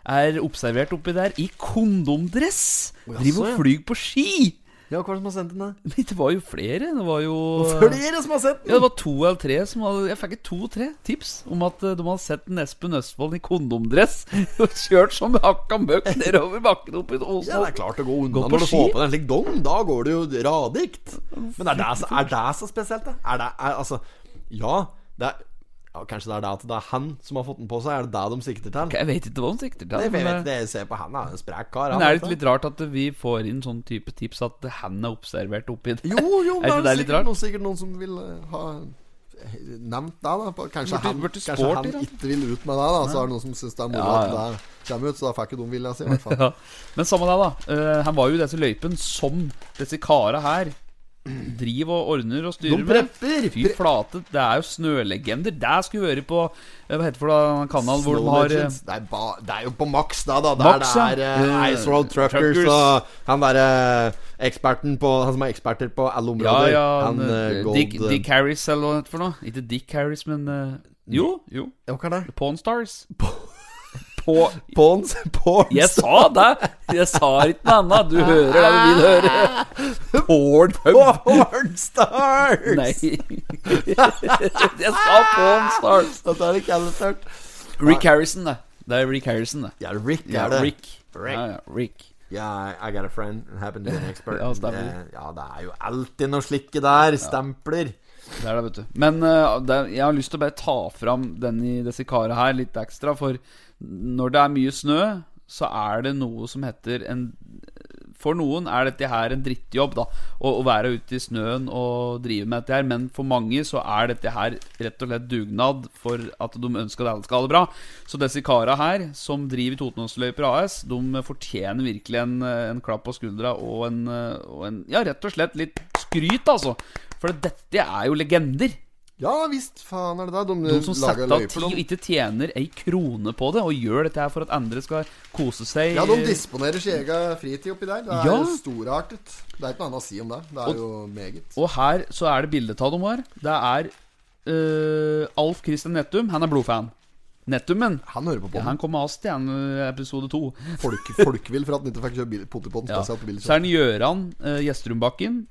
Speaker 5: er observert oppi der i kondomdress!
Speaker 3: Å, jaså,
Speaker 5: driver
Speaker 3: ja.
Speaker 5: og flyr på ski! <laughs>
Speaker 3: ja, hva er det som har sendt den, da?
Speaker 5: Men det var jo flere. Det var jo
Speaker 3: Flere som har
Speaker 5: ja,
Speaker 3: sett
Speaker 5: det
Speaker 3: den!
Speaker 5: var to eller tre som hadde Jeg fikk to-tre tips om at eh, de hadde sett en Espen Østfold i kondomdress <laughs> og kjørt som hakka møkk nedover bakken opp i Åsen.
Speaker 3: Ja, det er klart å gå unna
Speaker 5: Gå på
Speaker 3: når du
Speaker 5: ski.
Speaker 3: får på deg en slik dong. Da går det jo radikt. Men er det så, er det så spesielt, da? Er det er, Altså, ja, det er ja, Kanskje det er det at det er han som har fått den på seg? Er det det de sikter til?
Speaker 5: Jeg vet ikke hva de sikter
Speaker 3: Nei,
Speaker 5: til.
Speaker 3: for jeg vet
Speaker 5: Men, eh,
Speaker 3: ikke, jeg ser på han, han er en sprek
Speaker 5: men
Speaker 3: kar.
Speaker 5: er det
Speaker 3: vet
Speaker 5: ikke litt rart at vi får inn sånn type tips at han er observert oppi det?
Speaker 3: Jo, jo,
Speaker 5: Er
Speaker 3: men
Speaker 5: ikke
Speaker 3: det er
Speaker 5: det litt
Speaker 3: sikkert
Speaker 5: rart?
Speaker 3: noen, sikkert noen som vil eh, ha nevnt det, da. på- Kanskje
Speaker 5: Burde-
Speaker 3: han,
Speaker 5: burde
Speaker 3: kanskje
Speaker 5: sport i
Speaker 3: han
Speaker 5: det?
Speaker 3: ikke vil ut med det, da. Så er det noen som syns det er moro
Speaker 5: Ja,
Speaker 3: at
Speaker 5: ja.
Speaker 3: det kommer ut, så da får ikke de vilja
Speaker 5: <laughs>
Speaker 3: si, i hvert fall.
Speaker 5: <laughs> Ja. Men samme det, da. Eh, han var jo i disse løypene som disse kara her driver og ordner og
Speaker 3: De
Speaker 5: styrer med.
Speaker 3: prepper!
Speaker 5: Fy flate, det er jo snølegender. Der skulle vi høre på eh, Hva heter det for da, kanalen hvor de
Speaker 3: Snow
Speaker 5: har eh,
Speaker 3: Legends. det, er ba, det er jo på maks, da. da. Der
Speaker 5: Max, ja.
Speaker 3: det er eh,
Speaker 5: Eh,
Speaker 3: Ice Road Truckers,
Speaker 5: Truckers.
Speaker 3: og han derre eh, eksperten på Han som er eksperter på
Speaker 5: Ja,
Speaker 3: alle områder.
Speaker 5: ja
Speaker 3: han eh,
Speaker 5: eh,
Speaker 3: Gold
Speaker 5: Dick, Dick Harris eller hva det heter for noe Ikke Dick Harris, men eh, Jo, jo
Speaker 3: Ja, Hva er det?
Speaker 5: Pawn Stars På
Speaker 3: Pawns?
Speaker 5: <laughs>
Speaker 3: Pawns?
Speaker 5: Jeg sa det Jeg sa ikke noe annet Du hører det du vil høre Porn pub
Speaker 3: Pornstars!
Speaker 5: <laughs> Nei Jeg sa Pawn Stars
Speaker 3: Dette er ikke alle tørt.
Speaker 5: Rick Harrison det Det er Rick Harrison det
Speaker 3: Ja, Rick
Speaker 5: Ja,
Speaker 3: er det.
Speaker 5: Rick
Speaker 3: Rick.
Speaker 5: Ja, ja, Rick
Speaker 3: Ja, I got a friend who happened to be an expert.
Speaker 5: <laughs> Ja, stemmer.
Speaker 3: Eh, ja, det er jo alltid noe slikke der. Stempler.
Speaker 5: Det er det, vet du. Men eh, det, jeg har lyst til å bare ta fram denne dessikara her litt ekstra, for når det er mye snø, så er det noe som heter en For noen er dette her en drittjobb, da. Å, å være ute i snøen og drive med dette her. Men for mange så er dette her rett og slett dugnad for at de ønsker at alle skal ha det bra. Så disse kara her, som driver Totenåsløyper AS, de fortjener virkelig en, en klapp på skuldra og en, og en Ja, rett og slett litt skryt, altså. For dette er jo legender.
Speaker 8: Ja visst, faen er det da. De,
Speaker 5: De som setter
Speaker 8: lager
Speaker 5: av
Speaker 8: løyper,
Speaker 5: tid og
Speaker 8: de.
Speaker 5: ikke tjener ei krone på det, og gjør dette her for at andre skal kose seg.
Speaker 8: Ja, de disponerer sin egen fritid oppi der. Det er
Speaker 5: Ja.
Speaker 8: jo storartet. Det er ikke noe annet å si om det. Det er jo meget.
Speaker 5: Og her så er det bildet av dem her. Det er eh, Alf Christian Nettum. Han er blodfan. Nettumen.
Speaker 8: Han hører på
Speaker 5: Ja,
Speaker 8: podden.
Speaker 5: han kom med oss til en eh, episode to.
Speaker 8: Folk, folkvill for at han ikke fikk kjøre bil- potetpotten
Speaker 5: Ja. Så
Speaker 8: spesielt på
Speaker 5: er
Speaker 8: billig.
Speaker 5: det Gjøran uh, Gjestrumbakken.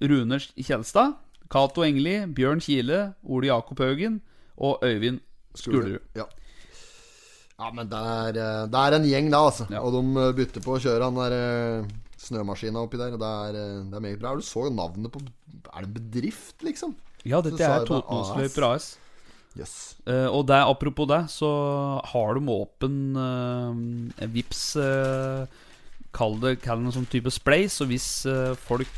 Speaker 5: Rune Kjelstad. Cato Engli. Bjørn Kile. Ole Jakob Haugen. Og Øyvind Skulerud.
Speaker 8: Ja. ja, men det er, eh, det er en gjeng da, altså.
Speaker 5: Ja.
Speaker 8: Og de eh, bytter på å kjøre han der eh, snømaskina oppi der. og Det er, eh, det er meget bra. Du så jo navnet på Er det en bedrift, liksom?
Speaker 5: Ja,
Speaker 8: Så
Speaker 5: dette
Speaker 8: sa
Speaker 5: er
Speaker 8: jeg det
Speaker 5: Totenåsløyper AS.
Speaker 8: Jøss.
Speaker 5: Eh, og det, apropos det, så har de åpen uh, Vips eh, Kall det kall det en sånn type spleis. Og hvis eh, folk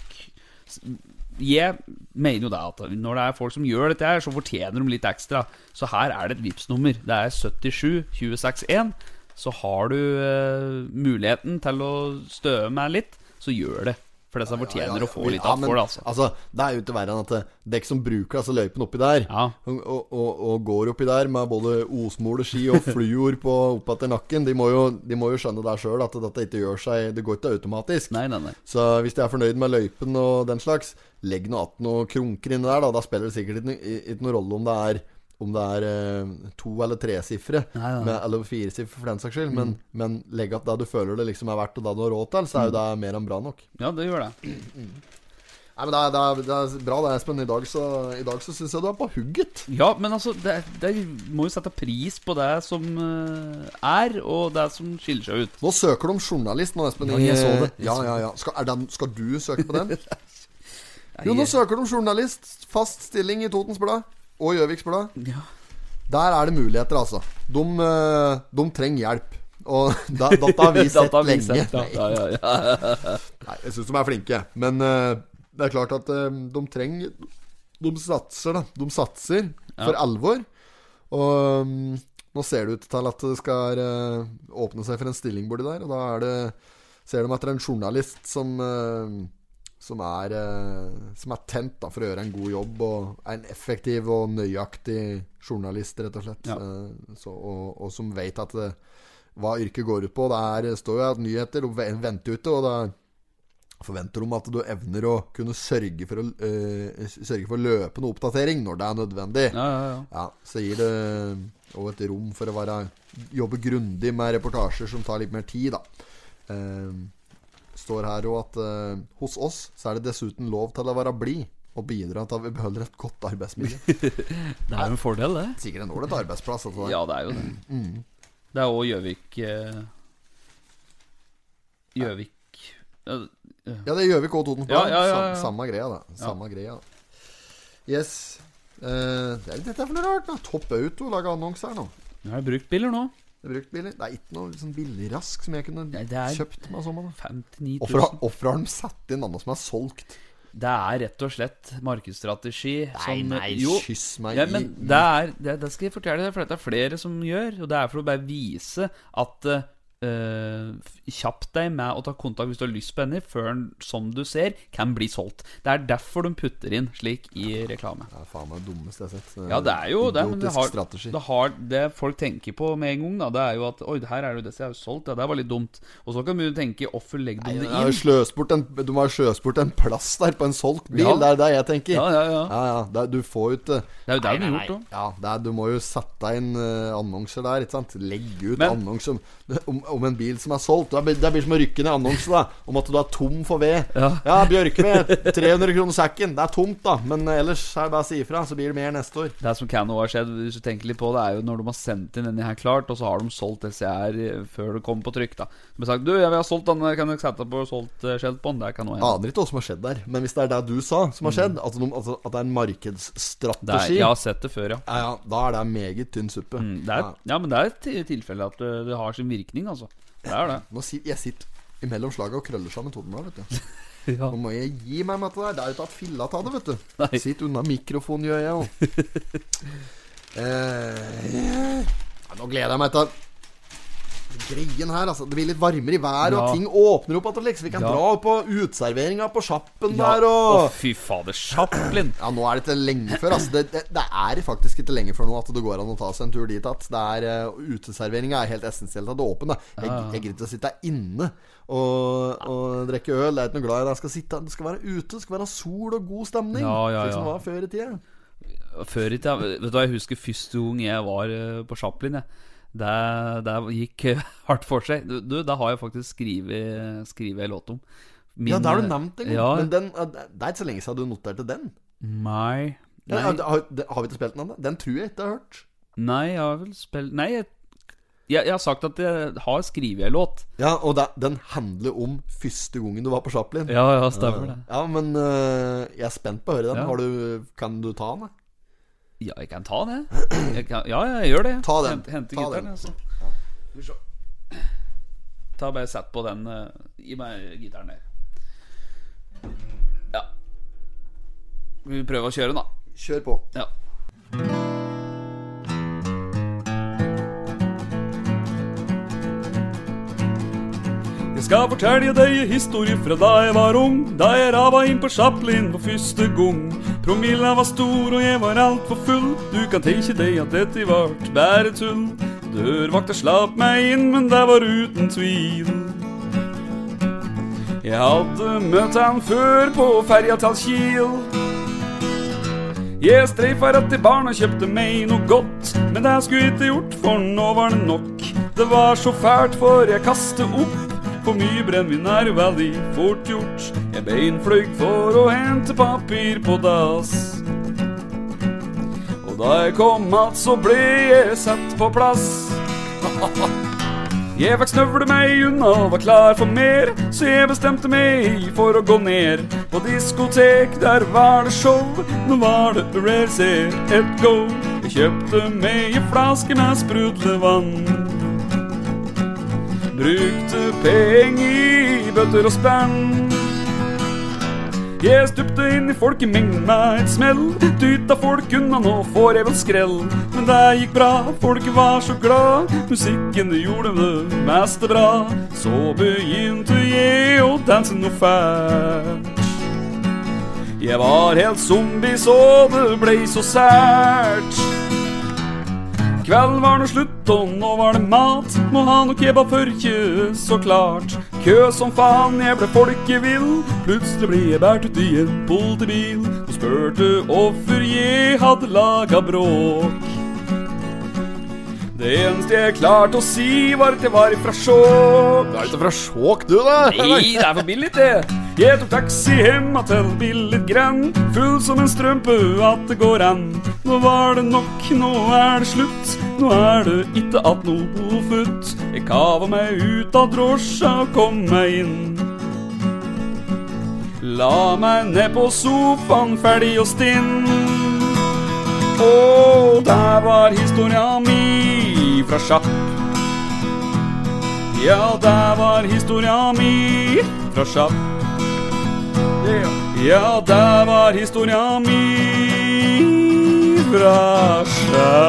Speaker 5: Jeg mener jo det at når det er folk som gjør dette her, så fortjener de litt ekstra. Så her er det et vips nummer Det er 77 261. Så har du eh, muligheten til å støe meg litt, så gjør det. For disse fortjener å få litt av
Speaker 8: men,
Speaker 5: for det, altså.
Speaker 8: Det er jo ikke verre enn at eh, dekk som bruker altså løypen oppi der,
Speaker 5: Ja.
Speaker 8: og, og, og, og går oppi der med både osmole ski og fluor på oppetter nakken, de må, jo, de må jo skjønne der sjøl at dette ikke gjør seg Det går ikke automatisk.
Speaker 5: Nei, nei, nei.
Speaker 8: Så hvis de er fornøyd med løypen og den slags, legg nå att noen krunker inni der, da. Da spiller det sikkert ikke, no- ikke noen rolle om det er om det er eh, to eller tresifre,
Speaker 5: Nei, Mm. nei, nei.
Speaker 8: med- eller firesifre for den saks skyld, men, men legg at det du føler det liksom er verdt, og det du har råd til, så er jo
Speaker 5: Mm.
Speaker 8: det mer enn bra nok.
Speaker 5: Ja, det gjør det.
Speaker 8: Nei, men det er, det er, det er bra det, Espen. I dag så, i dag så syns jeg du er på hugget.
Speaker 5: Ja, men altså, det, det må jo sette pris på det som eh, er, og det som skiller seg ut.
Speaker 8: Nå søker du om journalist nå, Espen.
Speaker 5: Ja,
Speaker 8: i-
Speaker 5: jeg så det. Jeg
Speaker 8: Ja,
Speaker 5: så
Speaker 8: ja, ja. Skal, er den, skal du søke på
Speaker 5: <laughs>
Speaker 8: den? Jo, nå søker du om journalist. Fast stilling i Totens Blad og Gjøviks Blad.
Speaker 5: Ja.
Speaker 8: Der er det muligheter, altså. De, eh, de trenger hjelp. Og <laughs> da, dette har vi sett
Speaker 5: Dette har vi
Speaker 8: lenge.
Speaker 5: sett, ja, ja, ja, ja.
Speaker 8: Nei, jeg syns de er flinke. Men eh, det er klart at eh, de trenger De satser, da. De satser for alvor. Og mm, nå ser det ut til at det skal eh, åpne seg for en stilling borti der. Og da er det ser de etter en journalist som eh, som er, eh, som er tent da, for å gjøre en god jobb, og er en effektiv og nøyaktig journalist, rett og slett.
Speaker 5: Ja.
Speaker 8: Eh, så, og, og som vet at det, hva yrket går ut på. Det er, står jo at nyheter og ve- venter ute, og da forventer de at du evner å kunne sørge for, å, eh, sørge for løpende oppdatering når det er nødvendig.
Speaker 5: Ja, ja, ja.
Speaker 8: Ja, så gir det også et rom for å være, jobbe grundig med reportasjer som tar litt mer tid, da. Eh, står her òg at eh, hos oss så er det dessuten lov til å være blid og bidra til at vi beholder et godt
Speaker 5: <laughs>
Speaker 8: arbeidsmiljø.
Speaker 5: Det er jo en fordel, det.
Speaker 8: Sikkert en ålreit arbeidsplass. altså. dette der.
Speaker 5: Ja, det er jo det.
Speaker 8: Mm.
Speaker 5: Det er òg Gjøvik eh, Gjøvik ja,
Speaker 8: Ja, det gjør vi ikke òg, Toten.
Speaker 5: Ja, ja, ja, ja.
Speaker 8: Sam- Samme greia, da. Samme greia. Yes. Eh, det er litt dette er for noe rart, da. Topp Auto lager annonse her nå.
Speaker 5: Nå er det bruktbiler nå.
Speaker 8: Det er Bruktbiler. Det er ikke noe sånn billigrask som jeg kunne
Speaker 5: Nei, det er-
Speaker 8: kjøpt meg som. da.
Speaker 5: 59
Speaker 8: Hvorfor har-
Speaker 5: 000.
Speaker 8: hvorfor har de satt inn annonse som er solgt?
Speaker 5: Det er rett og slett markedsstrategi som
Speaker 3: eh,
Speaker 5: Jo,
Speaker 8: kyss meg
Speaker 5: Ja, men
Speaker 8: i
Speaker 5: det, er, det, det skal jeg fortelle deg, for dette er flere som gjør. Og det er for å bare vise at eh, eh, Kjapp deg med å ta kontakt hvis du har lyst på henne, før den, som du ser, kan bli solgt. Det er derfor de putter inn slik i reklame.
Speaker 8: Det er faen meg det dummeste jeg har sett.
Speaker 5: Ja, det er jo det, men det
Speaker 8: Idiotisk
Speaker 5: har,
Speaker 8: strategi.
Speaker 5: det har Det folk tenker på med en gang, da, det er jo at Oi, det her er jo det som er solgt, ja, det var litt dumt. Og så kan du tenke Hvorfor legger
Speaker 8: Nei,
Speaker 5: de
Speaker 8: de
Speaker 5: det
Speaker 8: har jo
Speaker 5: inn?
Speaker 8: sløst bort en, de har jo sløst bort en plass der på en solgt bil.
Speaker 5: Ja.
Speaker 8: Det er det jeg tenker.
Speaker 5: Ja, ja, ja.
Speaker 8: ja, ja, det er- du får jo ikke
Speaker 5: Det er jo det de har gjort, da.
Speaker 8: Ja, det er, du må jo sette inn eh, annonser der, ikke sant. Legge ut
Speaker 5: Men-
Speaker 8: annonser om, om, om en bil som er solgt. Det blir- det blir som å rykke ned annonser da om at du er tom for ved.
Speaker 5: Ja.
Speaker 8: Bjørkved. 300 kroner sekken. Det er tomt, da. Men eh, ellers er det bare å si ifra, så blir det mer neste år.
Speaker 5: Det som kan også ha skjedd, hvis du tenker litt på det, er jo når de har sendt inn denne her klart, og så har de solgt SCR før det kom på trykk, da. De har sagt 'Du, jeg vil ha solgt den, kan du sette på solgt eh, skjelt på den?' Det kan også hende.
Speaker 8: Aner ikke hva som har skjedd der, men hvis det er det du sa som har skjedd, altså, noen- altså at det er en
Speaker 5: Det er,
Speaker 8: markedsstrategi,
Speaker 5: jeg
Speaker 8: ja.
Speaker 5: har sett det før, ja.
Speaker 8: Ja, da er det meget tynn suppe.
Speaker 5: Mm, Det er,
Speaker 8: Ja.
Speaker 5: ja, men det er et ti- tilfelle at eh, det har sin virkning, altså. Det er det.
Speaker 8: Nå si, jeg sitter
Speaker 3: imellom slaga og krøller sammen hodene. vet du.
Speaker 5: <laughs> Ja.
Speaker 3: Nå må jeg gi meg med dette der. Det er jo tatt filla av det, vet du.
Speaker 5: Nei.
Speaker 3: Sitt unna mikrofonen, gjør jeg òg.
Speaker 5: <laughs>
Speaker 3: eh, ja, nå gleder jeg meg til Greien her, altså. Det blir litt varmere i været,
Speaker 5: Ja.
Speaker 3: og ting åpner opp. At, liksom, vi kan
Speaker 5: Ja.
Speaker 3: dra opp på uteserveringa på Sjappen
Speaker 5: Ja,
Speaker 3: der og
Speaker 5: Å, fy fader. Chaplin.
Speaker 3: ja, nå er det ikke lenge før. Altså. Det, det, det er faktisk ikke lenge før nå at det går an å ta seg en tur dit igjen. Uh, Uteserveringa er helt essensielt at det er åpent. da. Jeg, jeg gidder ikke å sitte inne og, og drikke øl. Jeg er ikke noe glad i det. Jeg skal sitte, det skal være ute, det skal være sol og god stemning.
Speaker 5: Ja, ja,
Speaker 3: Slik som
Speaker 5: ja.
Speaker 3: det var før i tida.
Speaker 5: Før i tida Vet du hva, jeg husker første gang jeg var eh, på Chaplin, jeg. Det, det gikk eh, <laughs> hardt for seg. Du, du, det har jeg faktisk skrevet skrevet en låt om. Min,
Speaker 3: Ja, det har du nevnt en gang.
Speaker 5: Ja.
Speaker 3: Men den, eh, det er ikke så lenge siden du noterte den.
Speaker 5: Nei.
Speaker 3: Ja,
Speaker 5: Nei,
Speaker 3: ja, det- har, det, har vi ikke spilt den ennå? Den tror jeg ikke jeg har hørt.
Speaker 5: nei, jeg har vel spilt Nei, jeg, jeg, jeg har sagt at jeg har skrevet en låt.
Speaker 3: Ja, Og det, den handler om første gangen du var på Chaplin.
Speaker 5: Ja, ja, stemmer det.
Speaker 3: Ja, men eh, jeg er spent på å høre den.
Speaker 5: Ja.
Speaker 3: Har du, kan du ta den? da?
Speaker 5: Ja, jeg kan ta det. Jeg kan, ja, ja, jeg gjør det.
Speaker 3: Ta den.
Speaker 5: Hent, hente
Speaker 3: Ta
Speaker 5: gitaren,
Speaker 3: den.
Speaker 5: altså. Skal vi se. Ta bare sett på den eh, Gi meg gitaren der. Ja. Vi prøver å kjøre den, da.
Speaker 3: Kjør på.
Speaker 5: Ja. Jeg skal fortelle deg en historie fra da jeg var ung. Da jeg rava inn på Chaplin for første gang. Promilla var stor, og jeg var altfor full. Du kan tenke deg at dette vart bare tull. Dørvakta slapp meg inn, men det var uten tvil. Jeg hadde møtt han før på ferja til Kiel. Jeg streifa rett til baren og kjøpte meg noe godt. Men det skulle jeg ikke gjort, for nå var det nok. Det var så fælt, for jeg kastet opp. For mye brennevin er veldig fort gjort. Jeg beinfløy for å hente papir på dass. Og da jeg kom att, så ble jeg satt på plass. Jeg fikk snøvle meg unna og var klar for mer, så jeg bestemte meg for å gå ned. På diskotek, der var det show, nå var det rare, ser et go. Jeg kjøpte meg en flaske med sprudlevann. Brukte penger i bøtter og spenn. Jeg stupte inn i folkemengden med et smell. Dytta folk unna, nå får jeg vel skrell. Men det gikk bra, folket var så glad. Musikken det gjorde det meste bra. Så begynte jeg å danse noe fælt. Jeg var helt zombie, så det blei så sært. Kvelden var nå slutt, og nå var det mat. Må ha noe kebab for ikke, så klart. Kø som faen, jeg ble folkevill. Plutselig ble jeg båret ut i en politibil. Og spurte hvorfor jeg hadde laga bråk. Det eneste jeg klarte å si, var at jeg var ifra Skjåk.
Speaker 3: Du er ikke fra Skjåk, du, da?
Speaker 5: Nei, det er for billig, det. Jeg tok taxi hjem til billig grann. Full som en strømpe at det går an. Nå var det nok, nå er det slutt. Nå er det ikke att noe futt. Jeg kava meg ut av drosja og kom meg inn. La meg ned på sofaen, ferdig og stinn. Og der var historia mi fra sjapp. Ja, der var historia mi fra sjapp. Ja, der var historia mi fra sjapp.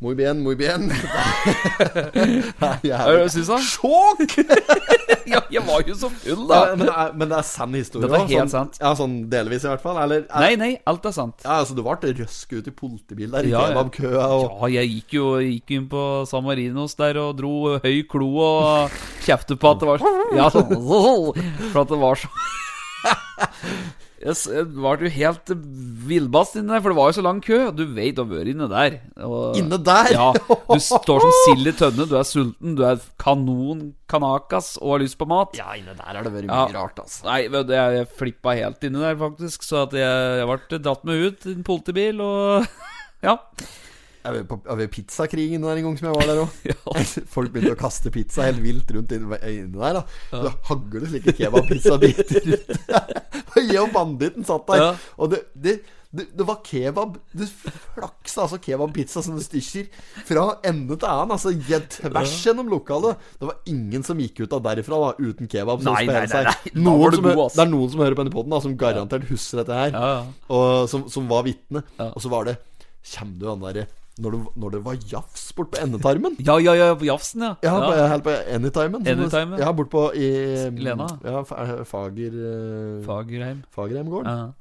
Speaker 3: Muy bien, muy bien.
Speaker 5: <laughs>
Speaker 3: Nei,
Speaker 5: Hva
Speaker 3: jævlig.
Speaker 5: syns du?
Speaker 3: Sjokk!
Speaker 5: <laughs> Ja, jeg var jo så full,
Speaker 3: Ja,
Speaker 5: da.
Speaker 3: men, det er- men det er sann historie.
Speaker 5: Dette er
Speaker 3: også,
Speaker 5: helt
Speaker 3: sånn,
Speaker 5: sant.
Speaker 3: Ja, sånn delvis, i hvert fall. Eller ja,
Speaker 5: Nei, nei, alt er sant.
Speaker 3: ja, altså, Du ble røsket ut i politibil der i
Speaker 5: Ja, ja.
Speaker 3: kebabkøa. Og...
Speaker 5: Ja, jeg gikk jo gikk inn på San Marinos der og dro høy klo og kjeftet på at det var Ja, sånn For at det var så Jeg s- jeg var jo helt villbast inni der, for det var jo så lang kø. Du veit du har vært inne der. Og,
Speaker 3: Inne der?
Speaker 5: Ja. Du står som sild i tønne. Du er sulten, du er kanon kanakas og har lyst på mat.
Speaker 3: Ja, inne der har det vært
Speaker 5: Ja.
Speaker 3: mye rart, altså.
Speaker 5: Nei, vet du, jeg flippa helt inni der, faktisk. Så at jeg, jeg ble dratt med ut i en politibil, og <laughs> Ja.
Speaker 3: Jeg var på jeg var i pizzakrigen der en gang som jeg var der
Speaker 5: <laughs>
Speaker 3: òg.
Speaker 5: ja.
Speaker 3: <laughs> Folk begynte å kaste pizza helt vilt rundt inne inne der. da Det
Speaker 5: <laughs>
Speaker 3: <laughs> hagler slike kebabpizzabiter. Og jeg og banditten satt der.
Speaker 5: Ja.
Speaker 3: Og det, det
Speaker 8: Det, det var kebab. Det flaksa altså kebabpizza som det stykker fra ende til annen. Altså jeg- tvers gjennom lokalet. Det var ingen som gikk ut av derifra da uten kebab. som
Speaker 5: Nei, nei, nei,
Speaker 8: spredde seg.
Speaker 5: nei. Da
Speaker 8: Noen
Speaker 5: var du
Speaker 8: som, hø-
Speaker 5: god, ass.
Speaker 8: det er noen som hører på denne podden da som garantert husker dette her,
Speaker 5: Ja, ja.
Speaker 8: Og, som, som var vitne. Og så var det Kjem du han derre når, det- når det var jafs bort på endetarmen?
Speaker 5: Ja, ja, ja, på Jafsen, ja.
Speaker 8: Ja,
Speaker 5: ja.
Speaker 8: På, helt på Anytimen. som-
Speaker 5: Anytimen.
Speaker 8: Ja, bortpå i
Speaker 5: Lena.
Speaker 8: Ja, Fa- Fager... eh,
Speaker 5: Fagerheim.
Speaker 8: Fagerheimgården.
Speaker 5: Ja.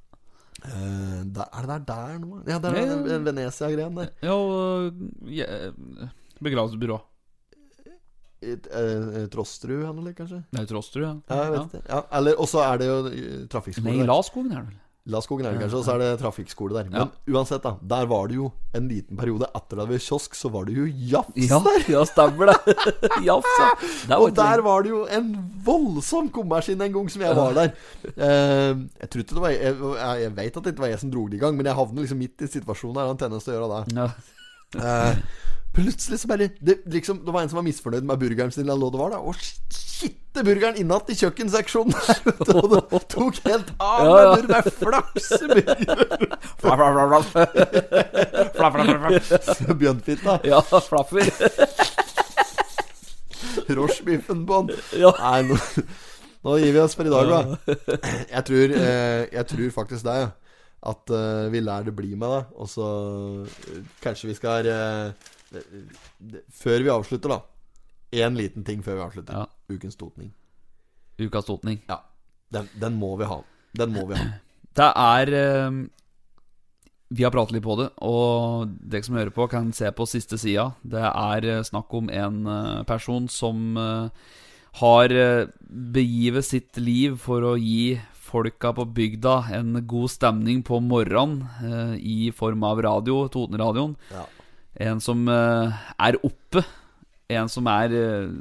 Speaker 8: Eh, der, er det der der nå? Ja, der
Speaker 5: Ja,
Speaker 8: er
Speaker 5: ja.
Speaker 8: den den Venezia-greien der.
Speaker 5: Ja, og eh, ja, begravelsesbyrå.
Speaker 8: I, eh, Trosterud eller noe, kanskje?
Speaker 5: Nei, Trosterud, ja.
Speaker 8: Ja, jeg vet ikke. Ja, eller, og så er det jo eh, trafikkskole
Speaker 5: Nei,
Speaker 8: der.
Speaker 5: Laskogen er det vel.
Speaker 8: Laskogen er det kanskje, og så er det trafikkskole der. Men uansett, da. Der var det jo en liten periode etter at det var kiosk, så var det jo jafs
Speaker 5: Ja,
Speaker 8: der.
Speaker 5: ja stemmer
Speaker 8: <laughs>
Speaker 5: det. Jafs, ja. Det er jo
Speaker 8: Og
Speaker 5: et-
Speaker 8: der var det jo en voldsom kommersinn en gang som jeg var der. Eh, jeg tror ikke det var Jeg, jeg, jeg veit at det ikke var jeg som dro det i gang, men jeg havner liksom midt i situasjonen der. Han har en tendens til å gjøre det.
Speaker 5: ja.
Speaker 8: Eh, plutselig så bare det, liksom, det var en som var misfornøyd med burgeren sin, eller hva det var, da. Og skitte burgeren innatt i kjøkkenseksjonen <laughs> der, vet du. Og det tok helt av med
Speaker 5: Ja, ja.
Speaker 8: burger. Det er flakseburger.
Speaker 5: Flaff, flaff, flaff, flaff. Flaff, flaff, flaff,
Speaker 8: <laughs>
Speaker 5: flaff.
Speaker 8: Bjørnfitta.
Speaker 5: Ja, flaffer.
Speaker 8: Rochebiffen på den.
Speaker 5: Ja.
Speaker 8: Nei, nå, nå gir vi oss for i dag, da. Jeg tror, eh, jeg tror faktisk det, ja. At eh, vi lærer det bli med det. Og så eh, kanskje vi skal eh, det- det- Før vi avslutter, da. Én liten ting før vi avslutter.
Speaker 5: Ja.
Speaker 8: Ukens totning.
Speaker 5: Ukas totning.
Speaker 8: Ja. Den, den må vi ha. Den må vi ha.
Speaker 5: Det er eh, Vi har pratet litt på det, og dere som hører på, kan se på siste sida. Det er eh, snakk om en eh, person som eh, har eh, begivet sitt liv for å gi folka på bygda en god stemning på morgenen eh, i form av radio, Totenradioen.
Speaker 8: Ja.
Speaker 5: En som eh, er oppe. En som er eh,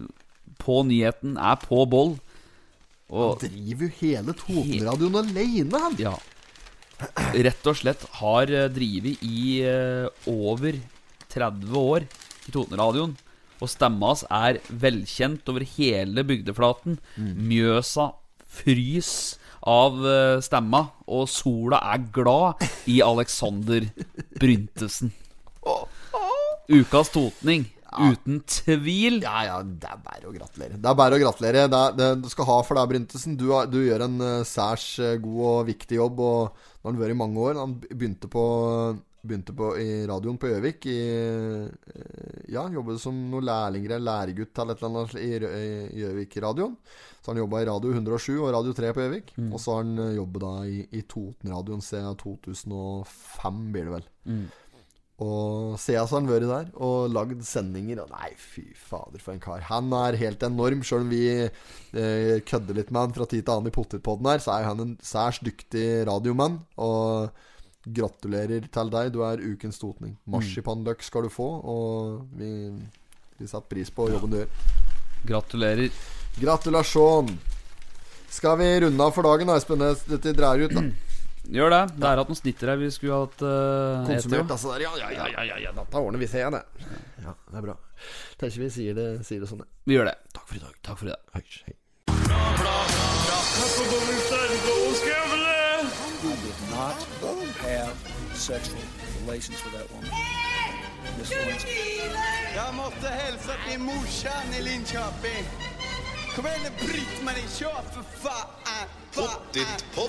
Speaker 5: på nyheten, er på boll. Og
Speaker 8: Driver jo hele Totenradioen aleine, han!
Speaker 5: ja. Rett og slett har eh, drivet i eh, over 30 år i Totenradioen. Og stemma hans er velkjent over hele bygdeflaten. Mjøsa frys av eh, stemma, og sola er glad i Alexander Bryntesen. Ukas totning, uten tvil.
Speaker 8: Ja, ja, det er bare å gratulere. Det er bare å gratulere. Det er, det, du skal ha for deg, Bryntesen. Du, har- du gjør en eh, særs eh, god og viktig jobb. Og nå har han vært i mange år. Han begynte på, begynte på i radioen på Gjøvik. i, eh, Ja, jobbet som noen lærlinger eller læregutt eller et eller annet i Rø- i Gjøvik-radioen. Så han jobba i Radio 107 og Radio 3 på Gjøvik. Og så har han eh, jobbet da i, i Totenradioen siden 2005, blir det vel. Og Sea så har han vært der og lagd sendinger. Og nei, fy fader, for en kar. Han er helt enorm. Sjøl om vi eh, kødder litt med han fra tid til annen i Potetpodden her, så er han en særs dyktig radiomann. Og gratulerer til deg. Du er ukens totning. Marsipanløk skal du få, og vi, vi setter pris på jobben du gjør.
Speaker 5: Gratulerer.
Speaker 8: Gratulasjon! Skal vi runde av for dagen, Espen? Dette drar ut, da.
Speaker 5: Gjør det. Det er at noen snitter her vi skulle hatt eh, ett, jo.
Speaker 8: Konsumert, altså. Der. Ja, ja, ja, ja, ja, ja. Dette ordner vi, ser jeg det. Ja, det er bra. Tenker vi sier det, sier det sånn, det.
Speaker 5: Vi gjør det. Takk for i dag. Takk for i dag.
Speaker 8: Hei, hei.
Speaker 9: Not have sexual relations with that woman. Miss Lewinsky.
Speaker 2: Jag måste hälsa till morsan i Linköping. Kom igen nu Britt-Marie, kör för fan! Fa-